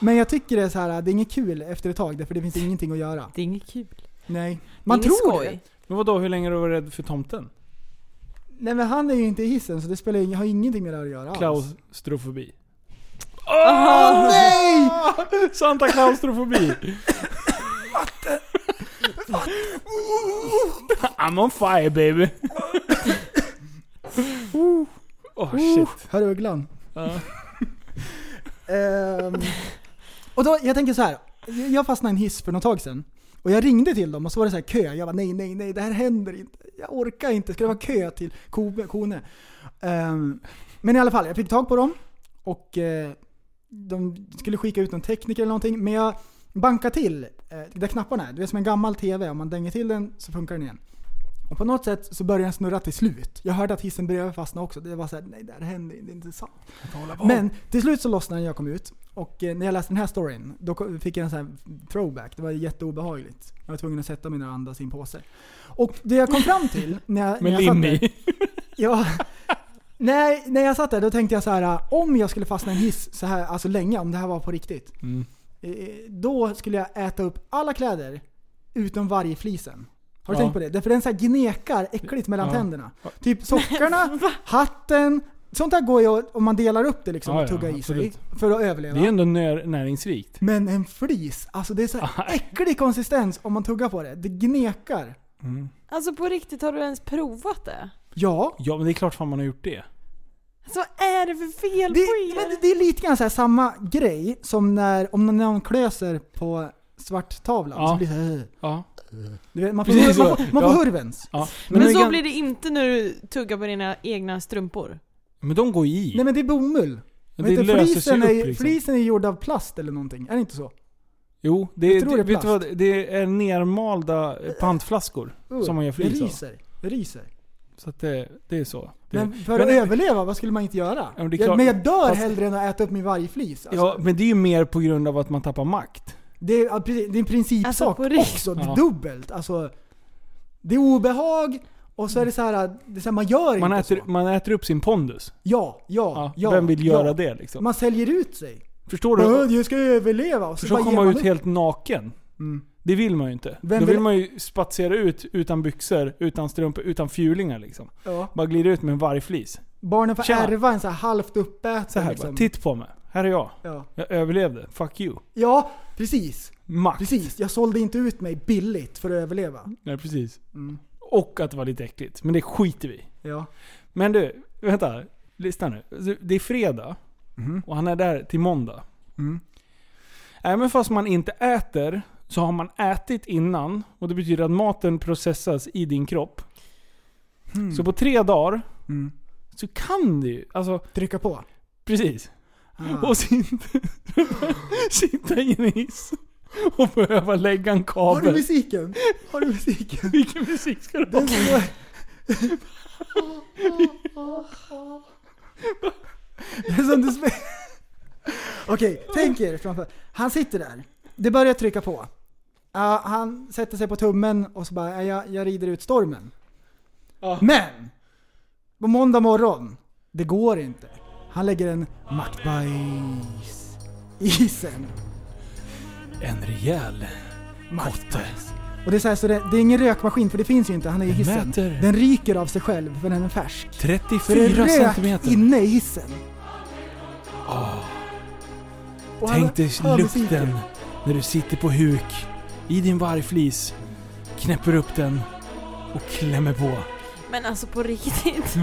Speaker 7: Men jag tycker det är så här, det är inget kul efter ett tag därför det finns ingenting att göra.
Speaker 8: Det är inget kul.
Speaker 7: Nej. Man
Speaker 8: det är inget
Speaker 7: tror
Speaker 8: skoj.
Speaker 7: det.
Speaker 6: Men vadå, hur länge har du varit rädd för tomten?
Speaker 7: Nej men han är ju inte i hissen så det spelar ju, har ingenting med det här att göra alls.
Speaker 6: Klaustrofobi.
Speaker 7: Åh, Ah, nej!
Speaker 6: Santa klaustrofobi. I'm on fire baby. oh shit.
Speaker 7: Hör ugglan.
Speaker 6: Ja.
Speaker 7: [LAUGHS] Ehm, och då, jag tänker så här. jag- Jag fastnade i en hiss för något tag sedan. Och jag ringde till dem och så var det så här kö. Jag bara nej, nej, nej, det här händer inte. Jag orkar inte. Ska det vara kö till Ko- Kone? Ehm, men i alla fall, jag fick tag på dem. Och eh, de skulle skicka ut en tekniker eller någonting. Men jag bankade till eh, där knapparna är. Det är som en gammal TV. Om man dänger till den så funkar den igen. Och på något sätt så började den snurra till slut. Jag hörde att hissen bredvid fastnade också. Det var såhär, nej det här händer inte, det är inte sant. Men till slut så lossnade den när jag kom ut. Och eh, när jag läste den här storyn, då ko- fick jag en sån här throwback. Det var jätteobehagligt. Jag var tvungen att sätta mig ner och andas i en påse. Och det jag kom fram till när jag, när
Speaker 6: Med
Speaker 7: jag satt
Speaker 6: lim
Speaker 7: där,
Speaker 6: i.
Speaker 7: Ja. Nej, när jag satt där då tänkte jag så här om jag skulle fastna i en hiss så här alltså länge, om det här var på riktigt.
Speaker 6: Mm.
Speaker 7: eh, Då skulle jag äta upp alla kläder utom varje flisen. Har du
Speaker 6: Ja.
Speaker 7: tänkt på det? Därför den så här gnekar äckligt mellan
Speaker 6: Ja.
Speaker 7: tänderna. Typ sockarna, hatten. Sånt där går ju att- om man delar upp det liksom
Speaker 6: Ja, ja,
Speaker 7: och tuggar i sig
Speaker 6: absolut.
Speaker 7: för att överleva.
Speaker 6: Det är ändå när, näringsrikt.
Speaker 7: Men en flis, alltså det är
Speaker 6: [LAUGHS]
Speaker 7: så här
Speaker 6: Aj.
Speaker 7: äcklig konsistens om man tuggar på det. Det gnekar.
Speaker 8: Alltså på riktigt, har du ens provat det?
Speaker 7: Ja,
Speaker 6: Ja men det är klart fan man har gjort det.
Speaker 8: Alltså vad är det för fel
Speaker 7: Det,
Speaker 8: på
Speaker 7: men
Speaker 8: er?
Speaker 7: det- det är lite grann så här samma grej som när om någon klöser på svarttavlan
Speaker 6: Ja.
Speaker 7: så blir det så här,
Speaker 6: Ja.
Speaker 7: du vet, man får,
Speaker 6: Precis
Speaker 7: man
Speaker 6: så.
Speaker 7: får, man får
Speaker 6: Ja.
Speaker 7: hurvens.
Speaker 6: ja.
Speaker 8: Men,
Speaker 6: det är
Speaker 8: så
Speaker 6: gan-
Speaker 8: blir det inte när du tuggar på dina egna strumpor.
Speaker 6: men de går ju i.
Speaker 7: Nej men det är bomull.
Speaker 6: Men
Speaker 7: Vet
Speaker 6: det
Speaker 7: du,
Speaker 6: löser sig
Speaker 7: flisen,
Speaker 6: upp
Speaker 7: är,
Speaker 6: liksom.
Speaker 7: flisen är gjord av plast eller någonting, är det inte så?
Speaker 6: Jo, det,
Speaker 7: Jag tror
Speaker 6: det,
Speaker 7: det är
Speaker 6: vet du vad, det är nermalda eh, pantflaskor
Speaker 7: Uh,
Speaker 6: som man gör
Speaker 7: det
Speaker 6: flis av.
Speaker 7: ryser. Det ryser.
Speaker 6: Så att det, det är så. Det,
Speaker 7: Men för
Speaker 6: Men-
Speaker 7: att överleva, vad skulle man inte göra?
Speaker 6: Ja, men
Speaker 7: men,
Speaker 6: det är klart.
Speaker 7: jag, men jag dör
Speaker 6: Fast-
Speaker 7: hellre än att äta upp min vargflis. Alltså,
Speaker 6: ja, men det är ju mer på grund av att man tappar makt.
Speaker 7: det, är, ja, precis, det är en principsak
Speaker 8: Alltså, på riktigt.
Speaker 7: också, det
Speaker 6: Ja.
Speaker 7: är dubbelt. Alltså, det är obehag och så är det så här, det är så här man gör
Speaker 6: Man
Speaker 7: inte
Speaker 6: äter,
Speaker 7: så.
Speaker 6: man äter upp sin pondus.
Speaker 7: Ja, ja,
Speaker 6: Ja,
Speaker 7: ja.
Speaker 6: vem vill
Speaker 7: ja.
Speaker 6: göra det liksom?
Speaker 7: Man säljer ut sig.
Speaker 6: Förstår
Speaker 7: Bara,
Speaker 6: du?
Speaker 7: Jag ska överleva. Och så
Speaker 6: Försök
Speaker 7: bara ger
Speaker 6: komma
Speaker 7: man
Speaker 6: ut helt naken.
Speaker 7: Mm.
Speaker 6: Det vill man ju inte.
Speaker 7: Vem
Speaker 6: Då vill
Speaker 7: vill-
Speaker 6: man ju spatsera ut utan byxor, utan strumpor, utan fjulingar liksom.
Speaker 7: Ja.
Speaker 6: Bara glida ut med en vargflis.
Speaker 7: Barnen får
Speaker 6: Tjena.
Speaker 7: ärva en så här halvt uppäten.
Speaker 6: Så
Speaker 7: liksom.
Speaker 6: här bara, titta på mig. Här är jag.
Speaker 7: Ja.
Speaker 6: Jag överlevde. Fuck you.
Speaker 7: ja, precis.
Speaker 6: Makt.
Speaker 7: Precis. Jag sålde inte ut mig billigt för att överleva.
Speaker 6: Nej, precis.
Speaker 7: Mm.
Speaker 6: Och att det var lite äckligt. Men det skiter vi i.
Speaker 7: Ja.
Speaker 6: Men du, vänta. Lyssna nu. Det är fredag och han är där till måndag.
Speaker 7: Mhm. Mm.
Speaker 6: Även fast man inte äter så har man ätit innan och det betyder att maten processas i din kropp. Så på tre dagar
Speaker 7: Hmm. Mm.
Speaker 6: så kan du ju, alltså
Speaker 7: Trycka på.
Speaker 6: precis.
Speaker 7: Ah.
Speaker 6: Och sitta, [LAUGHS] sitta i en hiss och behöva lägga en
Speaker 7: Har du
Speaker 6: kabel.
Speaker 7: musiken? Har du musiken?
Speaker 6: Vilken musik ska det
Speaker 7: Den
Speaker 6: vara?
Speaker 7: som- Det är som du spelar... Okej, tänk er framför. Han sitter där. Det börjar trycka på. Ja, han sätter sig på tummen och så bara, "Ja, jag, jag rider ut stormen.
Speaker 6: Ja.
Speaker 7: Men! På måndag morgon, det går inte. Han lägger en maktbajs i isen.
Speaker 6: En rejäl kotte.
Speaker 7: Och det är, så här, så det, det är ingen rökmaskin för det finns ju inte, han är i hissen.
Speaker 6: mäter-
Speaker 7: Den ryker av sig själv för den är färsk. För det
Speaker 6: 34
Speaker 7: rök
Speaker 6: centimeter.
Speaker 7: inne i hissen. Och han
Speaker 6: Tänk dig
Speaker 7: hör musiken.
Speaker 6: lukten när du sitter på huk i din vargflis, knäpper upp den och klämmer på.
Speaker 8: Men alltså på riktigt.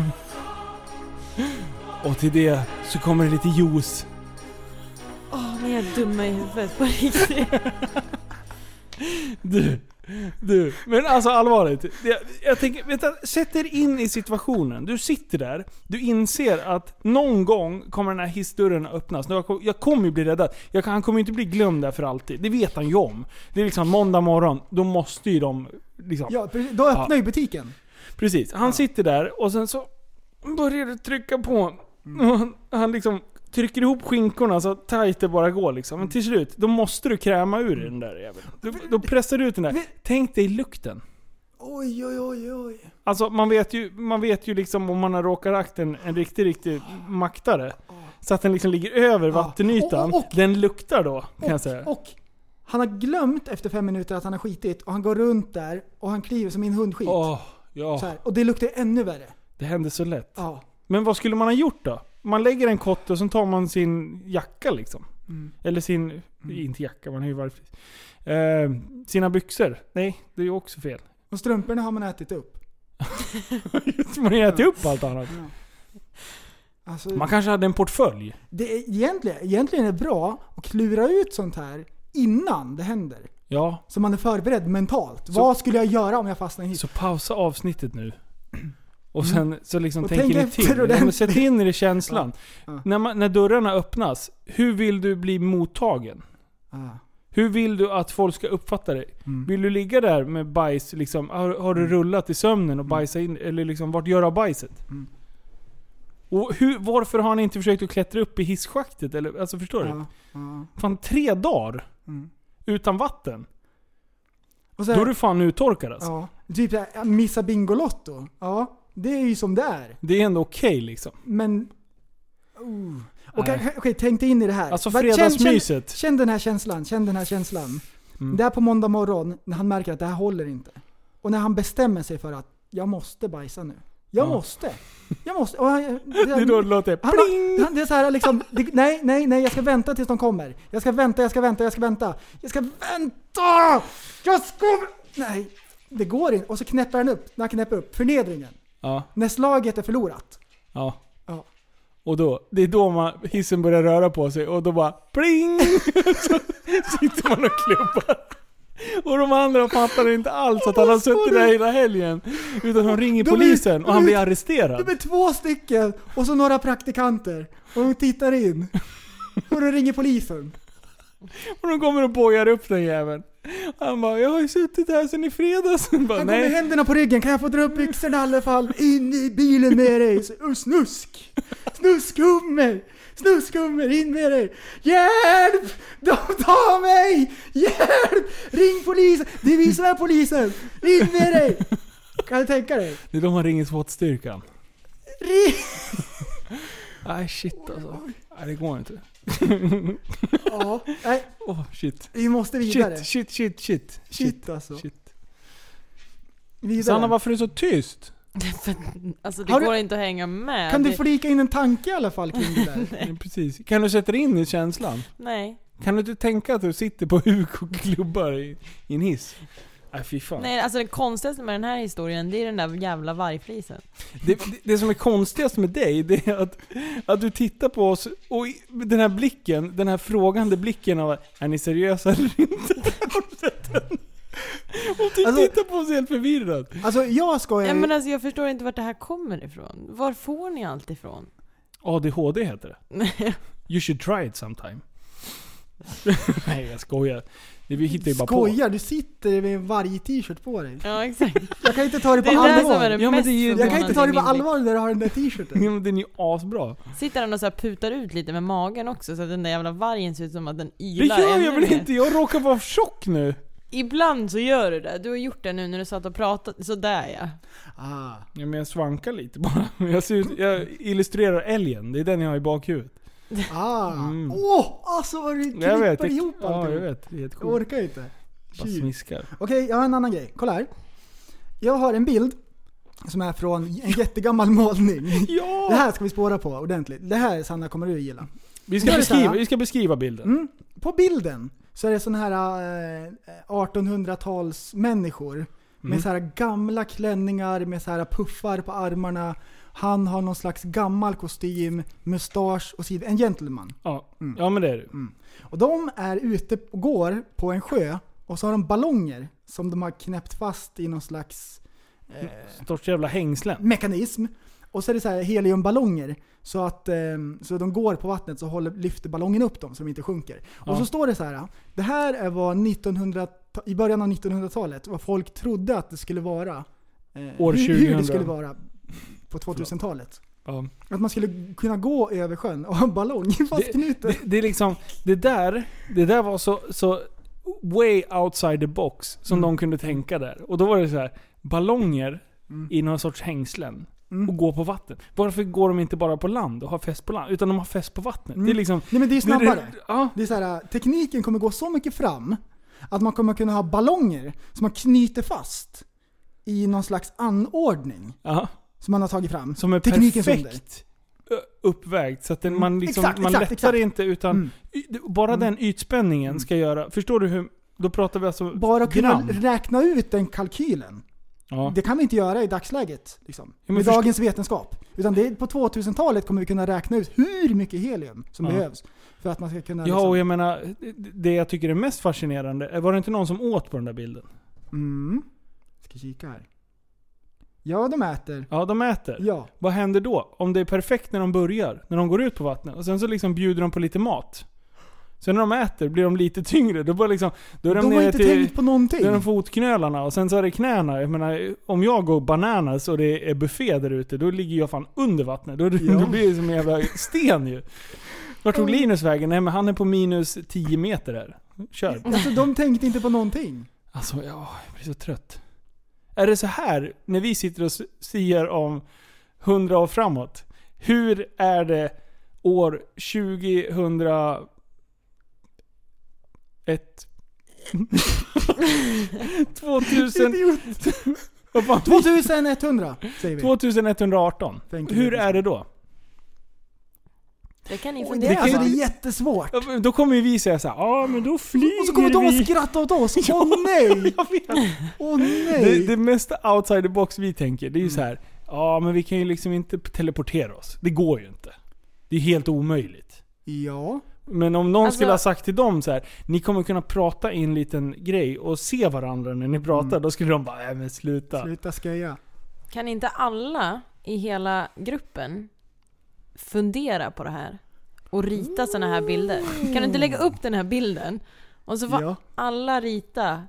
Speaker 6: Och till det så kommer det lite juice.
Speaker 8: Åh, ni är dumma i huvudet på [LAUGHS] riktigt.
Speaker 6: Du, du. Men alltså allvarligt. Det, jag tänker, vänta, sätt er in i situationen. Du sitter där, du inser att någon gång kommer den här hissdörren att öppnas. Jag, kom- jag kommer ju bli räddad. Jag, kan- han kommer ju inte bli glömd där för alltid. Det vet han ju om. Det är liksom måndag morgon, då måste ju de liksom...
Speaker 7: Ja, precis. då öppnar ju butiken.
Speaker 6: Precis. Han sitter där och sen så börjar det trycka på.
Speaker 7: Mm.
Speaker 6: Och han- Han liksom trycker ihop skinkorna så tajt det bara går liksom. Men till
Speaker 7: Mm.
Speaker 6: slut, då måste du kräma ur den där jäveln. Då, då pressar du ut den där. Tänk dig lukten.
Speaker 7: Oj, oj, oj, oj.
Speaker 6: Alltså man vet ju, man vet ju liksom om man har råkat rakt en, en riktig, riktig maktare. Så att den liksom ligger över vattenytan.
Speaker 7: Och- och- och-
Speaker 6: den luktar då, kan jag säga.
Speaker 7: Och, och han har glömt efter fem minuter att han har skitit och han går runt där och han kliver som i en hundskit.
Speaker 6: Åh, ja.
Speaker 7: Så här. Och det luktar ännu värre.
Speaker 6: Det händer så lätt.
Speaker 7: Ja.
Speaker 6: Men vad skulle man ha gjort då? Man lägger en kotte och sen tar man sin jacka liksom.
Speaker 7: Mm.
Speaker 6: Eller sin... Inte jacka, man har ju varit... Eh, sina byxor. Nej, det är ju också fel. [LAUGHS]
Speaker 7: Och strumporna har man ätit upp.
Speaker 6: Just, man har ju ätit upp allt annat.
Speaker 7: Alltså,
Speaker 6: Man kanske hade en portfölj.
Speaker 7: det är, egentligen, egentligen är det bra att klura ut sånt här innan det händer.
Speaker 6: Ja,
Speaker 7: Så man är förberedd mentalt. Vad skulle jag göra om jag fastnade i en hiss?
Speaker 6: så pausa avsnittet nu. [CLEARS THROAT] Och sen så liksom
Speaker 7: Och
Speaker 6: tänker
Speaker 7: tänk
Speaker 6: ni
Speaker 7: efter
Speaker 6: till. Ja, men
Speaker 7: ordentligt.
Speaker 6: sätt in er i känslan.
Speaker 7: Ja.
Speaker 6: När, man, när dörrarna öppnas, hur vill du bli mottagen?
Speaker 7: Ah.
Speaker 6: Hur vill du att folk ska uppfatta dig?
Speaker 7: Mm.
Speaker 6: Vill du ligga där med bajs, liksom, har, har du rullat i sömnen och bajsat in, eller liksom, vart gör du av bajset?
Speaker 7: Mm.
Speaker 6: Och hur, varför har han inte försökt att klättra upp i hisschaktet? Eller, alltså förstår du?
Speaker 7: Ja, ja.
Speaker 6: Fan tre dagar
Speaker 7: Mm.
Speaker 6: utan vatten.
Speaker 7: Och
Speaker 6: Då är
Speaker 7: sen,
Speaker 6: du fan uttorkad alltså.
Speaker 7: ja, typ så här, missa Bingolotto. Ja, det är ju som det är.
Speaker 6: Det är ändå okej liksom.
Speaker 7: Men... Oh. Och
Speaker 6: Nej.
Speaker 7: kanske okay, tänk dig in i det här.
Speaker 6: Alltså
Speaker 7: Va- känn-
Speaker 6: fredagsmyset.
Speaker 7: Känn, känn den här känslan, känn den här känslan.
Speaker 6: Mm.
Speaker 7: Där på måndag morgon, när han märker att det här håller inte. Och när han bestämmer sig för att jag måste bajsa nu. Jag
Speaker 6: Ja.
Speaker 7: måste. Jag måste. Och han, det,
Speaker 6: [LAUGHS] Det är då det låter
Speaker 7: han,
Speaker 6: pling!
Speaker 7: han, det är så här liksom, det, nej, nej, nej, jag ska vänta tills de kommer. Jag ska vänta, jag ska vänta, jag ska vänta. Jag ska vänta! Jag ska... Nej, det går inte. Och så knäpper han upp, när han knäpper upp, förnedringen.
Speaker 6: Ja,
Speaker 7: När slaget är förlorat.
Speaker 6: ja.
Speaker 7: Ja.
Speaker 6: Och då, det är då man, hissen börjar röra på sig och då bara pling! [LAUGHS] Så sitter man och klubbar. Och de andra fattar inte alls att han har suttit där hela helgen. Utan de ringer
Speaker 7: De är-
Speaker 6: polisen och han
Speaker 7: de är-
Speaker 6: blir
Speaker 7: De är
Speaker 6: arresterad.
Speaker 7: två stycken och så några praktikanter. Och de tittar in. Och då ringer polisen.
Speaker 6: Och de kommer och bojar upp den jäveln. Han bara 'Jag har ju suttit här sen i fredags' Han bara,
Speaker 7: Han går med
Speaker 6: Nej,
Speaker 7: händerna på ryggen. Kan jag få dra upp byxorna i alla fall? In i bilen med dig. Så- och Snusk! Snuskhummer! Snuskhummer, in med dig! Hjälp! De tar mig! Hjälp! Ring polisen! Det är vi som är polisen! In med dig! Kan du tänka dig?
Speaker 6: det är då man ringer SWAT-styrkan.
Speaker 7: Ring!
Speaker 6: [LAUGHS] Nej shit alltså. Nej det går inte. [LAUGHS]
Speaker 7: Ja, nej,
Speaker 6: Åh shit.
Speaker 7: vi måste vidare.
Speaker 6: Shit, shit, shit, shit.
Speaker 7: Shit, alltså.
Speaker 6: shit.
Speaker 7: vidare.
Speaker 6: Sanna varför är du så tyst?
Speaker 8: För, alltså det
Speaker 7: Har du-
Speaker 8: går inte att hänga med.
Speaker 7: Kan du
Speaker 8: Det-
Speaker 7: flika in en tanke i alla fall kring det
Speaker 6: [LAUGHS]
Speaker 7: där?
Speaker 6: Precis. Kan du sätta dig in i känslan?
Speaker 8: Nej.
Speaker 6: Kan du inte tänka att du sitter på [LAUGHS] huk och klubbar i, i en hiss? Nej fy fan.
Speaker 8: Nej, alltså det konstigaste med den här historien, det är den där jävla vargflisen.
Speaker 6: Det, det, det som är konstigast med dig, det är att, att du tittar på oss och i- den här blicken, den här frågande blicken av är ni seriösa eller inte? [LAUGHS] Har du sett den? Och du
Speaker 7: Alltså-
Speaker 6: tittar på oss helt förvirrad.
Speaker 7: Alltså jag skojar
Speaker 8: Nej
Speaker 7: ju-
Speaker 8: men alltså jag förstår inte vart det här kommer ifrån. Var får ni allt ifrån?
Speaker 6: ADHD heter det.
Speaker 8: Nej.
Speaker 6: You should try it sometime. Nej jag skojar. Det vi hittar ju bara på.
Speaker 7: Skojar? Du sitter med en varg t-shirt på dig.
Speaker 8: Ja exakt.
Speaker 7: Jag kan inte ta det på
Speaker 8: Det är det som är
Speaker 7: allvar.
Speaker 8: det
Speaker 6: Ja, men
Speaker 8: mest
Speaker 6: det är Mm. ju-
Speaker 7: Jag kan
Speaker 8: förvånande
Speaker 7: inte ta det
Speaker 8: i
Speaker 7: på
Speaker 8: min blick.
Speaker 7: allvar när du har den där
Speaker 6: Ja,
Speaker 7: t-shirten.
Speaker 6: men Den är ju asbra.
Speaker 8: Sitter han och så här putar ut lite med magen också så att den där jävla vargen ser ut som att den
Speaker 6: Det
Speaker 8: ylar
Speaker 6: gör jag
Speaker 8: ännu
Speaker 6: väl
Speaker 8: mer.
Speaker 6: inte? Jag råkar vara tjock nu.
Speaker 8: Ibland så gör du det. Du har gjort det nu när du satt och pratat. Sådär ja.
Speaker 7: Ah.
Speaker 6: Ja, men jag svankar lite bara. [LAUGHS] Jag, ser ut, jag illustrerar älgen, det är den jag har i bakhuvudet.
Speaker 7: Ah.
Speaker 6: Mm.
Speaker 7: Åh! Alltså vad du
Speaker 6: Jag vet.
Speaker 7: klipper
Speaker 6: Det,
Speaker 7: ihop
Speaker 6: ja, jag
Speaker 7: alltihop.
Speaker 6: vet. Det är helt
Speaker 7: Jag
Speaker 6: sjukt.
Speaker 7: orkar inte.
Speaker 6: Bara
Speaker 7: Shit.
Speaker 6: smiskar.
Speaker 7: Okej, jag har en annan grej. Kolla här. Jag har en bild som är från en
Speaker 6: [LAUGHS]
Speaker 7: jättegammal målning. Det
Speaker 6: Ja!
Speaker 7: här ska vi spåra på ordentligt. Det här Sanna kommer du att gilla.
Speaker 6: Vi
Speaker 7: Nu
Speaker 6: ska,
Speaker 7: är det så här.
Speaker 6: beskriva, vi ska beskriva bilden.
Speaker 7: Mm. På bilden så är det såna här eh, 1800-tals människor med så här gamla klänningar med så här puffar på armarna. Han har någon slags gammal kostym, mustasch och sid En gentleman.
Speaker 6: Ja, ja men det är det.
Speaker 7: Och de är ute och går på en sjö och så har de ballonger som de har knäppt fast i någon slags
Speaker 6: Stort jävla hängslen.
Speaker 7: mekanism. Och så är det så här heliumballonger. Så att eh, så de går på vattnet så håller, lyfter ballongen upp dem så de inte sjunker.
Speaker 6: Ja.
Speaker 7: Och så står det så här. Det här är vad 1900, i början av 1900-talet, vad folk trodde att det skulle vara. Eh,
Speaker 6: År
Speaker 7: hur, hur
Speaker 6: 2000.
Speaker 7: det skulle vara på 2000-talet.
Speaker 6: Ja.
Speaker 7: Att man skulle kunna gå över sjön och ha en ballong fastknuten.
Speaker 6: Det, det är liksom, det där, det där var så, så way outside the box som
Speaker 7: Mm.
Speaker 6: de kunde tänka där. Och då var det så här, ballonger
Speaker 7: Mm.
Speaker 6: i någon sorts hängslen. Och gå på vatten. Varför går de inte bara på land och har fest på land? Utan de har fest på vattnet. Det är liksom...
Speaker 7: Nej men Mm. det är ju snabbare.
Speaker 6: Det, ja,
Speaker 7: Det är så här, tekniken kommer gå så mycket fram att man kommer kunna ha ballonger som man knyter fast i någon slags anordning.
Speaker 6: ja.
Speaker 7: som man har tagit fram.
Speaker 6: Som är
Speaker 7: Tekniken som
Speaker 6: perfekt ö, uppvägd. Så att den, man, liksom,
Speaker 7: Mm. Exakt,
Speaker 6: man
Speaker 7: exakt,
Speaker 6: lättar
Speaker 7: exakt.
Speaker 6: inte utan...
Speaker 7: Mm.
Speaker 6: y- det- Bara den ytspänningen ska göra... Förstår du hur... Då pratar vi alltså
Speaker 7: Bara att kunna
Speaker 6: gram.
Speaker 7: räkna ut den kalkylen.
Speaker 6: Ja.
Speaker 7: Det kan vi inte göra i dagsläget. Liksom,
Speaker 6: men
Speaker 7: med
Speaker 6: först-
Speaker 7: dagens vetenskap. Utan det, är- på 2000-talet kommer vi kunna räkna ut hur mycket helium som
Speaker 6: Ja.
Speaker 7: behövs. För att man ska kunna...
Speaker 6: Ja,
Speaker 7: liksom,
Speaker 6: och jag menar, det jag tycker är mest fascinerande, var det inte någon som åt på den där bilden?
Speaker 7: mm. Ska kika här. Ja, de äter.
Speaker 6: Ja, de äter.
Speaker 7: Ja.
Speaker 6: Vad händer då? Om det är perfekt när de börjar, när de går ut på vattnet, och sen så liksom bjuder de på lite mat. Sen när de äter blir de lite tyngre. Då, bara liksom, då är de,
Speaker 7: De har
Speaker 6: nere
Speaker 7: inte
Speaker 6: till
Speaker 7: tänkt på någonting.
Speaker 6: då är de fotknölarna och sen så är det knäna. Jag menar, om jag går bananas och det är buffé där ute, då ligger jag fan under vattnet. Då, då blir det som en jävla sten ju. Vart tog Linus vägen? Nej men han är på minus 10 meter här. Kör.
Speaker 7: Alltså de tänkte inte på någonting.
Speaker 6: Alltså, ja, jag blir så trött. Är det så här, när vi sitter och siar om 100 år framåt. Hur är det år 2001? [LAUGHS] 2000... Vad fan,
Speaker 7: 2100 säger vi.
Speaker 6: 2118.
Speaker 7: Tänker
Speaker 6: Hur
Speaker 7: vi.
Speaker 6: är det då?
Speaker 8: Det kan ni
Speaker 7: Det, är
Speaker 8: fundera
Speaker 7: alltså, det
Speaker 8: på.
Speaker 7: är jättesvårt.
Speaker 6: Ja, men Då kommer ju vi säga så här, ja men då flyger
Speaker 7: Och så kommer de
Speaker 6: vi."
Speaker 7: att skratta åt oss. Åh nej!
Speaker 6: [LAUGHS] Jag vet.
Speaker 7: Åh nej! Mm.
Speaker 6: Det, det mesta outside the box vi tänker, det är ju så här. Ja, men vi kan ju liksom inte teleportera oss. Det går ju inte. Det är helt omöjligt.
Speaker 7: Ja.
Speaker 6: Men om någon
Speaker 8: Alltså-
Speaker 6: skulle ha sagt till dem så här, ni kommer kunna prata i en liten grej och se varandra när
Speaker 7: Mm.
Speaker 6: ni pratar. Då skulle de bara, nej men sluta.
Speaker 7: Sluta sköja.
Speaker 8: Kan inte alla i hela gruppen fundera på det här? Och rita såna här bilder? Kan du inte lägga upp den här bilden? Och så får
Speaker 7: Ja.
Speaker 8: alla rita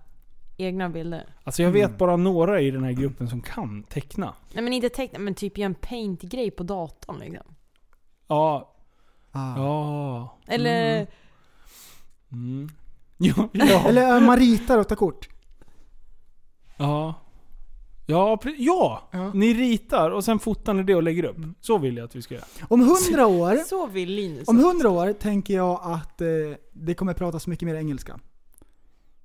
Speaker 8: egna bilder.
Speaker 6: Alltså jag
Speaker 7: Mm.
Speaker 6: vet bara några i den här gruppen som kan teckna.
Speaker 8: Nej men inte teckna, men typ göra en paint-grej på datorn liksom.
Speaker 6: Ja,
Speaker 7: Ah.
Speaker 6: ja.
Speaker 8: Eller...
Speaker 6: Mm. [LAUGHS] Ja, ja.
Speaker 7: Eller äh, man ritar och tar kort.
Speaker 6: Ja. Ja, pre- ja.
Speaker 7: Ja. Mm.
Speaker 6: Ni ritar och sen fotar ni det och lägger upp. Så vill jag att vi ska göra.
Speaker 7: Om hundra år,
Speaker 8: Så vill Linus.
Speaker 7: om hundra år tänker jag att eh, det kommer pratas mycket mer engelska.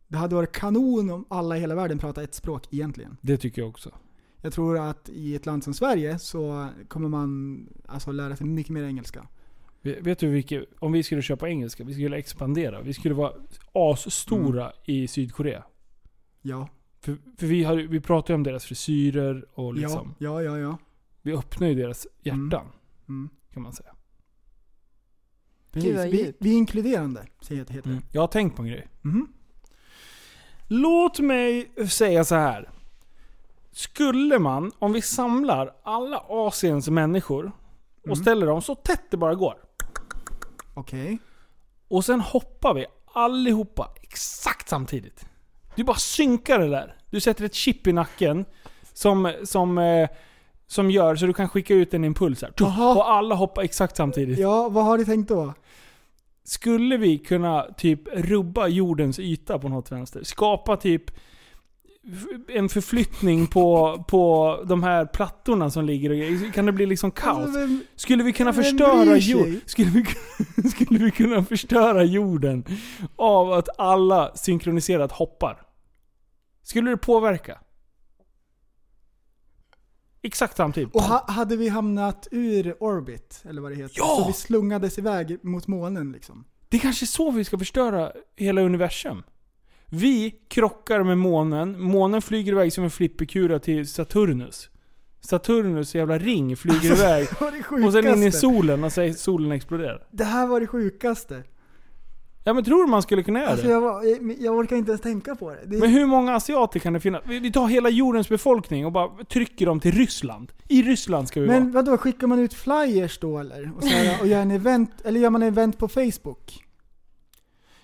Speaker 7: Det hade varit kanon om alla i hela världen pratade ett språk egentligen.
Speaker 6: Det tycker jag också.
Speaker 7: Jag tror att i ett land som Sverige så kommer man alltså lära sig mycket mer engelska.
Speaker 6: Vet vet du vilket, om vi skulle köpa engelska, vi skulle expandera. Vi skulle vara asstora
Speaker 7: Mm.
Speaker 6: i Sydkorea.
Speaker 7: Ja.
Speaker 6: För, för vi, har, vi pratar ju om deras frisyrer och liksom,
Speaker 7: Ja, ja, ja. ja.
Speaker 6: vi öppnar ju deras hjärtan.
Speaker 7: Mm.
Speaker 6: Kan man säga.
Speaker 8: Gud,
Speaker 7: Precis.
Speaker 8: vad
Speaker 7: Vi,
Speaker 8: djupt.
Speaker 7: vi är inkluderande, säger det. Heter. det.
Speaker 6: Mm. Jag har tänkt på en grej.
Speaker 7: Mhm.
Speaker 6: Låt mig säga så här. Skulle man, om vi samlar alla Asiens människor och
Speaker 7: Mm.
Speaker 6: ställer dem så tätt det bara går.
Speaker 7: Okej.
Speaker 6: Och sen hoppar vi allihopa exakt samtidigt. Du bara synkar det där. Du sätter ett chip i nacken som, som, eh, som gör så du kan skicka ut en impuls här. Tuff!
Speaker 7: Jaha.
Speaker 6: Och alla hoppar exakt samtidigt.
Speaker 7: Ja, vad har du tänkt då?
Speaker 6: Skulle vi kunna typ rubba jordens yta på något vänster? Skapa typ f- en förflyttning på, på de här plattorna som ligger och grejer. Kan det bli liksom kaos?
Speaker 7: Alltså, vem-
Speaker 6: Skulle vi kunna
Speaker 7: Vem
Speaker 6: förstöra
Speaker 7: bryr sig?
Speaker 6: jorden? Skulle vi, kunna- [LAUGHS] skulle vi kunna förstöra jorden av att alla synkroniserat hoppar? Skulle det påverka? Exakt samtidigt.
Speaker 7: Och ha, hade vi hamnat ur orbit, eller vad det heter?
Speaker 6: Ja!
Speaker 7: Så vi slungades iväg mot månen liksom.
Speaker 6: Det är kanske är så vi ska förstöra hela universum. Vi krockar med månen. Månen flyger iväg som en flipperkula till Saturnus. Saturnus jävla ring flyger
Speaker 7: [LAUGHS]
Speaker 6: iväg.
Speaker 7: Det var det
Speaker 6: Och sen in i
Speaker 7: Alltså, sjukaste.
Speaker 6: solen och säger solen exploderar.
Speaker 7: Det här var det sjukaste.
Speaker 6: Ja men tror du man skulle kunna göra
Speaker 7: Alltså
Speaker 6: det?
Speaker 7: jag, var, jag, jag orkar inte ens tänka på det. det
Speaker 6: Men hur många asiater kan det finnas? Vi vi tar hela jordens befolkning och bara trycker dem till Ryssland. I Ryssland ska vi
Speaker 7: men
Speaker 6: vara.
Speaker 7: vadå, skickar man ut flyers då eller? Och, så här, och gör en event, eller gör man en event på Facebook?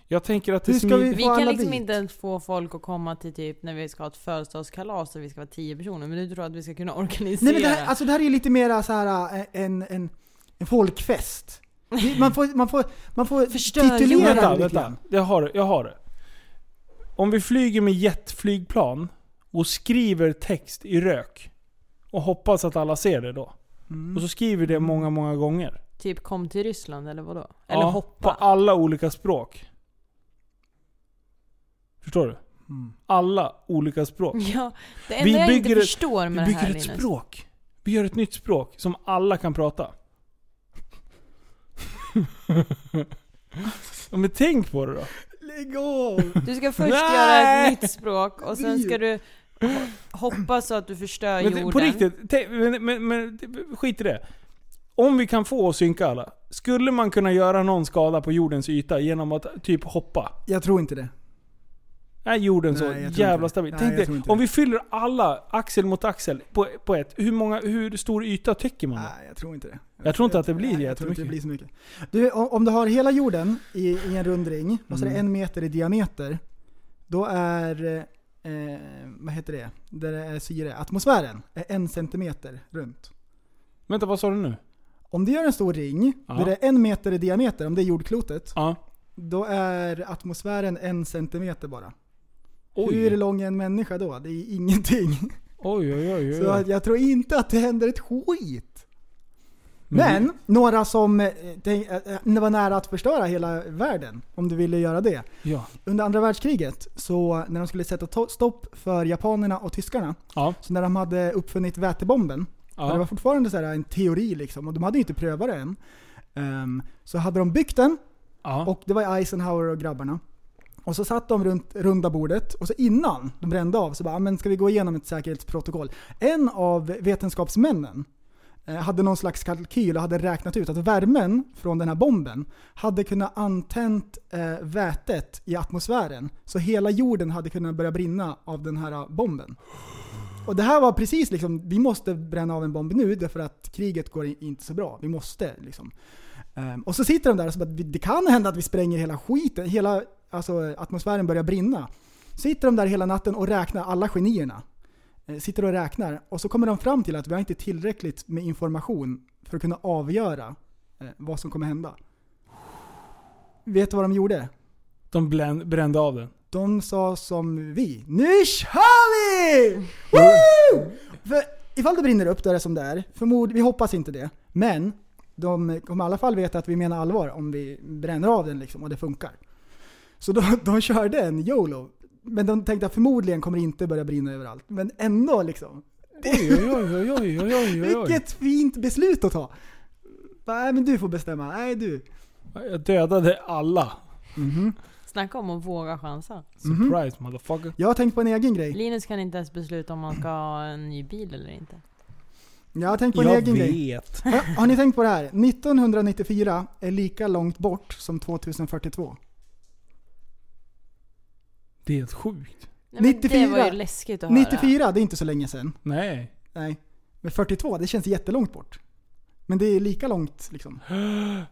Speaker 6: Jag tänker att det
Speaker 7: Hur ska
Speaker 6: smid-
Speaker 7: vi- Få
Speaker 8: Vi kan
Speaker 7: alla
Speaker 8: liksom
Speaker 7: dit.
Speaker 8: inte ens få folk att komma till typ när vi ska ha ett födelsedagskalas och vi ska vara tio personer. Men du tror att vi ska kunna [LAUGHS] organisera?
Speaker 7: Nej men det här, alltså det här är ju lite mera så här äh, en, en, en folkfest. Vi- Man får, man får, man får
Speaker 8: Förstör
Speaker 7: titulera
Speaker 8: jorden.
Speaker 6: Vänta,
Speaker 7: det lite
Speaker 6: vänta.
Speaker 7: grann.
Speaker 6: Jag har, det, jag har det. Om vi flyger med jetflygplan och skriver text i rök och hoppas att alla ser det då.
Speaker 7: Mm.
Speaker 6: Och så skriver det många, många gånger.
Speaker 8: Typ kom till Ryssland eller vadå? Eller
Speaker 6: Ja, På
Speaker 8: hoppa?
Speaker 6: alla olika språk. Förstår du?
Speaker 7: Mm.
Speaker 6: Alla olika språk.
Speaker 8: [LAUGHS] Ja, det enda
Speaker 6: Vi
Speaker 8: jag inte
Speaker 6: bygger ett-
Speaker 8: förstår med
Speaker 6: Vi
Speaker 8: det här
Speaker 6: bygger ett
Speaker 8: Linus.
Speaker 6: språk. Vi gör ett nytt språk som alla kan prata. [LAUGHS] ja, men tänk på det då.
Speaker 7: Lägg av!
Speaker 8: Du ska först
Speaker 6: Nej!
Speaker 8: göra ett nytt språk och sen
Speaker 7: Driv.
Speaker 8: ska du hoppa så att du förstör
Speaker 6: Men
Speaker 8: jorden.
Speaker 6: t- på riktigt, tänk- men, men, men skit i det. Om vi kan få oss synka alla, skulle man kunna göra någon skada på jordens yta genom att typ hoppa?
Speaker 7: Jag tror inte det.
Speaker 6: Är jorden så
Speaker 7: Nej, jag tror inte
Speaker 6: jävla
Speaker 7: det.
Speaker 6: stabil?
Speaker 7: Nej, jag
Speaker 6: Tänk
Speaker 7: tror
Speaker 6: dig,
Speaker 7: inte
Speaker 6: om
Speaker 7: det.
Speaker 6: vi fyller alla axel mot axel på, på ett. Hur, många, hur stor yta täcker man? då?
Speaker 7: Nej, jag tror inte det.
Speaker 6: Jag tror inte att det blir
Speaker 7: nej, jag tror inte det
Speaker 6: jättemycket.
Speaker 7: blir så mycket. Du, om om du har hela jorden i, i en rund ring, och så är det
Speaker 6: Mm.
Speaker 7: en meter i diameter. Då är, eh, vad heter det, där det är syre, atmosfären, är en centimeter runt.
Speaker 6: Vänta, vad sa du nu?
Speaker 7: Om du gör en stor ring,
Speaker 6: Ja.
Speaker 7: där det är en meter i diameter, om det är jordklotet,
Speaker 6: Ja.
Speaker 7: då är atmosfären en centimeter bara. Hur
Speaker 6: Oj.
Speaker 7: lång är en människa då? Det är ingenting.
Speaker 6: Oj, oj, oj. Mm. oj,
Speaker 7: Så
Speaker 6: oj.
Speaker 7: att jag tror inte att det händer ett skit.
Speaker 6: vi-
Speaker 7: Men några som eh, tänk, eh, eh, det var nära att förstöra hela världen om du ville göra det.
Speaker 6: Ja.
Speaker 7: Under andra världskriget, så när de skulle sätta to- stopp för japanerna och tyskarna,
Speaker 6: Ja.
Speaker 7: så när de hade uppfunnit vätebomben,
Speaker 6: ja.
Speaker 7: det var fortfarande så här en teori liksom, och de hade ju inte prövat det än. Ehm, så hade de byggt den,
Speaker 6: ja.
Speaker 7: och det var Eisenhower och grabbarna. Och så satt de runt runda bordet och så innan de brände av så bara, "Ah, men ska vi gå igenom ett säkerhetsprotokoll? En av vetenskapsmännen eh, hade någon slags kalkyl och hade räknat ut att värmen från den här bomben hade kunnat antänt eh, vätet i atmosfären. Så hela jorden hade kunnat börja brinna av den här eh, bomben. Och det här var precis liksom, vi måste bränna av en bomb nu därför att kriget går i- inte så bra. Vi måste liksom. Ehm, och så sitter de där och så bara, "Vi- det kan hända att vi spränger hela skiten, hela alltså, atmosfären börjar brinna. Sitter de där hela natten och räknar alla genierna. Eh, Sitter och räknar och så kommer de fram till att vi har inte tillräckligt med information för att kunna avgöra eh, vad som kommer hända. Vet du vad de gjorde?
Speaker 6: De blän- brände av den.
Speaker 7: De sa som vi. Nu kör
Speaker 6: [LAUGHS]
Speaker 7: vi! Woo! För ifall det brinner upp, då är det som det är. Förmod, vi hoppas inte det. Men de kommer i alla fall veta att vi menar allvar om vi bränner av den liksom och det funkar. Så de, de körde en YOLO. Men de tänkte att förmodligen kommer det inte börja brinna överallt. Men ändå liksom.
Speaker 6: Oj, oj, oj, oj, oj, oj, oj, oj.
Speaker 7: Vilket fint beslut att ta. Bara, Nej men du får bestämma. Nej du.
Speaker 6: Jag dödade alla.
Speaker 8: Snacka om att våga chansa.
Speaker 7: Mhm.
Speaker 6: Surprise motherfucker.
Speaker 7: Jag har tänkt på en egen grej.
Speaker 8: Linus kan inte ens besluta om man ska ha en ny bil eller inte.
Speaker 7: Jag har tänkt på en
Speaker 6: Jag
Speaker 7: egen grej.
Speaker 6: vet.
Speaker 7: Har, har ni tänkt på det här? 1994 är lika långt bort som 2042.
Speaker 6: Det är helt sjukt.
Speaker 8: Nej, men Det
Speaker 7: 94.
Speaker 8: var ju läskigt att höra.
Speaker 7: 94, det är inte så länge sedan.
Speaker 6: Nej.
Speaker 7: Nej. Men 42, det känns jättelångt bort. Men det är lika långt liksom.
Speaker 6: [GASPS]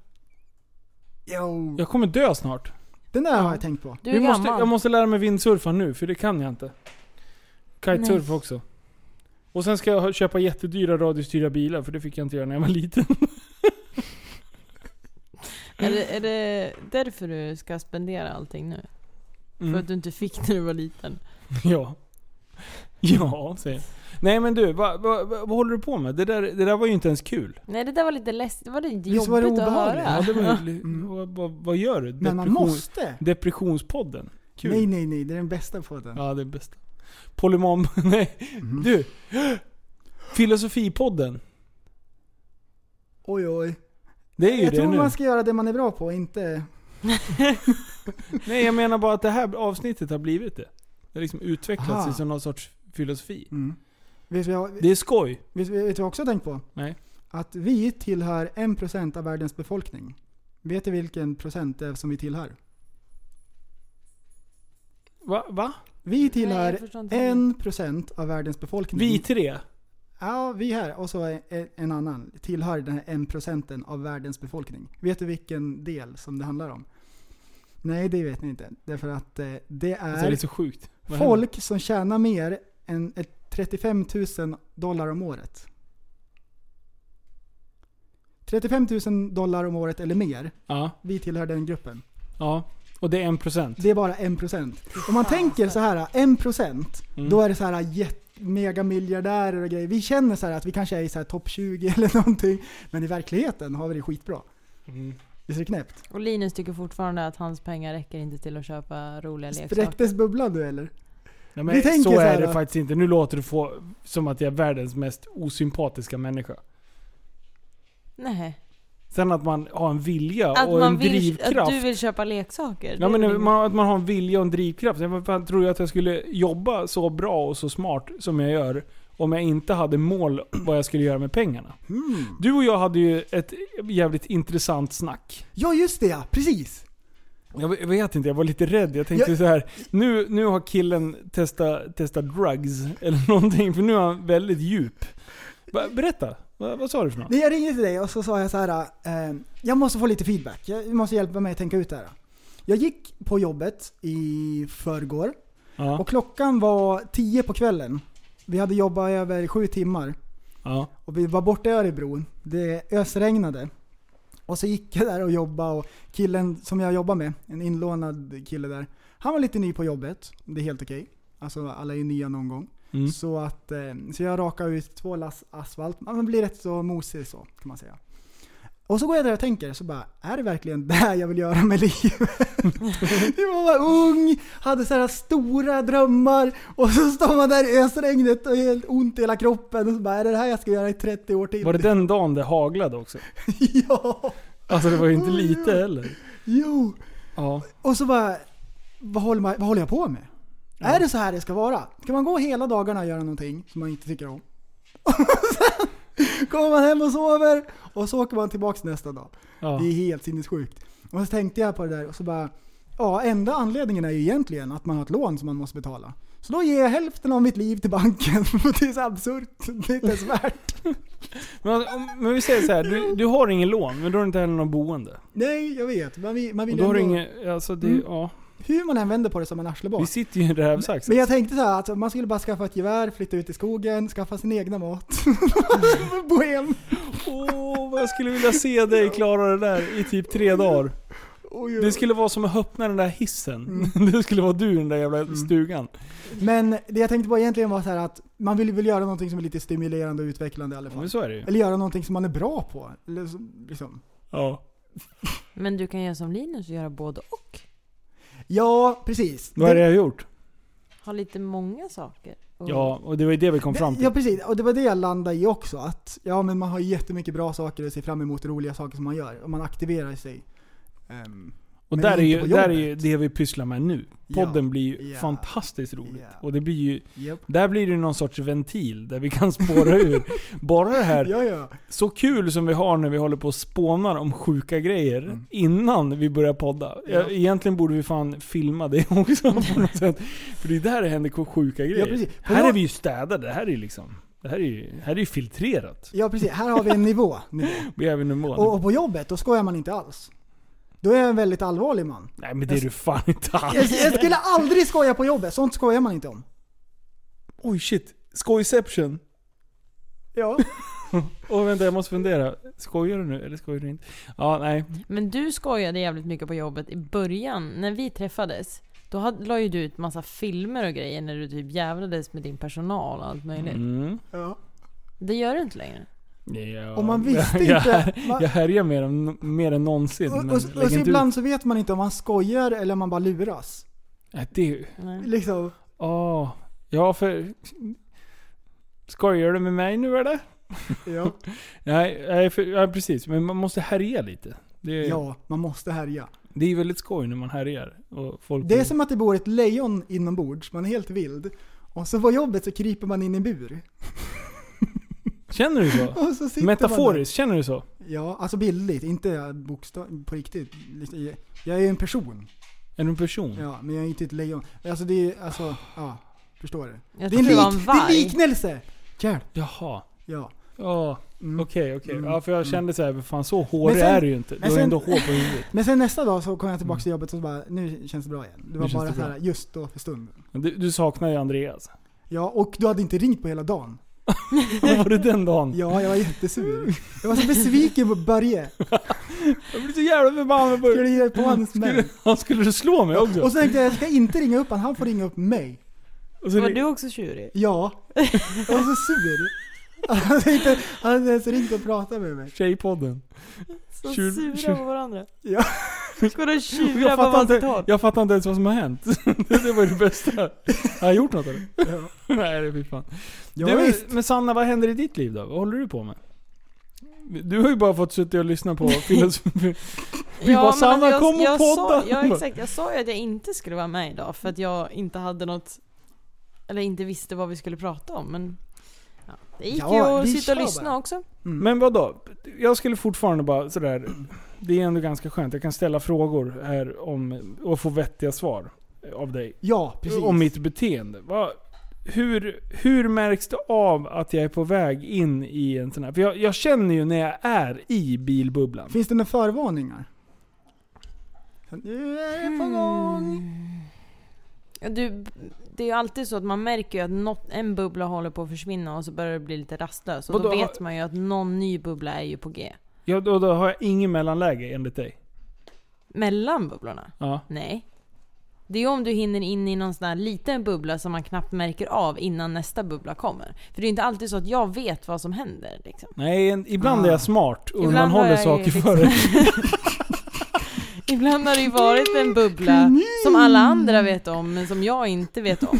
Speaker 7: Jo.
Speaker 6: Jag kommer dö snart.
Speaker 7: Den där har jag tänkt på.
Speaker 8: Du är
Speaker 6: Vi
Speaker 8: gammal.
Speaker 6: måste, jag måste lära mig vindsurfa nu, för det kan jag inte. Kitesurf
Speaker 8: Nej.
Speaker 6: också. Och sen ska jag ha- köpa jättedyra radiostyrda bilar, för det fick jag inte göra när jag var liten. [LAUGHS]
Speaker 8: Är, det, är det därför du ska spendera allting nu? För
Speaker 6: Mm.
Speaker 8: att du inte fick när du var liten?
Speaker 6: Ja. Ja, säger jag. Nej men du, vad, vad, vad, vad håller du på med? Det där, det där var ju inte ens kul.
Speaker 8: Nej det där var lite läskigt, det var lite
Speaker 7: Visst var det
Speaker 8: jobbigt att
Speaker 7: obehagligt?
Speaker 8: höra.
Speaker 6: Ja, det var
Speaker 7: [LAUGHS]
Speaker 6: ju, vad, vad, vad gör du?
Speaker 7: Mm. Men man
Speaker 6: Depression-
Speaker 7: måste.
Speaker 6: Depressionspodden. Kul.
Speaker 7: Nej, nej, nej. Det är den bästa podden.
Speaker 6: Ja, det är bästa. Polymom... [LAUGHS] Nej.
Speaker 7: Mm.
Speaker 6: Du! Filosofipodden.
Speaker 7: Oj, oj.
Speaker 6: Det är ju
Speaker 7: Jag
Speaker 6: det
Speaker 7: tror
Speaker 6: nu.
Speaker 7: man ska göra det man är bra på, inte...
Speaker 6: Nej, jag menar bara att det här avsnittet har blivit det. Det har liksom utvecklats
Speaker 7: Aha.
Speaker 6: sig som någon sorts filosofi.
Speaker 7: Mm. Vet du vad jag-
Speaker 6: Det är skoj.
Speaker 7: vet du- vet du vad jag också har tänkt på?
Speaker 6: Nej.
Speaker 7: Att vi tillhör 1% av världens befolkning. Vet du vilken procent det är som vi tillhör?
Speaker 6: Va? Va?
Speaker 7: Vi
Speaker 8: Nej,
Speaker 7: tillhör
Speaker 8: jag förstår inte
Speaker 7: en procent av världens befolkning.
Speaker 6: Vi tre.
Speaker 7: Ja, vi här. Och så är en- en annan. Tillhör den här en procenten av världens befolkning. Vet du vilken del som det handlar om? Nej, det vet ni inte. Därför att eh, det
Speaker 6: Alltså, det är
Speaker 7: är
Speaker 6: så sjukt. Vad händer?
Speaker 7: folk som tjänar mer än ett 35 000 dollar om året. 35 000 dollar om året eller mer.
Speaker 6: Ja.
Speaker 7: Vi tillhör den gruppen.
Speaker 6: Ja. Och det är en procent.
Speaker 7: Det är bara 1%. Om man tänker så här, 1%,
Speaker 6: Mm.
Speaker 7: då är det så här jätte- mega miljardärer och grejer. Vi känner så här att vi kanske är i så här topp 20 [LAUGHS] eller någonting, men i verkligheten har vi det skitbra.
Speaker 6: Mm.
Speaker 7: Visst är det knäppt?
Speaker 8: Och Linus tycker fortfarande att hans pengar räcker inte till att köpa roliga leksaker.
Speaker 7: Spräcktes bubblan nu eller?
Speaker 6: Nej,
Speaker 7: Vi
Speaker 6: men
Speaker 7: tänker
Speaker 6: så
Speaker 7: så
Speaker 6: är
Speaker 7: här
Speaker 6: det
Speaker 7: då.
Speaker 6: faktiskt inte. Nu låter det få, som att jag är världens mest osympatiska människa.
Speaker 8: Nej.
Speaker 6: Sen att man har en vilja
Speaker 8: Att,
Speaker 6: och en
Speaker 8: man vill,
Speaker 6: drivkraft.
Speaker 8: att du vill köpa leksaker.
Speaker 6: Ja,
Speaker 8: det är
Speaker 6: men
Speaker 8: väl
Speaker 6: man, att man har en vilja och en drivkraft. Jag fan, tror jag att jag skulle jobba så bra och så smart som jag gör om jag inte hade mål [CLEARS THROAT] vad jag skulle göra med pengarna. Du och jag hade ju ett jävligt intressant snack.
Speaker 7: Ja just det ja, precis!
Speaker 6: Jag vet inte, jag var lite rädd. Jag tänkte så här. Nu, nu har killen testat testa drugs [LAUGHS] eller någonting, för nu är han väldigt djup. Va- Berätta, Va, vad sa du för något?
Speaker 7: Nej, jag ringde till dig och så sa jag så här. Eh, jag måste få lite feedback. Jag- Du måste hjälpa mig att tänka ut det här. Jag gick på jobbet i förrgår
Speaker 6: Ja,
Speaker 7: och klockan var 10 på kvällen. Vi hade jobbat över sju timmar
Speaker 6: ja,
Speaker 7: och vi var borta i Örebro. Det ösregnade. Och så gick jag där och jobbade och killen som jag jobbar med, en inlånad kille där, han var lite ny på jobbet. Det är helt okej. Alltså alla är ju nya någon gång.
Speaker 6: mm,
Speaker 7: Så, att, eh, så jag rakade ut två lass asfalt. Ja, Man blir rätt så mosig så, kan man säga. Och så går jag där och tänker, så bara, är det verkligen [LAUGHS] det här jag vill göra med livet? [LAUGHS] jag var ung, hade så här stora drömmar och så står man där i ösregnet och är helt ont i hela kroppen och så bara, är det det här jag ska göra i 30 år till?
Speaker 6: Var det den dagen det haglade också?
Speaker 7: [LAUGHS] ja,
Speaker 6: Alltså det var ju inte lite heller.
Speaker 7: jo.
Speaker 6: Ja.
Speaker 7: Och så bara, vad håller, man, vad håller jag på med? Är det så här det ska vara? Ska man gå hela dagarna och göra någonting som man inte tycker om? [LAUGHS] Och sen kommer man hem och sover och så åker man tillbaks nästa dag.
Speaker 6: ja.
Speaker 7: Det är helt sinnessjukt. Och så tänkte jag på det där och så bara, ja enda anledningen är ju egentligen att man har ett lån som man måste betala. Så då ger jag hälften av mitt liv till banken. [LAUGHS] Det är så absurt. Det är inte ens
Speaker 6: [LAUGHS]
Speaker 7: värt.
Speaker 6: Men, alltså, om- men vi säger så här, du, du har ingen lån, men du har inte heller något boende.
Speaker 7: Nej, jag vet. Man vill, man
Speaker 6: Och
Speaker 7: vill
Speaker 6: då har du
Speaker 7: ändå,
Speaker 6: ingen, alltså det,
Speaker 7: Mm.
Speaker 6: ja.
Speaker 7: Hur man än vänder på det så är man
Speaker 6: Vi
Speaker 7: arslebak.
Speaker 6: sitter ju i rävsaxen.
Speaker 7: Men jag tänkte så här att man skulle bara skaffa ett gevär, flytta ut i skogen, skaffa sin egna mat. [LAUGHS] Bohem.
Speaker 6: Åh, vad jag skulle vilja se dig klara det där i typ tre dagar. Det skulle vara som att öppna den där hissen. [LAUGHS]
Speaker 7: Mm.
Speaker 6: Det skulle vara du i den där jävla stugan.
Speaker 7: Men det jag tänkte på egentligen var så här att man vill väl göra någonting som är lite stimulerande och utvecklande i alla fall.
Speaker 6: Men så är det ju.
Speaker 7: Eller göra någonting som man är bra på. Eller som- liksom.
Speaker 6: Ja.
Speaker 8: Men du kan göra som Linus och göra både och.
Speaker 7: Ja, precis.
Speaker 6: Vad är det jag har gjort?
Speaker 8: Ha lite många saker. Och
Speaker 6: Ja, och det var ju det vi kom fram till.
Speaker 7: Ja precis, och det var det jag landade i också. Att ja, men man har jättemycket bra saker att se fram emot, roliga saker som man gör. Och man aktiverar sig. Ehm,
Speaker 6: Och
Speaker 7: Men
Speaker 6: där är,
Speaker 7: inte
Speaker 6: ju,
Speaker 7: på
Speaker 6: där är
Speaker 7: jobbet.
Speaker 6: ju det vi pysslar med nu.
Speaker 7: Ja.
Speaker 6: Podden blir ju
Speaker 7: Ja.
Speaker 6: fantastiskt roligt.
Speaker 7: Ja.
Speaker 6: Och det blir ju,
Speaker 7: japp.
Speaker 6: där blir det ju någon sorts ventil där vi kan spåra
Speaker 7: [LAUGHS]
Speaker 6: ur. Bara det här,
Speaker 7: Ja, ja.
Speaker 6: så kul som vi har när vi håller på och spånar om sjuka grejer innan vi börjar podda. Ja.
Speaker 7: Mm. Ja.
Speaker 6: Egentligen borde vi fan filma det [LAUGHS] också på
Speaker 7: [LAUGHS]
Speaker 6: något sätt. För det är där det händer sjuka grejer.
Speaker 7: precis. På
Speaker 6: här
Speaker 7: nå-
Speaker 6: är vi ju städade. Det här är ju liksom... Det här är ju, här är ju filtrerat.
Speaker 7: ja, precis. Här har vi en nivå. nivå.
Speaker 6: Vi är även en mån.
Speaker 7: Och, och på jobbet, då skojar man inte alls. Då är jag en väldigt allvarlig man.
Speaker 6: Nej men det är du fan inte alls.
Speaker 7: Jag, jag
Speaker 6: [LAUGHS]
Speaker 7: skulle aldrig skoja på jobbet, sånt skojar man inte om.
Speaker 6: Oj shit. Skojception.
Speaker 7: Ja.
Speaker 6: Åh vänta jag måste fundera. Skojar du nu eller skojar du inte? Ja nej.
Speaker 8: Men du skojade jävligt mycket på jobbet i början, när vi träffades. Då hade, la ju du ut massa filmer och grejer när du typ jävlades med din personal och allt möjligt.
Speaker 6: Mm.
Speaker 7: ja.
Speaker 8: Det gör du inte längre.
Speaker 6: Ja.
Speaker 7: Och man visste
Speaker 6: [LAUGHS] Jag,
Speaker 7: inte-
Speaker 6: jag, jag härjar mer än, mer än någonsin.
Speaker 7: Och, och,
Speaker 6: men
Speaker 7: och,
Speaker 6: lägg
Speaker 7: så
Speaker 6: inte ut.
Speaker 7: ibland så vet man inte om man skojar eller om man bara luras.
Speaker 6: Nej, det är ju...
Speaker 8: Nej.
Speaker 7: Liksom.
Speaker 6: Ja, ja för... Skojar du med mig nu eller?
Speaker 7: Ja.
Speaker 6: Nej, nej för, ja, precis. Men man måste härja lite. Det, är-
Speaker 7: ja, man måste härja.
Speaker 6: det är ju väldigt skoj när man härjar. Och folk
Speaker 7: Det är som att det bor ett lejon inombords, man är helt vild. Och så på jobbet så kryper man in i en bur.
Speaker 6: Känner
Speaker 7: [LAUGHS]
Speaker 6: du så?
Speaker 7: Och så sitter man där.
Speaker 6: Metaforiskt, känner du så?
Speaker 7: Ja, alltså bildligt, inte bokstav, på riktigt. Liksom, Jag är ju en person.
Speaker 6: Är du en person?
Speaker 7: Ja, men jag är inte ett lejon. Alltså det är, alltså, ja. Förstår du?
Speaker 8: Jag
Speaker 7: Det är en,
Speaker 8: trodde det var en
Speaker 7: lik, det är en
Speaker 8: varg.
Speaker 7: liknelse! Hjälp!
Speaker 6: Jaha.
Speaker 7: Ja.
Speaker 6: Ja,
Speaker 7: Mm.
Speaker 6: okej, okej.
Speaker 7: Mm.
Speaker 6: Ja, för jag kände så här, vad fan så hårig
Speaker 7: Men sen-
Speaker 6: är du ju inte. Du
Speaker 7: men
Speaker 6: har ju
Speaker 7: sen-
Speaker 6: ändå hår på huvudet.
Speaker 7: Men sen nästa dag så kom jag tillbaka till jobbet och så bara, nu känns det bra igen. Det var
Speaker 6: känns
Speaker 7: bara
Speaker 6: det
Speaker 7: så
Speaker 6: bra.
Speaker 7: här, just då för stunden.
Speaker 6: Du, du saknar ju Andreas. [LAUGHS]
Speaker 7: Ja, och du hade inte ringt på hela dagen.
Speaker 6: Vad var det den dagen?
Speaker 7: Ja, jag var jättesur. Jag var så besviken på Börje.
Speaker 6: Jag blev så jävla förbannad på
Speaker 7: Skulle
Speaker 6: dig.
Speaker 7: ge på hans
Speaker 6: Skulle,
Speaker 7: män.
Speaker 6: han skulle du slå mig också?
Speaker 7: Och så tänkte jag, jag ska inte ringa upp han, han får ringa upp mig.
Speaker 6: Och så
Speaker 8: Var
Speaker 6: ring-
Speaker 8: du också tjurig?
Speaker 7: Ja. Jag var så sur. Han hade inte, han hade inte ens ringt och pratat med mig.
Speaker 6: Tjejpodden.
Speaker 8: Så
Speaker 6: Tjur-
Speaker 8: sura
Speaker 6: tjur- [LAUGHS]
Speaker 8: på varandra.
Speaker 7: Ja.
Speaker 8: Ska du tjura
Speaker 6: Jag
Speaker 8: på
Speaker 6: fattar,
Speaker 8: varsitt
Speaker 6: inte,
Speaker 8: håll?
Speaker 6: jag fattar inte ens vad som har hänt. [LAUGHS] Det det var ju det bästa. Har jag gjort något eller?
Speaker 7: Ja.
Speaker 6: Nej, det är fy fan.
Speaker 7: Ja,
Speaker 6: du,
Speaker 7: visst.
Speaker 6: men Sanna, vad händer i ditt liv då? Vad håller du på med? Du har ju bara fått sitta och lyssna
Speaker 7: [LAUGHS]
Speaker 6: på filosofi. Vi bara,
Speaker 8: men
Speaker 6: "Sanna,
Speaker 8: alltså, jag-
Speaker 6: kom och
Speaker 8: jag
Speaker 6: podda."
Speaker 8: Sa, ja exakt, jag sa ju att jag inte skulle vara med idag för att jag inte hade något, eller inte visste vad vi skulle prata om men ja, det gick
Speaker 7: Ja,
Speaker 8: ju att
Speaker 7: vi
Speaker 8: sitta och
Speaker 7: kör
Speaker 8: lyssna
Speaker 7: bara.
Speaker 8: också.
Speaker 6: Men vad då? Jag skulle fortfarande bara sådär... Det är ändå ganska skönt. Jag kan ställa frågor här om, och få vettiga svar av dig.
Speaker 7: Ja, precis.
Speaker 6: Om mitt beteende. Vad- hur, hur märks det av att jag är på väg in i en sån här... För jag, jag känner ju när jag är i bilbubblan.
Speaker 7: Finns det några förvarningar? Nu är det på
Speaker 8: Hmm.
Speaker 7: gång.
Speaker 8: Ja, Du, det är ju alltid så att man märker ju att något, en bubbla håller på att försvinna och så börjar det bli lite rastlös. Och då,
Speaker 6: Vadå, har-
Speaker 8: vet man ju att någon ny bubbla är ju på G.
Speaker 6: Ja, då, då har jag ingen mellanläge enligt dig.
Speaker 8: Mellan bubblorna?
Speaker 6: Ja.
Speaker 8: Nej. Det är ju om du hinner in i någon sån där liten bubbla som man knappt märker av innan nästa bubbla kommer. För det är ju inte alltid så att jag vet vad som händer. Liksom. [LAUGHS]
Speaker 6: Nej, en, ibland är jag smart och
Speaker 8: Ah. Ibland har
Speaker 6: undanhåller
Speaker 8: jag ju
Speaker 6: saker
Speaker 8: liksom-
Speaker 6: för dig.
Speaker 8: Ibland har det ju varit en bubbla som alla andra vet om men som jag inte vet
Speaker 6: [LAUGHS]
Speaker 8: om.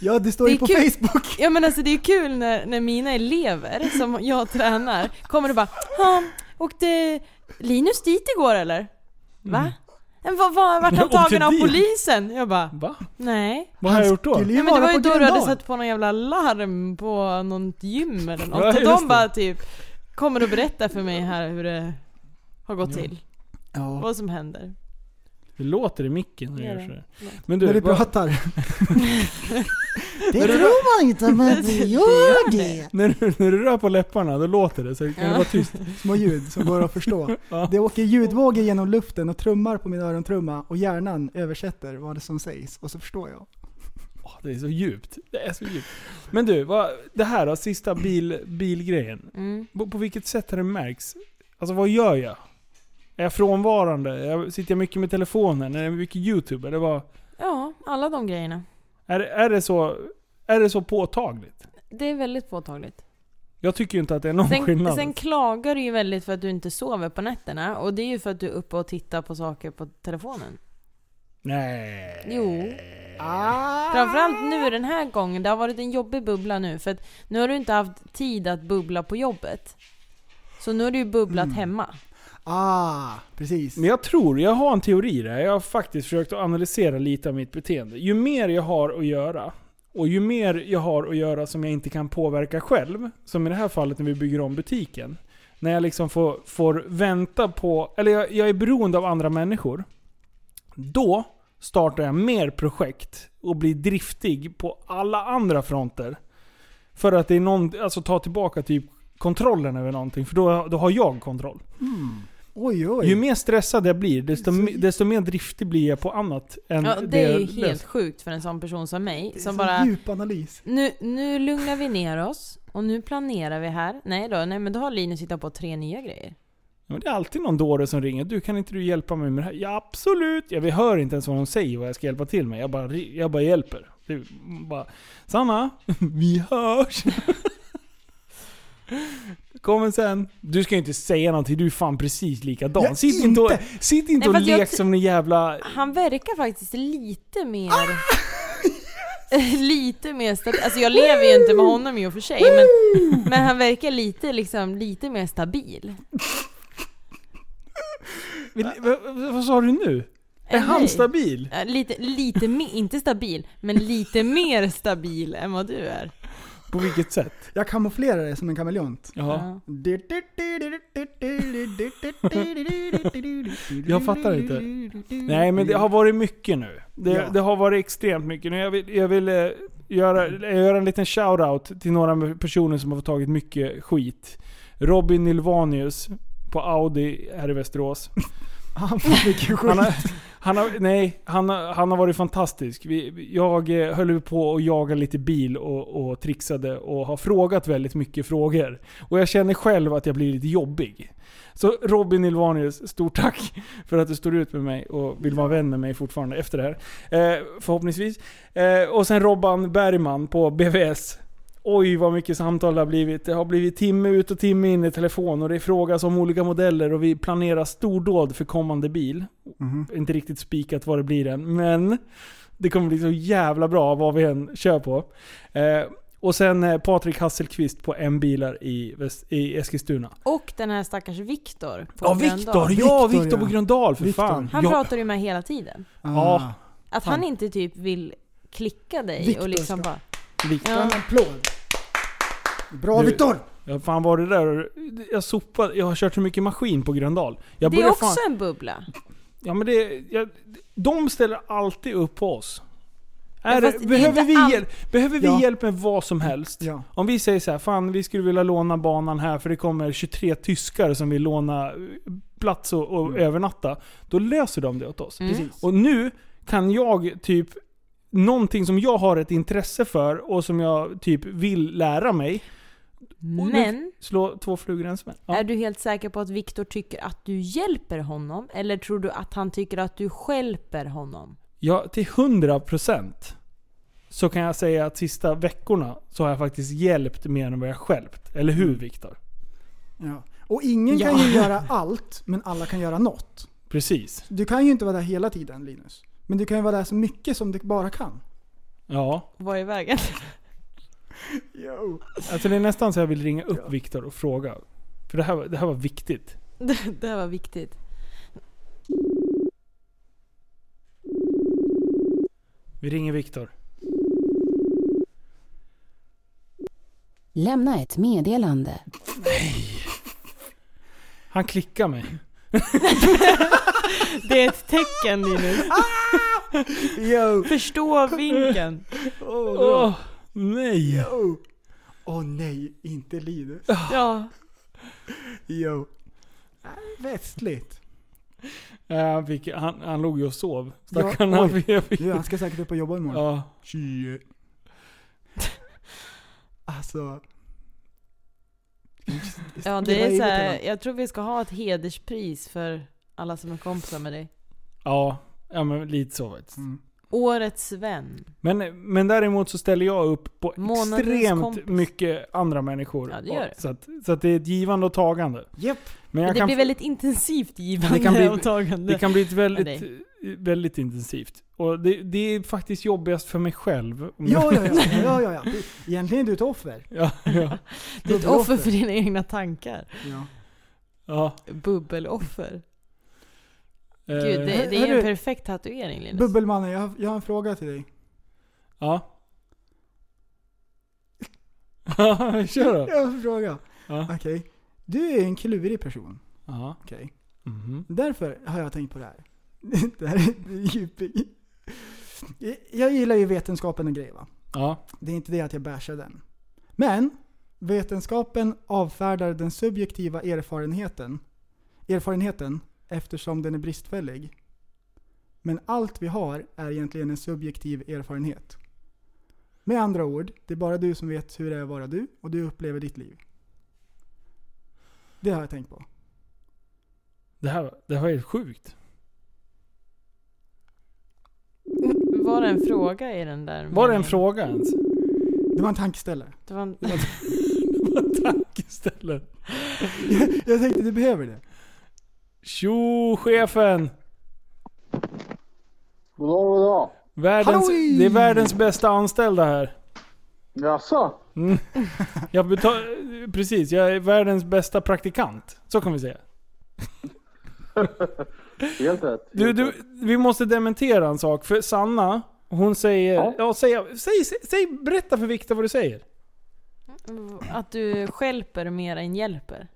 Speaker 7: Ja, det står
Speaker 8: Det
Speaker 7: ju
Speaker 8: är
Speaker 7: på
Speaker 8: kul.
Speaker 7: Facebook.
Speaker 8: Ja men alltså det är kul när, när mina elever som jag tränar kommer och bara "Ja, åkte Linus dit igår eller? Va? Men vad, vad, vart han
Speaker 6: Mm. Åkte
Speaker 8: tagen av
Speaker 6: dit?"
Speaker 8: polisen? Jag bara,
Speaker 6: [LAUGHS] Va?
Speaker 8: nej.
Speaker 6: Vad har jag gjort då?
Speaker 7: Skulle ju
Speaker 8: Ja, men det
Speaker 7: vara
Speaker 8: var ju
Speaker 7: på
Speaker 8: då du hade
Speaker 7: Gröndal.
Speaker 8: satt på någon jävla larm på något gym eller
Speaker 6: [LAUGHS] Ja,
Speaker 8: något. Och
Speaker 6: just det.
Speaker 8: de bara typ kommer och berättar för mig här hur det har gått till.
Speaker 7: Ja.
Speaker 8: Vad som händer.
Speaker 6: Det låter i micken när
Speaker 8: Gör
Speaker 6: jag
Speaker 8: det.
Speaker 6: gör sådär.
Speaker 8: Nej.
Speaker 6: Men
Speaker 7: När
Speaker 6: du,
Speaker 7: du
Speaker 6: vad-
Speaker 7: pratar. det tror man inte, [LAUGHS] men det gör det.
Speaker 6: när, du, när du rör på läpparna då låter det. Så kan det
Speaker 8: Ja.
Speaker 6: vara tyst.
Speaker 7: Små ljud som går att [LAUGHS] förstå.
Speaker 6: Ja.
Speaker 7: Det åker ljudvågor genom luften och trummar på min örontrumma och hjärnan översätter vad det som sägs och så förstår jag.
Speaker 6: Åh, det är så djupt. Det är så djupt. Men du, vad, det här då, sista bil, bilgrejen.
Speaker 8: Mm.
Speaker 6: På, på vilket sätt har det märks? Alltså vad gör jag? Är jag frånvarande? Jag, sitter jag mycket med telefonen? Är det mycket YouTube? Eller vad?
Speaker 8: Ja, alla de grejerna.
Speaker 6: Är, det- är, det så, är det så påtagligt?
Speaker 8: Det är väldigt påtagligt.
Speaker 6: Jag tycker ju inte att det är någon
Speaker 8: Sen,
Speaker 6: skillnad.
Speaker 8: sen klagar du ju väldigt för att du inte sover på nätterna och det är ju för att du är uppe och tittar på saker på telefonen.
Speaker 6: Nej.
Speaker 8: Jo. Ah. Framförallt nu den här gången, det har varit en jobbig bubbla nu för att nu har du inte haft tid att bubbla på jobbet. Så nu har du ju bubblat
Speaker 6: Mm.
Speaker 8: hemma.
Speaker 7: Ah, precis.
Speaker 6: Men jag tror, jag har en teori där. Jag har faktiskt försökt att analysera lite av mitt beteende. Ju mer jag har att göra, och ju mer jag har att göra som jag inte kan påverka själv, som i det här fallet när vi bygger om butiken. När jag liksom får, får vänta på, eller jag, jag är beroende av andra människor. Då startar jag mer projekt och blir driftig på alla andra fronter. För att det är någon, alltså ta tillbaka typ kontrollen över någonting, för då, då har jag kontroll.
Speaker 7: Oj, oj.
Speaker 6: Ju mer stressad jag blir, desto, me- desto mer driftig blir jag på annat än
Speaker 8: Ja, det är ju
Speaker 6: jag
Speaker 8: helt
Speaker 6: löser.
Speaker 8: sjukt för en sån person som mig
Speaker 7: Det är
Speaker 8: som
Speaker 7: sån
Speaker 8: bara
Speaker 7: djup analys.
Speaker 8: nu, nu lugnar vi ner oss och nu planerar vi här. Nej då, nej men då har Linus hittat på tre nya grejer.
Speaker 6: Ja, Men det är alltid någon dåre som ringer. Du, kan inte du hjälpa mig med det här? Ja, absolut! Jag vi hör inte ens vad de säger vad jag ska hjälpa till med. Jag bara, ri- jag bara hjälper. Det är bara, Sanna, [LAUGHS] vi hörs! [LAUGHS] Kommer sen. Du ska ju inte säga någonting, du är fan precis likadan.
Speaker 7: Jag
Speaker 6: sitt inte och,
Speaker 7: inte.
Speaker 6: sitt inte
Speaker 8: Nej,
Speaker 6: och
Speaker 8: fast jag
Speaker 6: lek
Speaker 8: ty-
Speaker 6: som en jävla...
Speaker 8: Han verkar faktiskt lite mer...
Speaker 6: Ah!
Speaker 8: [LAUGHS] lite mer stabil. Alltså jag lever ju inte med honom i och för sig, men, men han verkar lite, liksom, lite mer stabil.
Speaker 6: Vill-
Speaker 8: Ah.
Speaker 6: vad- vad- Vad sa du nu? Är
Speaker 8: Än
Speaker 6: han
Speaker 8: dig.
Speaker 6: stabil?
Speaker 8: Ja, Lite, lite me- inte stabil, men lite mer stabil än vad du är.
Speaker 6: På vilket sätt?
Speaker 7: Jag kamouflerar det som en kameleont.
Speaker 6: Ja.
Speaker 8: Ja.
Speaker 6: Jag fattar inte. Nej men det har varit mycket nu. Det,
Speaker 7: Ja.
Speaker 6: det har varit extremt mycket nu. Jag vill, jag vill eh, göra, göra en liten shout-out till några personer som har tagit mycket skit. Robin Nylvanius på Audi här i Västerås.
Speaker 7: Han får mycket
Speaker 6: Han har,
Speaker 7: skit.
Speaker 6: han har, nej, han har, han har varit fantastisk. Vi, jag eh, höll ju på att jaga lite bil och, och trixade och har frågat väldigt mycket frågor. Och jag känner själv att jag blir lite jobbig. Så Robin Ilvanius, stort tack för att du står ut med mig och vill vara vän med mig fortfarande efter det här. Eh, förhoppningsvis. Eh, och sen Robban Bergman på BVS. Oj vad mycket samtal det har blivit. Det har blivit timme ut och timme in i telefon och det frågas om olika modeller och vi planerar stordåd för kommande bil
Speaker 7: Mhm.
Speaker 6: inte riktigt spikat vad det blir än. Men det kommer bli så jävla bra vad vi än kör på. Eh, och sen eh, Patrik Hasselqvist på M bilar i, Väst- i Eskilstuna.
Speaker 8: Och den här stackars Viktor. på
Speaker 6: Ja
Speaker 8: Gröndal.
Speaker 6: Viktor! Ja
Speaker 7: Viktor,
Speaker 6: Viktor på
Speaker 7: ja.
Speaker 6: Gröndal för
Speaker 7: Viktor.
Speaker 6: fan!
Speaker 8: Han
Speaker 6: ja,
Speaker 8: pratar ju med hela tiden.
Speaker 7: Ah.
Speaker 6: Ja.
Speaker 8: Att han inte typ vill klicka dig
Speaker 7: Viktor
Speaker 8: och liksom
Speaker 7: ska-
Speaker 8: bara...
Speaker 6: Viktor.
Speaker 7: En applåd. Bra
Speaker 6: Du-
Speaker 7: Viktor!
Speaker 6: Ja, fan var det där Jag sopade, jag har kört så mycket maskin på Gröndal. Jag
Speaker 8: det är
Speaker 6: började
Speaker 8: också
Speaker 6: fan-
Speaker 8: en bubbla.
Speaker 6: Ja men det, jag, de ställer alltid upp på oss.
Speaker 8: Ja,
Speaker 6: Är det,
Speaker 8: fast det är
Speaker 6: behöver,
Speaker 8: inte
Speaker 6: vi
Speaker 8: all-
Speaker 6: hjälp, behöver vi
Speaker 7: Ja.
Speaker 6: hjälp med vad som helst?
Speaker 7: Ja.
Speaker 6: Om vi säger så här, fan vi skulle vilja låna banan här för det kommer 23 tyskar som vill låna eh, plats och, och övernatta. Då löser de det åt oss.
Speaker 8: Mm.
Speaker 7: Precis.
Speaker 6: Och nu kan jag typ Någonting som jag har ett intresse för och som jag typ vill lära mig. Och nu-
Speaker 8: Men,
Speaker 6: Slå två flugor i en smäll. Mm. Ja.
Speaker 8: är du helt säker på att Viktor tycker att du hjälper honom? Eller tror du att han tycker att du stjälper honom?
Speaker 6: Ja, till 100% så kan jag säga att sista veckorna så har jag faktiskt hjälpt mer än vad jag skälpt. Eller
Speaker 8: Mm.
Speaker 6: hur Viktor?
Speaker 7: Ja. Och ingen kan ju göra allt, men alla kan göra något.
Speaker 6: Precis.
Speaker 7: Du kan ju inte vara där hela tiden Linus. Men du kan ju vara där så mycket som du bara kan.
Speaker 6: Ja.
Speaker 8: Var är vägen?
Speaker 7: Jo.
Speaker 6: Alltså det är nästan så jag vill ringa upp Viktor och fråga. För det här, var- det här var viktigt.
Speaker 8: [LAUGHS] Det, det här var viktigt.
Speaker 6: Vi ringer Viktor.
Speaker 9: Lämna ett meddelande.
Speaker 6: Han klickar mig.
Speaker 8: Det är ett tecken Linus.
Speaker 7: Jo.
Speaker 8: [LAUGHS] Förstå vinken.
Speaker 7: Åh
Speaker 6: Åh, nej.
Speaker 7: Jo. Åh nej, inte Linus.
Speaker 8: Ja.
Speaker 7: Jo. Äh, Västligt.
Speaker 6: Ja, Han, fick, han, han låg ju och sov.
Speaker 7: Ja,
Speaker 6: Stackarn. han
Speaker 7: oj.
Speaker 6: fick-
Speaker 7: [LAUGHS] Du, han ska säkert upp och jobba imorgon.
Speaker 6: Ja.
Speaker 7: Tjie. Alltså. Lilla
Speaker 8: Ja, det är
Speaker 7: Ivy
Speaker 8: så
Speaker 7: till
Speaker 8: här,
Speaker 7: honom.
Speaker 8: jag tror vi ska ha ett hederspris för alla som är kompisar med dig.
Speaker 6: Ja. Ja men lite så faktiskt.
Speaker 8: Årets Sven.
Speaker 6: Men, men däremot så ställer jag upp på
Speaker 8: Månadens
Speaker 6: extremt
Speaker 8: kompis.
Speaker 6: mycket andra människor.
Speaker 8: Ja, det gör det.
Speaker 6: Så, att, så att det är ett givande och tagande.
Speaker 7: Japp.
Speaker 6: Men jag
Speaker 8: det
Speaker 6: kan,
Speaker 8: blir väldigt intensivt givande
Speaker 6: Det kan bli-
Speaker 8: och tagande.
Speaker 6: det kan bli ett väldigt,
Speaker 8: Nej.
Speaker 6: väldigt intensivt. Och det, det är faktiskt jobbigast för mig själv. Om
Speaker 7: Ja,
Speaker 6: jag- [LAUGHS]
Speaker 7: ja, ja, ja, ja, ja. Egentligen är du ett offer.
Speaker 6: ja, ja,
Speaker 8: Du är ett
Speaker 7: Bubbeloffer.
Speaker 8: offer för dina egna tankar.
Speaker 7: Ja.
Speaker 6: ja.
Speaker 8: Bubbeloffer.
Speaker 6: Eh,
Speaker 8: Gud, det, det är ju
Speaker 7: hörru.
Speaker 8: en perfekt tatuering Linus.
Speaker 7: Bubbelmannen, jag har, jag har en fråga till dig.
Speaker 6: Ja. Ja, [LAUGHS] kör då.
Speaker 7: Jag har en fråga.
Speaker 6: Ja.
Speaker 7: Okej. Du är en klurig person.
Speaker 6: Ja.
Speaker 7: Okej.
Speaker 6: Mhm.
Speaker 7: Därför har jag tänkt på det här. [LAUGHS] det här är det är djup- Jag gillar ju vetenskapen och grejer va.
Speaker 6: ja.
Speaker 7: Det är inte det att jag bashar den. Men vetenskapen avfärdar den subjektiva erfarenheten, erfarenheten eftersom den är bristfällig. Men allt vi har är egentligen en subjektiv erfarenhet. Med andra ord, det är bara du som vet hur det är att vara du och du upplever ditt liv. Det har jag tänkt på.
Speaker 6: Det här, var- det här var helt sjukt.
Speaker 8: Var det en fråga i den
Speaker 6: Var
Speaker 8: där
Speaker 6: det en
Speaker 8: meningen?
Speaker 6: fråga ens? [LAUGHS]
Speaker 7: Det var en tankeställare. [LAUGHS]
Speaker 8: Det var en...
Speaker 6: Det var en tanke istället.
Speaker 7: Jag tänkte du behöver det.
Speaker 6: Tjo chefen!
Speaker 10: Goddag, goddag.
Speaker 6: Världens,
Speaker 7: Halloj!
Speaker 6: det är världens bästa anställda här. Mm.
Speaker 10: Jaså?
Speaker 6: Jag betal, precis, jag är världens bästa praktikant. Så kan vi säga.
Speaker 10: [LAUGHS] Helt rätt.
Speaker 6: Du, du, vi måste dementera en sak. För Sanna, hon säger... Ja.
Speaker 10: Ja.
Speaker 6: säg, säg, säg, säg, berätta för Viktor vad du säger.
Speaker 8: Att du skälper mer än hjälper.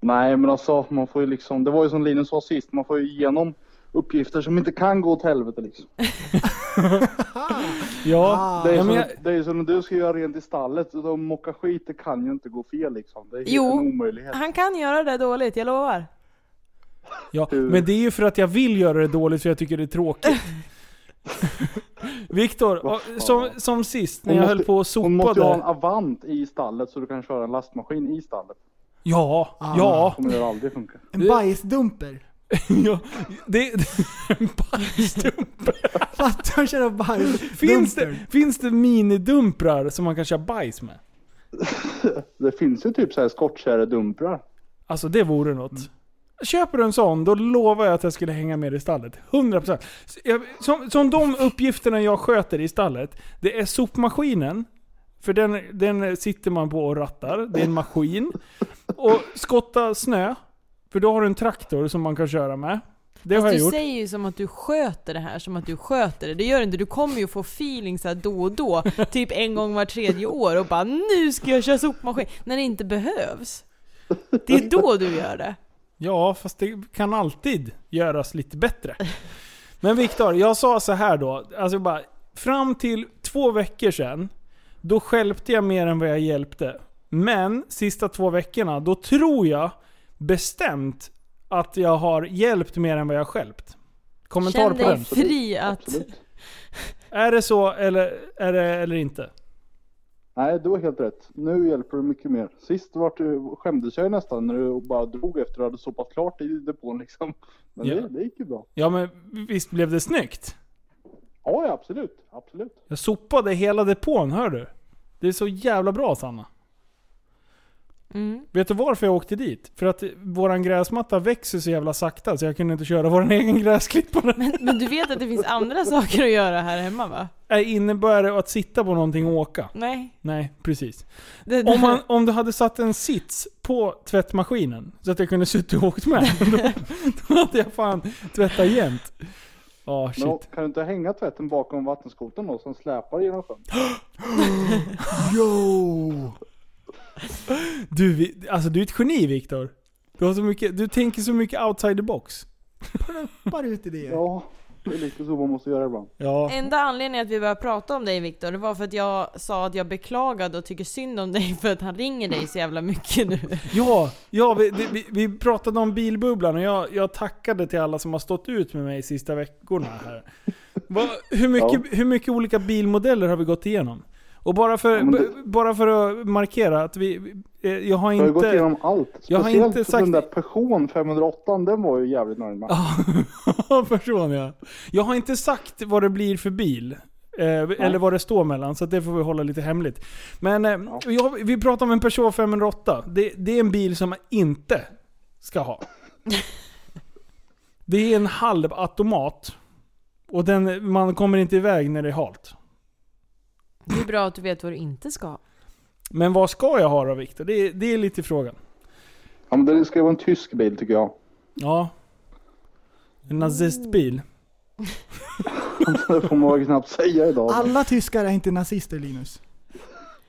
Speaker 10: Nej, men alltså man får ju liksom, det var ju som Linus sa sist, man får ju igenom uppgifter som inte kan gå åt helvete liksom.
Speaker 6: Ja,
Speaker 10: Det är,
Speaker 6: ja,
Speaker 10: som,
Speaker 6: men jag,
Speaker 10: det är som när du ska göra rent i stallet, och mocka skit, det kan ju inte gå fel liksom. Det är
Speaker 8: Jo.
Speaker 10: helt en omöjlighet.
Speaker 8: Han kan göra det dåligt, jag lovar.
Speaker 6: ja, men det är ju för att jag vill göra det dåligt för jag tycker det är tråkigt. Viktor,
Speaker 10: Vad
Speaker 6: ja,
Speaker 10: fan.
Speaker 6: som, som sist när
Speaker 10: Hon
Speaker 6: jag
Speaker 10: måste-
Speaker 6: höll på och
Speaker 10: Hon måste ju ha en
Speaker 6: sopade.
Speaker 10: Avant i stallet så du kan köra en lastmaskin i stallet.
Speaker 6: Ja,
Speaker 10: Det
Speaker 6: ja.
Speaker 10: kommer det aldrig funka.
Speaker 7: En bajsdumper.
Speaker 6: ja det, [LAUGHS] en bajsdump.
Speaker 7: Fattar du köra bajs?
Speaker 6: Finns det, finns det minidumprar som man kan köra bajs med?
Speaker 10: Det finns ju typ så här skottkärredumprar.
Speaker 6: Alltså det vore något. Köper du en sån, då lovar jag att jag skulle hänga med i stallet. 100%. Så jag- Som, som de uppgifterna jag sköter i stallet, det är sopmaskinen. För den, den sitter man på och rattar. Det är en maskin. Och skotta snö. För då har du en traktor som man kan köra med. Det har
Speaker 8: Fast
Speaker 6: jag
Speaker 8: du
Speaker 6: gjort.
Speaker 8: säger ju som att du sköter det här, som att du sköter det. Det gör du inte. Du kommer ju få feeling så här då
Speaker 6: [LAUGHS]
Speaker 8: och då, typ en gång var tredje år och bara nu ska jag köra sopmaskin, när det inte behövs. Det är då du gör det.
Speaker 6: Ja, fast det kan alltid göras lite bättre. Men Viktor, jag sa så här då. Alltså bara, fram till två veckor sedan, då skälpte jag mer än vad jag hjälpte. Men sista två veckorna, då tror jag bestämt att jag har hjälpt mer än vad jag skälpt. Kommentar
Speaker 8: Känn
Speaker 6: på den.
Speaker 8: dig fri att...
Speaker 10: Absolut.
Speaker 6: Är det så eller, är det, eller inte?
Speaker 10: Nej, du har helt rätt. Nu hjälper du mycket mer. Sist vart du, skämdes jag ju nästan när du bara drog efter att du hade sopat klart i depån liksom. Men
Speaker 6: Ja.
Speaker 10: det, det gick ju bra.
Speaker 6: Ja men visst blev det snyggt?
Speaker 10: Ja, ja absolut. Absolut.
Speaker 6: Jag sopade hela depån, hör du? Det är så jävla bra Sanna.
Speaker 8: Mm.
Speaker 6: Vet du varför jag åkte dit? För att våran gräsmatta växer så jävla sakta så jag kunde inte köra våran [LAUGHS] egen gräsklippare.
Speaker 8: Men, men du vet att det finns andra saker att göra här hemma va?
Speaker 6: Äh, innebär det att sitta på någonting och åka?
Speaker 8: Nej.
Speaker 6: Nej, precis.
Speaker 8: Det,
Speaker 6: Om, man, om du hade satt en sits på tvättmaskinen så att jag kunde sitta och åkt med. [LAUGHS] Då, då hade jag fan tvättat jämt. Ja,
Speaker 10: Men
Speaker 6: shit.
Speaker 10: kan du inte hänga tvätten bakom vattenskotern då som släpar genom sjön?
Speaker 6: Yo! Du, vi- alltså du är ett geni Viktor. Du, har så mycket- du tänker så mycket outside the box.
Speaker 7: Bara ut idéer.
Speaker 10: Ja, det är lite så man måste göra ibland.
Speaker 6: Ja.
Speaker 8: Enda anledningen att vi började prata om dig Viktor, det var för att jag sa att jag beklagade och tycker synd om dig för att han ringer dig så jävla mycket nu.
Speaker 6: Ja, ja vi, det- vi, vi pratade om bilbubblan och jag, jag tackade till alla som har stått ut med mig sista veckorna här. Va, hur, mycket, hur mycket olika bilmodeller har vi gått igenom? Och bara för,
Speaker 10: Ja, men det-
Speaker 6: b- bara för att markera att vi, vi- eh, jag har
Speaker 10: Jag har ju gått
Speaker 6: inte...
Speaker 10: igenom allt. Speciellt
Speaker 6: Jag har inte sagt-
Speaker 10: den där Peugeot 508, den var jag ju jävligt nöjd med.
Speaker 6: Person, [LAUGHS] ja. Jag har inte sagt vad det blir för bil. Eh, eller vad det står mellan, så att det får vi hålla lite hemligt. Men eh, jag, vi pratar om en Peugeot 508. Det, det är en bil som man inte ska
Speaker 8: [LAUGHS]
Speaker 6: ha. det är en halvautomat. Och den, man kommer inte iväg när det är halt.
Speaker 8: Det är bra att du vet vad du inte ska ha.
Speaker 6: Men vad ska jag ha då Viktor? Det, är- det är lite frågan.
Speaker 10: Ja, men det ska ju vara en tysk bil tycker jag. [LAUGHS]
Speaker 6: Ja. En nazistbil.
Speaker 10: Det får man väl knappt säga idag.
Speaker 7: Alla tyskar är inte nazister Linus.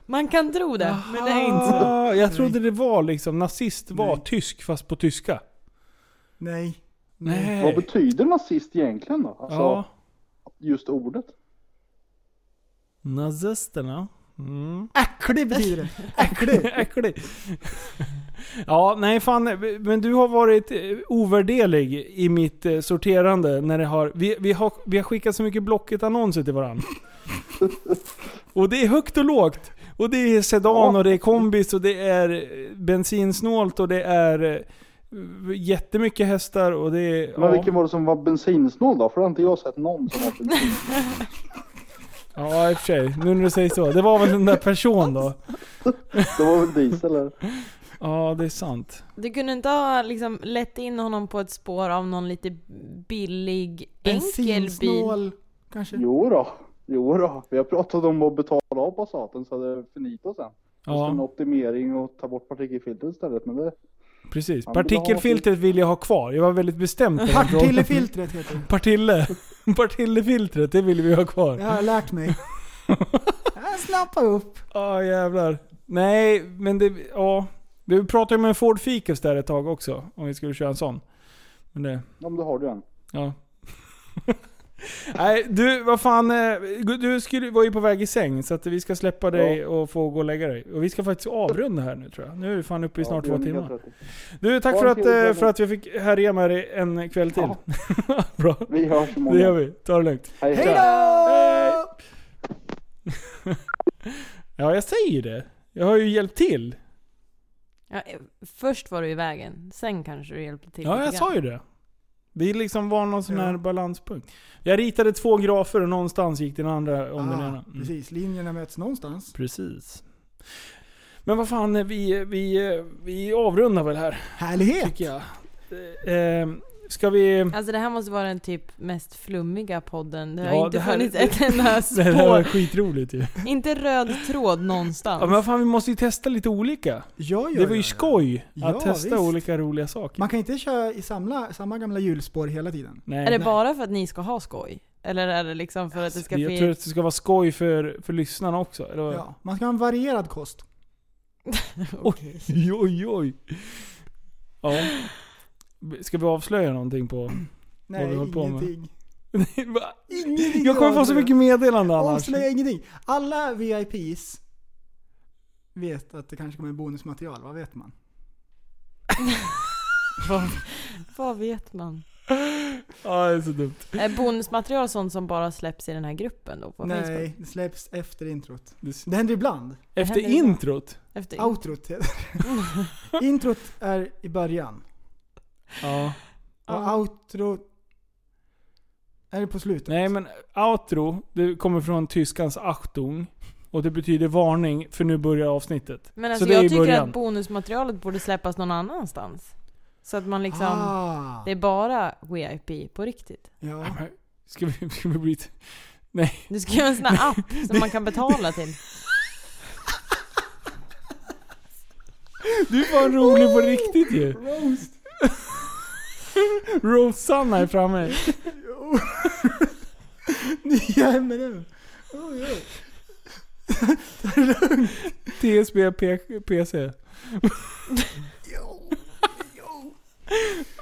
Speaker 8: Man kan tro det, men det är inte så.
Speaker 6: Ah, jag trodde det var liksom, nazist var
Speaker 7: Nej.
Speaker 6: tysk fast på tyska.
Speaker 7: Nej.
Speaker 6: Nej.
Speaker 10: Vad betyder nazist egentligen då? Alltså,
Speaker 6: Ja.
Speaker 10: just ordet.
Speaker 6: Nazisterna. Mm.
Speaker 7: Äcklig betyder det.
Speaker 6: [LAUGHS]
Speaker 10: [LAUGHS]
Speaker 7: Äcklig.
Speaker 6: Äcklig. Ja, nej fan. Men du har varit eh, ovärdelig i mitt eh, sorterande när det har... Vi, vi, har, vi har skickat så mycket Blocket-annonser till varandra. Och det är högt och lågt. Och det är sedan och det är kombis och det är eh, bensinsnålt och det är eh, jättemycket hästar och det är...
Speaker 10: Men
Speaker 6: ja.
Speaker 10: vilken var det som var bensinsnål då? För det har inte jag sett någon som
Speaker 6: [LAUGHS]
Speaker 10: har bensin.
Speaker 6: Ja, i och för sig. Nu när du säger så. Det var väl den där personen då.
Speaker 10: Det var väl diesel eller?
Speaker 6: Ja, det är sant.
Speaker 8: Du kunde inte ha liksom lett in honom på ett spår av någon lite billig, enkel bil?
Speaker 7: Bensinsnål kanske.
Speaker 10: Jo då. Jo då. Vi har pratat om att betala av Passaten så det är finito sen. Ja. En
Speaker 6: Ja,
Speaker 10: optimering och ta bort partikelfiltret istället. Men det,
Speaker 6: precis.
Speaker 10: Han vill ha-
Speaker 6: Partikelfiltret vill jag ha kvar. Jag var väldigt bestämd på den frågan.
Speaker 7: Partillefiltret heter det.
Speaker 6: [LAUGHS] Partille. [LAUGHS] Partillefiltret, det vill vi ha
Speaker 7: Det
Speaker 6: kvar.
Speaker 7: har jag
Speaker 6: [LAUGHS]
Speaker 7: lärt mig. Jag snappar upp.
Speaker 6: Ja, jävlar. Nej, men det... Ja. Vi pratade ju med en Ford Ficus där ett tag också. Om vi skulle köra en sån. Men det...
Speaker 10: ja, men det har du en.
Speaker 6: Ja. [LAUGHS] Nej, du vad fan. eh, Du skulle, var ju på väg i säng så att vi ska släppa dig och få gå och lägga dig. Och vi ska faktiskt avrunda här nu tror jag. Nu är vi fan uppe i snart
Speaker 10: Ja,
Speaker 6: två
Speaker 10: det är
Speaker 6: timmar.
Speaker 10: 9.30.
Speaker 6: Du, tack
Speaker 10: Ha
Speaker 6: för
Speaker 10: en
Speaker 6: att,
Speaker 10: trevlig
Speaker 6: eh,
Speaker 10: kväll.
Speaker 6: för att vi fick härja med dig en kväll till. [LAUGHS] Bra.
Speaker 10: Vi hörs imorgon.
Speaker 6: Det gör vi. Ta det lugnt.
Speaker 10: Hej,
Speaker 7: Hej
Speaker 10: hej.
Speaker 7: då!
Speaker 6: Ja, jag säger ju det. Jag har ju hjälpt till.
Speaker 8: Ja, eh, först var du i vägen, sen kanske du hjälpte till
Speaker 6: Ja,
Speaker 8: lite
Speaker 6: jag
Speaker 8: grann.
Speaker 6: sa ju det. Det liksom var någon sån
Speaker 7: Ja.
Speaker 6: här balanspunkt. Jag ritade två grafer och någonstans gick den andra om den ena.
Speaker 7: Ah,
Speaker 6: Mm.
Speaker 7: precis, linjerna möts någonstans.
Speaker 6: Precis. Men vad fan, vi, vi, vi avrundar väl här
Speaker 7: Härlighet!
Speaker 6: tycker jag. Eh, Ska vi...
Speaker 8: Alltså det här måste vara den typ mest flummiga podden. Det har
Speaker 6: Ja,
Speaker 8: inte
Speaker 6: det här-
Speaker 8: funnits ett enda
Speaker 6: [LAUGHS] Det här var
Speaker 8: spår.
Speaker 6: skitroligt ju.
Speaker 8: Inte röd tråd någonstans.
Speaker 6: Ja, men vad fan, vi måste ju testa lite olika.
Speaker 7: Ja, ja,
Speaker 6: Det var ju
Speaker 7: ja.
Speaker 6: skoj att
Speaker 7: Ja,
Speaker 6: testa
Speaker 7: visst.
Speaker 6: olika roliga saker.
Speaker 7: Man kan inte köra i samla, samma gamla hjulspår hela tiden.
Speaker 6: Nej.
Speaker 8: Är det
Speaker 7: Nej.
Speaker 8: bara för att ni ska ha skoj? Eller är det liksom för att det ska
Speaker 6: jag tror
Speaker 8: bli...
Speaker 6: att det ska vara skoj för, för lyssnarna också. Eller? [LAUGHS] vad?
Speaker 7: Ja, man ska ha en varierad kost.
Speaker 8: Okej.
Speaker 6: Oj, oj, oj. Ja. Ska vi avslöja någonting på... Vad har
Speaker 7: Nej,
Speaker 6: vi hållit på med?
Speaker 7: ingenting.
Speaker 6: Va?
Speaker 7: Ingenting
Speaker 6: jag kommer få så
Speaker 7: avslöja.
Speaker 6: mycket meddelanden annars.
Speaker 7: Avslöja ingenting. Alla VIPs vet att det kanske kommer bonusmaterial, vad vet man?
Speaker 8: [LAUGHS] Vad vet man?
Speaker 6: [LAUGHS] Ja, det är så dumt.
Speaker 8: Är bonusmaterial sånt som bara släpps i den här gruppen då på Facebook?
Speaker 7: Nej, det släpps efter introt.
Speaker 6: Det s-
Speaker 7: Det
Speaker 6: [LAUGHS]
Speaker 7: händer ibland.
Speaker 6: Efter
Speaker 8: händer ibland.
Speaker 6: introt.
Speaker 8: Efter
Speaker 7: Outrot heter det. Introt är i början.
Speaker 6: Ja.
Speaker 7: Och outro är det på slutet.
Speaker 6: Nej men outro, det kommer från tyskans Achtung. Och det betyder varning, för nu börjar avsnittet.
Speaker 8: Men alltså
Speaker 6: så det är
Speaker 8: jag
Speaker 6: i
Speaker 8: tycker
Speaker 6: början.
Speaker 8: att bonusmaterialet borde släppas någon annanstans. Så att man liksom...
Speaker 7: ah,
Speaker 8: Det är bara VIP på riktigt.
Speaker 7: ja. [LAUGHS]
Speaker 6: Ska vi, ska vi bli... [LAUGHS] t- Nej.
Speaker 8: Du ska göra en sån här app som man kan
Speaker 6: [LAUGHS]
Speaker 8: betala till.
Speaker 6: Du var rolig på riktigt ju. [LAUGHS] Roast. Rosanna är framme.
Speaker 7: Nya M&M. Oh, ja.
Speaker 6: TSB P- PC.
Speaker 7: Jo, jo.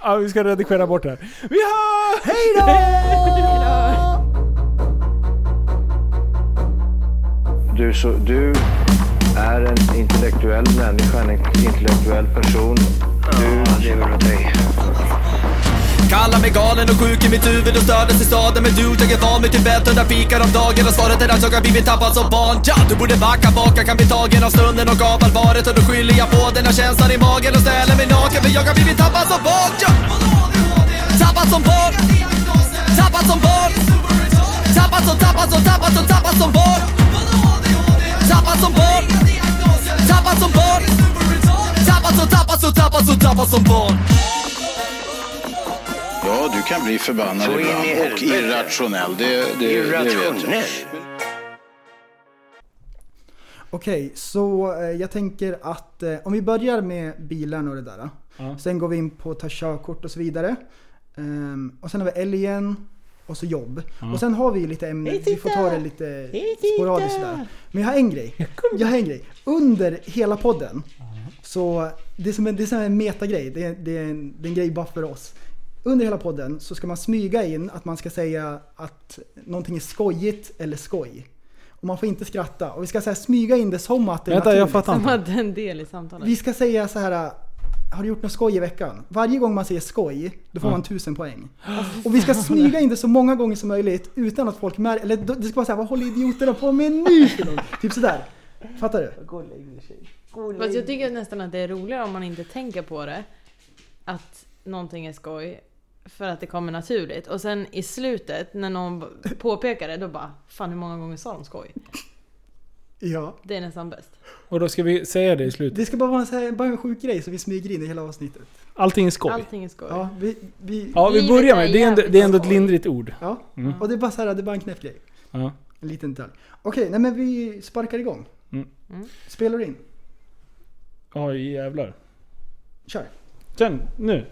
Speaker 6: Ja, vi ska redigera bort det här. Vi har...
Speaker 3: Du, så, du är en intellektuell människa, en intellektuell person. Du lever av dig.
Speaker 1: Kallar mig galen och sjuk i mitt huvud och stördes i staden Men du, jag är van vid Tibet under fikar om dagen Och svaret är att jag har blivit tappad som barn ja, Du borde backa bak, jag kan bli tagen av stunden och av allvaret Och då skyller jag på den här känslan i magen och ställer mig naken För jag har blivit tappad som barn ja. Tappad som barn Tappad som barn Tappad som, tappad som, tappad som, tappad som barn Tappad som barn Tappad som barn Tappad som, tappad som, tappad som, tappad som barn
Speaker 2: Ja, du kan bli förbannad
Speaker 3: Så in i
Speaker 2: ibland och
Speaker 3: helvete.
Speaker 2: irrationell. Det, det, det vet jag.
Speaker 3: Irrationell.
Speaker 7: Okej, så eh, jag tänker att eh, om vi börjar med bilarna och det där. eh,
Speaker 6: Ja.
Speaker 7: Sen går vi in på att ta körkort och så vidare. Ehm, och sen har vi älgen och så jobb. Och sen har vi ju lite ämnen, vi får ta det lite sporadiskt sådär. Men jag har en grej. Jag har en grej. Under hela podden, så det är som en, det är som en metagrej. Det är, det, är en, det är en grej bara för oss. Under hela podden så ska man smyga in att man ska säga att någonting är skojigt eller skoj. Och man får inte skratta. Och vi ska så här smyga in det som att det är
Speaker 6: Vänta, jag
Speaker 7: naturligt.
Speaker 6: fattar
Speaker 8: Som
Speaker 6: inte.
Speaker 8: hade en del i samtalet.
Speaker 7: Vi ska säga så här. Har du gjort något skoj i veckan? Varje gång man säger skoj, då får man 1000 poäng. Och vi ska smyga in det så många gånger som möjligt utan att folk märker. Eller då- det ska vara såhär, vad håller idioterna på med nu? för något? typ sådär. Fattar du?
Speaker 8: Fast jag tycker nästan att det är roligare om man inte tänker på det. Att någonting är skoj. För att det kommer naturligt. Och sen i slutet när någon b- påpekar det då bara Fan hur många gånger sa de skoj?
Speaker 7: Ja.
Speaker 8: Det är nästan bäst.
Speaker 6: Och då ska vi säga det i slutet.
Speaker 7: Det ska bara vara en, så här, bara en sjuk grej så vi smyger in i hela avsnittet.
Speaker 6: Allting är skoj.
Speaker 8: Allting är skoj.
Speaker 7: Ja, vi, vi, ja.
Speaker 6: Ja, vi
Speaker 8: Livet
Speaker 6: börjar
Speaker 8: är
Speaker 6: med. Det är ändå, det är ändå ett
Speaker 8: jävligt
Speaker 6: lindrigt ord.
Speaker 7: Och det är bara så här, det är bara en knäpp grej.
Speaker 6: Ja.
Speaker 7: En liten detalj. Okej, nej men vi sparkar igång.
Speaker 6: Mm.
Speaker 7: Spelar in.
Speaker 6: Oj jävlar.
Speaker 7: Kör.
Speaker 6: Sen, nu.